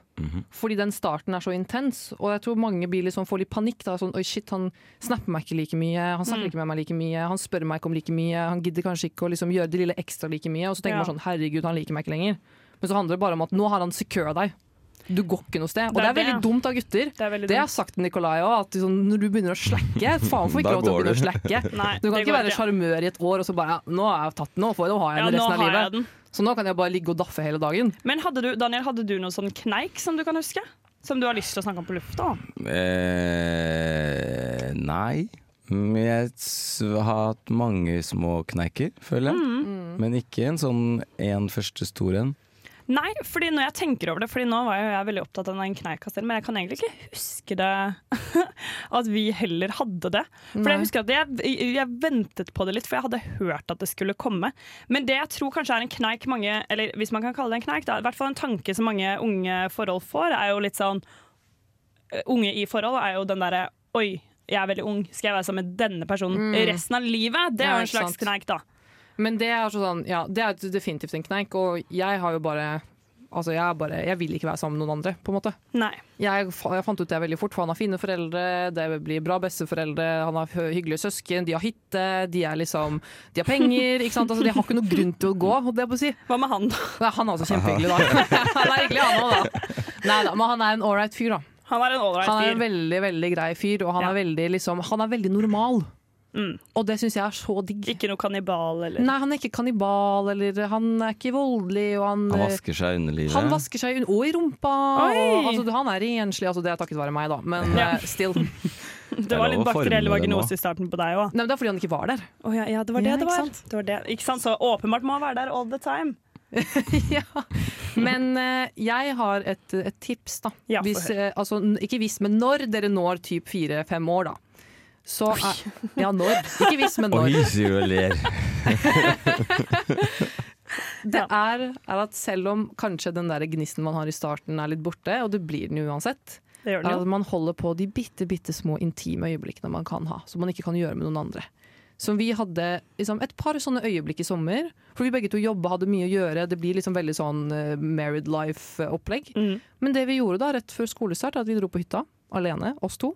[SPEAKER 4] Fordi den starten er så intens, og jeg tror mange blir litt sånn, får litt panikk. Da, sånn, Oi, shit, han snapper meg ikke like mye, han snakker
[SPEAKER 2] Mm.
[SPEAKER 4] ikke med meg like mye, han spør meg ikke om like mye, han gidder kanskje ikke å liksom, gjøre det lille ekstra like mye. Og så tenker
[SPEAKER 2] Ja.
[SPEAKER 4] man sånn, herregud, han liker meg ikke lenger. Men så handler det bare om at nå har han secura deg. Du går ikke noe sted. Og det er, veldig dumt av gutter.
[SPEAKER 2] Det,
[SPEAKER 4] har jeg sagt til Nikolai òg, at liksom, når du begynner å slakke Faen, får ikke
[SPEAKER 3] Da
[SPEAKER 4] lov til å
[SPEAKER 3] går
[SPEAKER 4] begynne å
[SPEAKER 3] du.
[SPEAKER 4] slakke.
[SPEAKER 2] Nei, det
[SPEAKER 4] du kan ikke
[SPEAKER 2] går
[SPEAKER 4] være
[SPEAKER 2] ikke.
[SPEAKER 4] sjarmør i et år og så bare ja, nå, er jeg tatt, nå, får jeg, nå har jeg
[SPEAKER 2] Ja,
[SPEAKER 4] den
[SPEAKER 2] nå
[SPEAKER 4] resten av
[SPEAKER 2] har jeg
[SPEAKER 4] livet. Så nå kan jeg bare ligge og daffe hele dagen.
[SPEAKER 2] Men hadde du, Daniel, hadde du noen sånn kneik som du kan huske? Som du har lyst til å snakke om på lufta?
[SPEAKER 3] Eh, nei. Mm, Jeg s- har hatt mange små kneiker, føler jeg.
[SPEAKER 2] Mm. Mm.
[SPEAKER 3] Men ikke en sånn en første stor en.
[SPEAKER 2] Nei, fordi når jeg tenker over det Fordi nå var jo jeg veldig opptatt av den kneika selv, men jeg kan egentlig ikke huske det at vi heller hadde det. For
[SPEAKER 4] Nei.
[SPEAKER 2] jeg husker at jeg, jeg ventet på det litt, for jeg hadde hørt at det skulle komme. Men det jeg tror kanskje er en kneik mange Eller hvis man kan kalle det en kneik, da, i hvert fall en tanke som mange unge forhold får, er jo litt sånn eh, Unge i forhold er jo den derre Oi, jeg er veldig ung, skal jeg være sammen med denne personen
[SPEAKER 4] Mm.
[SPEAKER 2] resten av livet? Det er
[SPEAKER 4] Ja,
[SPEAKER 2] jo en
[SPEAKER 4] ikke
[SPEAKER 2] slags
[SPEAKER 4] sant.
[SPEAKER 2] kneik, da.
[SPEAKER 4] Men det er, sånn, ja, det er definitivt en kneik, og jeg har jo bare Altså, jeg, er bare, jeg vil ikke være sammen med noen andre, på en måte.
[SPEAKER 2] Nei.
[SPEAKER 4] Jeg, fa- jeg fant ut det veldig fort, for han har fine foreldre, det blir bra besteforeldre, han har hø- hyggelige søsken, de har hytte, de, er liksom, de har penger, ikke sant? Altså, de har ikke noe grunn til å gå, holdt jeg på å si.
[SPEAKER 2] Hva med han, da?
[SPEAKER 4] Nei, han er også kjempehyggelig, da. han er hyggelig, han òg, da. Neida, men han er en ålreit fyr, da.
[SPEAKER 2] Han er en ålreit
[SPEAKER 4] Han er
[SPEAKER 2] fyr.
[SPEAKER 4] en veldig, veldig grei fyr, og han, er, veldig, liksom, han er veldig normal. Og det syns jeg er så digg.
[SPEAKER 2] Mm. Ikke noe kannibal, eller?
[SPEAKER 4] Nei, han er ikke kannibal, eller han er ikke voldelig, og han
[SPEAKER 3] Han vasker seg i underlivet.
[SPEAKER 4] han vasker seg un- og i rumpa.
[SPEAKER 2] Oi!
[SPEAKER 4] Og, altså, han er renslig, altså, det er takket være meg, da, men
[SPEAKER 2] Ja.
[SPEAKER 4] eh, still. Nei,
[SPEAKER 2] Det var
[SPEAKER 4] Det
[SPEAKER 2] litt
[SPEAKER 4] er lov å forme
[SPEAKER 2] bakteriell
[SPEAKER 4] det nå.
[SPEAKER 2] vaginose i starten på deg òg.
[SPEAKER 4] men Det er fordi han ikke var der.
[SPEAKER 2] ja, ja, det var det
[SPEAKER 4] Ja,
[SPEAKER 2] det
[SPEAKER 4] ikke
[SPEAKER 2] var.
[SPEAKER 4] sant?
[SPEAKER 2] Det var det. Ikke sant? Så åpenbart må han være der all the time.
[SPEAKER 4] Men eh, jeg har et, et tips, da.
[SPEAKER 2] Ja, få
[SPEAKER 4] hvis,
[SPEAKER 2] høre.
[SPEAKER 4] eh, altså, n- ikke hvis, men når dere når typ fire-fem år, da. Så er, ja, når. Ikke hvis, men
[SPEAKER 3] Og
[SPEAKER 4] når.
[SPEAKER 3] hyser og ler.
[SPEAKER 4] Det er, er at selv om kanskje den der gnisten man har i starten er litt borte, og det blir den jo uansett,
[SPEAKER 2] Det gjør den
[SPEAKER 4] er
[SPEAKER 2] jo.
[SPEAKER 4] at man holder på de bitte, bitte små intime øyeblikkene man kan ha, som man ikke kan gjøre med noen andre. Som vi hadde liksom, et par sånne øyeblikk i sommer, for vi begge to jobba, hadde mye å gjøre, det blir liksom veldig sånn eh, married life-opplegg.
[SPEAKER 2] Mm.
[SPEAKER 4] Men det vi gjorde da, rett før skolestart, er at vi dro på hytta alene, oss to.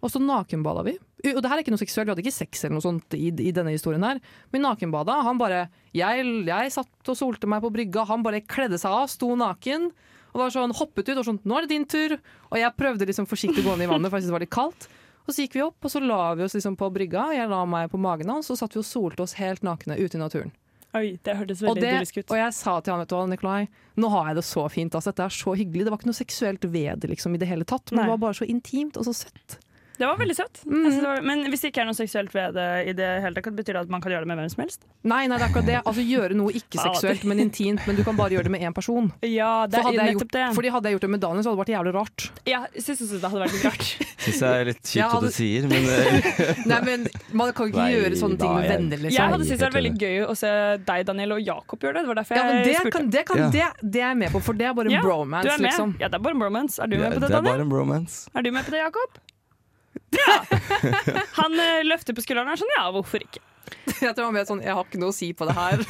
[SPEAKER 4] Og så nakenbada vi. U- Og det her er ikke noe seksuelt, vi hadde ikke sex eller noe sånt i, i denne historien her. Men nakenbada, han bare jeg, jeg satt og solte meg på brygga, han bare kledde seg av, sto naken. Og var sånn, hoppet ut og sånn 'Nå er det din tur!' Og jeg prøvde liksom forsiktig å gå ned i vannet, for jeg syntes det var litt kaldt. Og så gikk vi opp, og så la vi oss liksom på brygga, og jeg la meg på magen hans, og så satt vi og solte oss helt nakne ute i naturen.
[SPEAKER 2] Oi, det hørtes
[SPEAKER 4] Og,
[SPEAKER 2] veldig
[SPEAKER 4] det,
[SPEAKER 2] idyllisk ut.
[SPEAKER 4] og jeg sa til han, vet du hva, Nikolai, nå har jeg det så fint. Altså, dette er så hyggelig. Det var ikke noe seksuelt ved det liksom, i det hele tatt, men
[SPEAKER 2] Nei.
[SPEAKER 4] det var bare så intimt og så søtt.
[SPEAKER 2] Det var veldig søtt. Jeg synes det var, men hvis det ikke er noe seksuelt ved det i det hele tatt, betyr det at man kan gjøre det med hvem som helst?
[SPEAKER 4] Nei, nei, det er akkurat det. Altså gjøre noe ikke seksuelt, men intimt, men du kan bare gjøre det med én person.
[SPEAKER 2] Ja, det
[SPEAKER 4] Så hadde
[SPEAKER 2] er
[SPEAKER 4] jeg
[SPEAKER 2] nettopp
[SPEAKER 4] gjort,
[SPEAKER 2] det.
[SPEAKER 4] fordi hadde jeg gjort det med Daniel, så hadde det vært jævlig rart.
[SPEAKER 2] Ja, jeg synes også det hadde vært litt rart.
[SPEAKER 3] Syns jeg er litt kjipt
[SPEAKER 4] Jeg
[SPEAKER 3] at du
[SPEAKER 4] hadde-
[SPEAKER 3] sier, men eh,
[SPEAKER 4] Nei, men man kan ikke
[SPEAKER 3] Nei,
[SPEAKER 4] gjøre sånne ting med
[SPEAKER 3] da, jeg-
[SPEAKER 4] venner, liksom.
[SPEAKER 2] Jeg hadde syntes det var veldig gøy å se deg, Daniel, og Jakob gjøre det. Det var derfor
[SPEAKER 4] Ja, men
[SPEAKER 2] jeg
[SPEAKER 4] det,
[SPEAKER 2] spurte.
[SPEAKER 4] kan, det, kan, det, det er jeg med på, for det er bare
[SPEAKER 2] Ja,
[SPEAKER 4] bromance,
[SPEAKER 2] du er med.
[SPEAKER 4] liksom.
[SPEAKER 2] Ja, det er bare en bromance. Er du med på det,
[SPEAKER 3] det er bare
[SPEAKER 2] Daniel?
[SPEAKER 3] en bromance.
[SPEAKER 2] Er du med på det, Jakob? Ja! Han eh, løfter på skulderen og er sånn ja, hvorfor ikke?
[SPEAKER 4] Jeg tror han vet sånn, jeg har ikke noe å si på det her.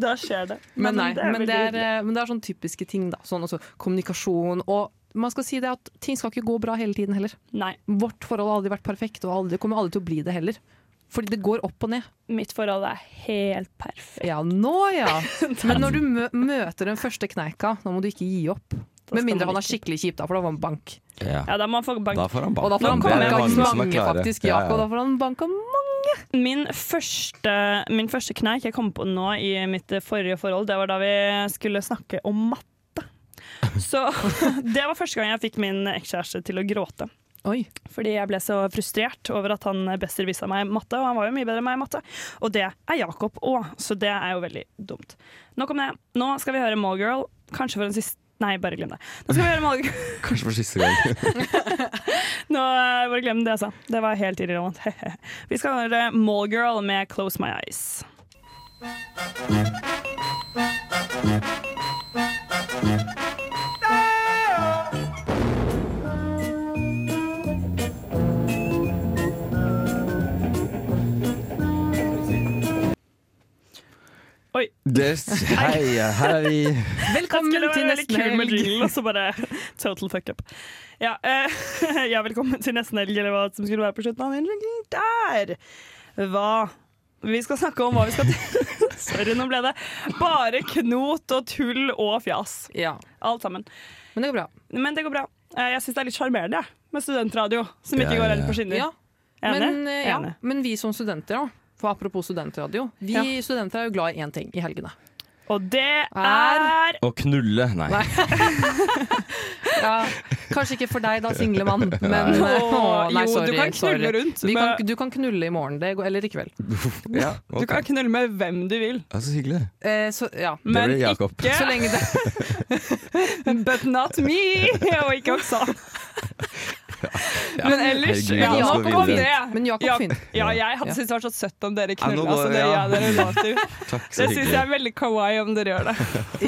[SPEAKER 2] Da skjer det.
[SPEAKER 4] Men, nei,
[SPEAKER 2] er
[SPEAKER 4] men,
[SPEAKER 2] veldig
[SPEAKER 4] det er,
[SPEAKER 2] hyggelig.
[SPEAKER 4] eh, men det er sånne typiske ting. da Sånn altså, Kommunikasjon. Og man skal si det at ting skal ikke gå bra hele tiden heller.
[SPEAKER 2] Nei.
[SPEAKER 4] Vårt forhold har aldri vært perfekt, og aldri, kommer aldri til å bli det heller. Fordi det går opp og ned.
[SPEAKER 2] Mitt forhold er helt perfekt.
[SPEAKER 4] Ja, nå ja! Men når du mø møter den første kneika, nå må du ikke gi opp. Med mindre han er skikkelig kjip, da, for da får han bank.
[SPEAKER 2] Ja, da må han få bank.
[SPEAKER 3] Da får han bank.
[SPEAKER 4] Og da får han
[SPEAKER 3] Det er
[SPEAKER 4] bank av
[SPEAKER 3] mange som er
[SPEAKER 4] mange,
[SPEAKER 3] klare.
[SPEAKER 4] faktisk.
[SPEAKER 3] Ja, ja.
[SPEAKER 4] Jakob, da får han bank av
[SPEAKER 2] Min første, min første kneik jeg kom på nå i mitt forrige forhold, det var da vi skulle snakke om matte. Så det var første gang jeg fikk min ekskjæreste til å gråte. Fordi jeg ble så frustrert over at han best viste meg matte, og han var jo mye bedre enn meg i matte. Og det er Jakob òg, så det er jo veldig dumt. Nok om det. Nå skal vi høre Mallgirl, kanskje for en siste Nei, bare glem det. Nå skal vi høre Mallgirl.
[SPEAKER 3] Kanskje for siste gang.
[SPEAKER 2] Nå, eh, bare glem det jeg sa. Det var helt irrelevant. Vi skal høre Mallgirl med 'Close My Eyes'. Oi.
[SPEAKER 3] Det, hei, her er vi.
[SPEAKER 4] Velkommen
[SPEAKER 2] Jeg skulle
[SPEAKER 4] Mm, til
[SPEAKER 2] være veldig
[SPEAKER 4] Nesten
[SPEAKER 2] kul med
[SPEAKER 4] Helg.
[SPEAKER 2] jinglen, Og så bare total fuck up. Ja, eh, ja, velkommen til Nesten Helg, eller hva som skulle være på slutten av den jinglen. Der! Hva Vi skal snakke om hva vi skal til Sorry, nå ble det bare knot og tull og fjas. Alt sammen.
[SPEAKER 4] Men det går bra.
[SPEAKER 2] Men det går bra. Eh, Jeg syns det er litt sjarmerende jeg, med studentradio som
[SPEAKER 4] Ja,
[SPEAKER 2] ikke
[SPEAKER 4] ja,
[SPEAKER 2] går
[SPEAKER 4] ja.
[SPEAKER 2] helt på skinner.
[SPEAKER 4] Ja.
[SPEAKER 2] Enig?
[SPEAKER 4] Men, eh, ja.
[SPEAKER 2] Enig.
[SPEAKER 4] Men vi som studenter, da. For apropos studentradio. Vi
[SPEAKER 2] Ja.
[SPEAKER 4] studenter er jo glad i én ting i helgene.
[SPEAKER 2] Og det
[SPEAKER 4] er
[SPEAKER 3] Å knulle, nei.
[SPEAKER 4] ja, Kanskje ikke for deg, da, single mann, men
[SPEAKER 3] Nei.
[SPEAKER 4] Å, nei,
[SPEAKER 2] Jo, du
[SPEAKER 4] sorry,
[SPEAKER 2] kan knulle
[SPEAKER 4] sorry.
[SPEAKER 2] rundt
[SPEAKER 4] Vi
[SPEAKER 2] med-
[SPEAKER 4] kan, du kan knulle i morgen det går, eller i kveld.
[SPEAKER 3] Ja,
[SPEAKER 2] Du kan knulle med hvem du vil.
[SPEAKER 3] Ja, så hyggelig.
[SPEAKER 4] Eh, så, ja.
[SPEAKER 3] Det blir Jakob.
[SPEAKER 2] ikke-
[SPEAKER 4] Så lenge det
[SPEAKER 2] But not me! Og ikke Oksan.
[SPEAKER 3] Ja,
[SPEAKER 2] Men ellers
[SPEAKER 3] herregud,
[SPEAKER 2] ja,
[SPEAKER 3] la oss gå
[SPEAKER 2] Jakob,
[SPEAKER 3] videre.
[SPEAKER 2] det.
[SPEAKER 4] Men Jakob
[SPEAKER 2] Ja,
[SPEAKER 4] Finn.
[SPEAKER 2] Ja, jeg hadde
[SPEAKER 4] Ja.
[SPEAKER 2] syntes det var så søtt om dere
[SPEAKER 3] Ja, nå
[SPEAKER 2] knulla,
[SPEAKER 3] går-
[SPEAKER 2] så det
[SPEAKER 3] ja.
[SPEAKER 2] gjør dere lov til.
[SPEAKER 3] Takk, så
[SPEAKER 2] Det syns
[SPEAKER 3] hyggelig.
[SPEAKER 2] jeg er veldig kawaii om dere gjør det.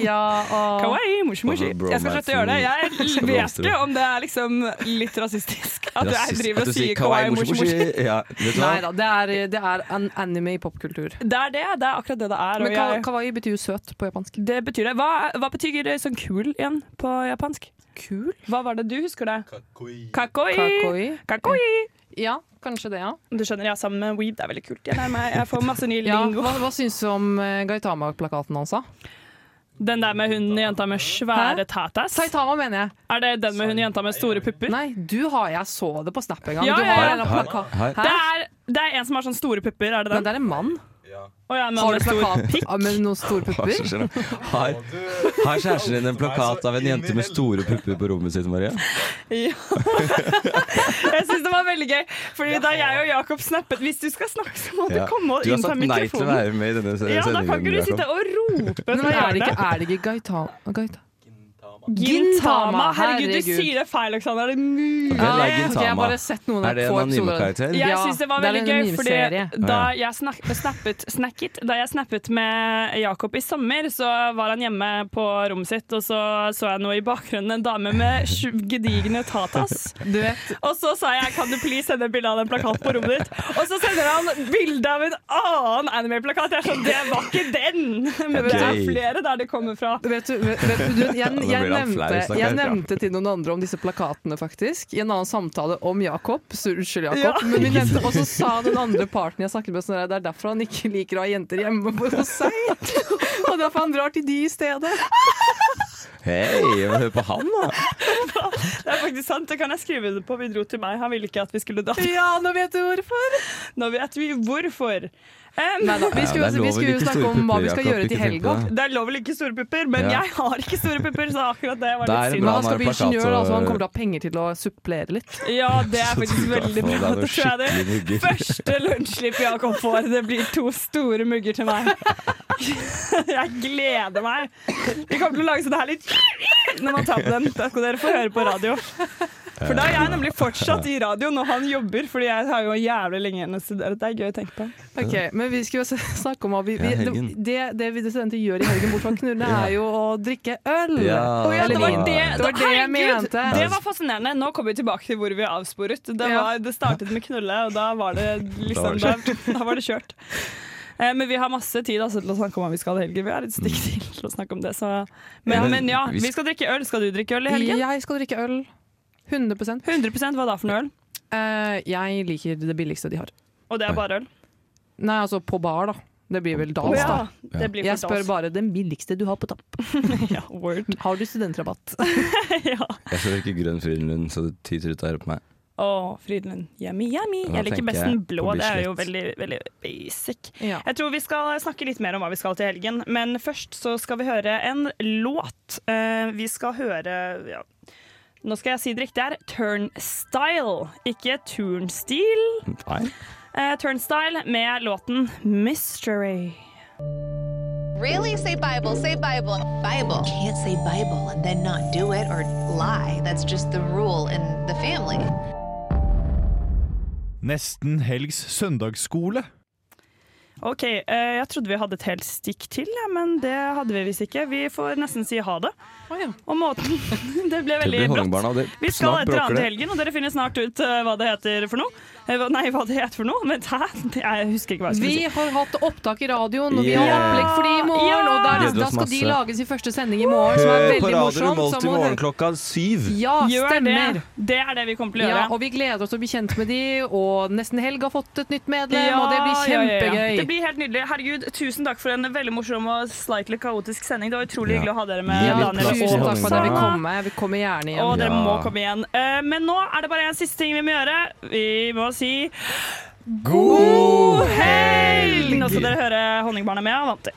[SPEAKER 4] Ja, og-
[SPEAKER 2] Kawaii, moshi, moshi.
[SPEAKER 3] Og
[SPEAKER 2] Jeg skal slutte å gjøre det. Jeg
[SPEAKER 3] bromancen.
[SPEAKER 2] vet ikke om det er liksom litt rasistisk at jeg
[SPEAKER 3] Rasist-
[SPEAKER 2] driver
[SPEAKER 3] at
[SPEAKER 2] og
[SPEAKER 3] du sier
[SPEAKER 2] sier kawaii, moshi, moshi.
[SPEAKER 3] Ja, vet du hva?
[SPEAKER 4] Nei da, det er, det er an anime i popkultur.
[SPEAKER 2] Det er det. Det er akkurat det det er. Og
[SPEAKER 4] Men ka
[SPEAKER 2] jeg,
[SPEAKER 4] kawaii betyr jo søt på japansk.
[SPEAKER 2] det betyr det. Hva, hva betyr det sånn kul igjen på japansk?
[SPEAKER 4] Kul?
[SPEAKER 2] Hva var det du husker det? Kakoi. Kakoi.
[SPEAKER 4] Kakoi. Ja, kanskje det, ja.
[SPEAKER 2] Du skjønner, jeg er sammen med Weeb. Det er veldig kult. Jeg, nærmer meg- jeg får masse ny
[SPEAKER 4] Ja,
[SPEAKER 2] lingo.
[SPEAKER 4] hva, hva syns du om eh, Gaitama-plakaten hans, da?
[SPEAKER 2] Den der med hun jenta med svære tatas?
[SPEAKER 4] Saitama, mener jeg.
[SPEAKER 2] Er det den med hun jenta med store pupper?
[SPEAKER 4] Nei, du har Jeg så det på Snap en gang.
[SPEAKER 2] Ja,
[SPEAKER 4] du
[SPEAKER 2] ja,
[SPEAKER 4] har
[SPEAKER 2] ja.
[SPEAKER 4] en eller annen plakat.
[SPEAKER 2] Her- her-
[SPEAKER 4] Hæ?
[SPEAKER 2] Det er, det er en som har sånn store pupper, er det
[SPEAKER 4] Men
[SPEAKER 2] den?
[SPEAKER 4] det er en mann.
[SPEAKER 2] Å ja, en mann
[SPEAKER 4] Har
[SPEAKER 2] med
[SPEAKER 4] du
[SPEAKER 2] stor
[SPEAKER 4] plakat
[SPEAKER 2] pikk?
[SPEAKER 4] Ja, med noen store
[SPEAKER 3] Hva som
[SPEAKER 4] pupper?
[SPEAKER 3] skjer nå? Har, har kjæresten din en plakat av en jente med store pupper på rommet sitt, Maria?
[SPEAKER 2] Ja. Jeg syns det var veldig gøy, Fordi da jeg og Jakob snappet Hvis du skal snakke, så må du
[SPEAKER 3] Ja.
[SPEAKER 2] komme og
[SPEAKER 3] Du har
[SPEAKER 2] innta
[SPEAKER 3] sagt nei til å
[SPEAKER 2] mikrofonen.
[SPEAKER 3] være med i denne se-
[SPEAKER 2] Ja, da kan ikke
[SPEAKER 3] sendingen,
[SPEAKER 2] du sitte
[SPEAKER 3] Jakob.
[SPEAKER 2] og rope
[SPEAKER 4] Men
[SPEAKER 2] fra
[SPEAKER 4] er det ikke,
[SPEAKER 2] hjørnet.
[SPEAKER 4] er det ikke Gaitama Gaita?
[SPEAKER 2] Gintama! Herregud, du sier det feil, Oksana. Er det mulig?
[SPEAKER 3] Hvem er
[SPEAKER 4] Ok, jeg har
[SPEAKER 3] Gintama?
[SPEAKER 4] bare sett noen
[SPEAKER 3] Er det en
[SPEAKER 4] få episoder.
[SPEAKER 3] animekarakter?
[SPEAKER 2] Jeg
[SPEAKER 4] Ja,
[SPEAKER 2] synes det var
[SPEAKER 4] det er
[SPEAKER 2] veldig
[SPEAKER 4] en
[SPEAKER 2] gøy, fordi
[SPEAKER 4] miniserie.
[SPEAKER 2] da
[SPEAKER 3] Ah,
[SPEAKER 2] jeg snak snappet, snacket, da jeg snappet med Jakob i sommer, så var han hjemme på rommet sitt, og så så jeg noe i bakgrunnen, en dame med sju- gedigne tatas.
[SPEAKER 4] Du vet.
[SPEAKER 2] Og så sa jeg 'kan du please sende bilde av den plakaten på rommet ditt'? Og så sender han bilde av en annen anime-plakat. Jeg er sånn 'det var ikke den'! Men det er
[SPEAKER 4] Gøy.
[SPEAKER 2] flere der det kommer fra.
[SPEAKER 4] Vet du, vet, vet du, jeg, jeg,
[SPEAKER 3] blir han flau,
[SPEAKER 4] nevnte,
[SPEAKER 3] stakkars.
[SPEAKER 4] jeg nevnte til noen andre om disse plakatene, faktisk. I en annen samtale om Jakob. Så Unnskyld, Jakob.
[SPEAKER 2] Ja.
[SPEAKER 4] Men vi nevnte, og så sa den andre parten jeg snakket med, sånn der, det er derfor han ikke liker å ha jenter hjemme hos seg. Og derfor han drar til de i stedet.
[SPEAKER 3] Hei, men hør på han, da!
[SPEAKER 2] Det er faktisk sant, det kan jeg skrive det på. Vi dro til meg. Han ville ikke at vi skulle dra.
[SPEAKER 4] Ja, nå vet du hvorfor!
[SPEAKER 2] Nå vet vi hvorfor. Em,
[SPEAKER 4] Neida, vi skulle,
[SPEAKER 3] Ja, det er lov
[SPEAKER 4] vi
[SPEAKER 3] å
[SPEAKER 4] skulle
[SPEAKER 3] like
[SPEAKER 4] jo snakke
[SPEAKER 3] store
[SPEAKER 4] om hva
[SPEAKER 3] pupper,
[SPEAKER 4] vi skal
[SPEAKER 3] Jakob,
[SPEAKER 4] gjøre til
[SPEAKER 3] ikke tenk
[SPEAKER 4] helga.
[SPEAKER 3] på det.
[SPEAKER 2] Det er lov å like store pupper, men
[SPEAKER 3] Ja.
[SPEAKER 2] jeg har ikke store pupper, så akkurat det var
[SPEAKER 3] Da
[SPEAKER 2] litt
[SPEAKER 3] er det
[SPEAKER 2] synd.
[SPEAKER 3] bra
[SPEAKER 4] Men han skal bli
[SPEAKER 3] har plakat,
[SPEAKER 4] ingeniør, altså,
[SPEAKER 3] så-
[SPEAKER 4] han kommer til å ha penger til å supplere litt.
[SPEAKER 2] Ja, det er faktisk
[SPEAKER 3] Så du
[SPEAKER 2] veldig
[SPEAKER 3] kan få
[SPEAKER 2] bra. Det
[SPEAKER 3] deg noe
[SPEAKER 2] tror jeg det
[SPEAKER 3] skikkelig mugger.
[SPEAKER 2] første lunsjslipp Jakob får. Det blir to store mugger til meg. Jeg gleder meg. Vi kommer til å lage sånn her litt når man tar på den. Da skal dere få høre på radio. For da er jeg nemlig fortsatt i radio når han jobber, fordi jeg har jo jævlig lenge igjen å studere. Det er gøy å tenke på.
[SPEAKER 4] Ok, Men vi skal jo s- snakke om hva vi, vi
[SPEAKER 3] Ja,
[SPEAKER 4] det,
[SPEAKER 3] helgen.
[SPEAKER 4] det, det vi studenter gjør i helgen, bort fra knulle, er jo å drikke øl.
[SPEAKER 3] Ja,
[SPEAKER 2] Å ja,
[SPEAKER 4] Eller
[SPEAKER 2] det var
[SPEAKER 4] vin.
[SPEAKER 2] det,
[SPEAKER 4] Det var det jeg
[SPEAKER 2] herregud,
[SPEAKER 4] mente.
[SPEAKER 2] Det var fascinerende. Nå kommer vi tilbake til hvor vi avsporet. Det,
[SPEAKER 4] Ja.
[SPEAKER 2] var, det startet med knulle, og da var det liksom
[SPEAKER 3] Da
[SPEAKER 2] Da da var det kjørt. Eh, Men vi har masse tid altså, til å snakke om hva vi skal i helgen. Vi har et stikk til til å snakke om det. Så. Men,
[SPEAKER 3] Mm. Men-
[SPEAKER 2] men ja,
[SPEAKER 3] vi
[SPEAKER 2] vi
[SPEAKER 3] sk-
[SPEAKER 2] skal drikke øl. Skal du drikke øl i helgen?
[SPEAKER 4] Jeg skal drikke øl. 100
[SPEAKER 2] 100 Hva da for noe øl?
[SPEAKER 4] Eh, Jeg liker det billigste de har.
[SPEAKER 2] Og det er bare øl?
[SPEAKER 4] Nei, altså på bar, da. Det blir vel
[SPEAKER 2] Å,
[SPEAKER 4] dans,
[SPEAKER 2] ja.
[SPEAKER 4] da.
[SPEAKER 2] Det blir for
[SPEAKER 4] jeg spør
[SPEAKER 2] dans.
[SPEAKER 4] bare den billigste du har på topp. Har du studentrabatt?
[SPEAKER 3] Jeg skal drikke grønn Frydenlund, så det tyter ut her på meg.
[SPEAKER 2] Å, Frydenlund. Yummy, yummy.
[SPEAKER 3] Da
[SPEAKER 2] Jeg liker
[SPEAKER 3] tenker
[SPEAKER 2] best
[SPEAKER 3] jeg
[SPEAKER 2] den blå.
[SPEAKER 3] på
[SPEAKER 2] Det er jo
[SPEAKER 3] Bislett.
[SPEAKER 2] veldig, veldig basic. Jeg tror vi skal snakke litt mer om hva vi skal til helgen, men først så skal vi høre en låt. Eh, vi skal høre ja. Nå skal jeg si det riktig her. Turnstyle, ikke turnstil.
[SPEAKER 3] Nei.
[SPEAKER 2] Eh, turnstyle med låten 'Mystery'.
[SPEAKER 18] Really? Say Bible, say Bible. Bible. Can't say Bible and then not do it or lie. That's just the rule in the family.
[SPEAKER 19] Nesten helgs søndagsskole.
[SPEAKER 2] OK, eh, jeg trodde vi hadde et helt stikk til, ja, men det hadde vi visst ikke. Vi får nesten si ha det. Og måten Det ble veldig
[SPEAKER 3] blir
[SPEAKER 2] brått.
[SPEAKER 3] Hallingbarna, det-
[SPEAKER 2] Vi skal
[SPEAKER 3] snart
[SPEAKER 2] et eller
[SPEAKER 3] bråker
[SPEAKER 2] annet
[SPEAKER 3] det.
[SPEAKER 2] til helgen, og dere finner snart ut eh, hva det heter for noe. Eh, hva- Nei, hva det heter for noe, men hæ? Jeg husker ikke hva jeg skulle
[SPEAKER 4] Vi
[SPEAKER 2] si.
[SPEAKER 4] har hatt opptak i radioen, og vi har
[SPEAKER 2] Yeah.
[SPEAKER 4] opplegg for de i morgen. Og da,
[SPEAKER 3] Gleder
[SPEAKER 4] da
[SPEAKER 3] oss
[SPEAKER 4] skal de
[SPEAKER 3] masse.
[SPEAKER 4] lages i første sending i morgen, som er veldig morsomt. så må du høre-
[SPEAKER 3] klokka syv.
[SPEAKER 4] Ja, stemmer.
[SPEAKER 2] Det. det er det vi kommer til å gjøre.
[SPEAKER 4] Ja, og vi gleder oss til å bli kjent med de, og Nesten Helg har fått et nytt medlem,
[SPEAKER 2] Ja,
[SPEAKER 4] og det blir
[SPEAKER 2] ja, ja, ja.
[SPEAKER 4] kjempegøy.
[SPEAKER 2] Det blir helt nydelig. Herregud, tusen takk for en veldig morsom og slightly kaotisk sending. Det var utrolig
[SPEAKER 4] Ja.
[SPEAKER 2] hyggelig å ha dere med.
[SPEAKER 4] Ja, vi-
[SPEAKER 2] Daniel og
[SPEAKER 4] tusen takk for at dere vil
[SPEAKER 2] Åsa.
[SPEAKER 4] komme. Vi kommer gjerne igjen.
[SPEAKER 2] Og dere må komme igjen. Eh, Men nå er det bare en siste ting vi må gjøre. Vi må si Altså, God helg! Nå skal dere høre Honningbarna med og Vanter.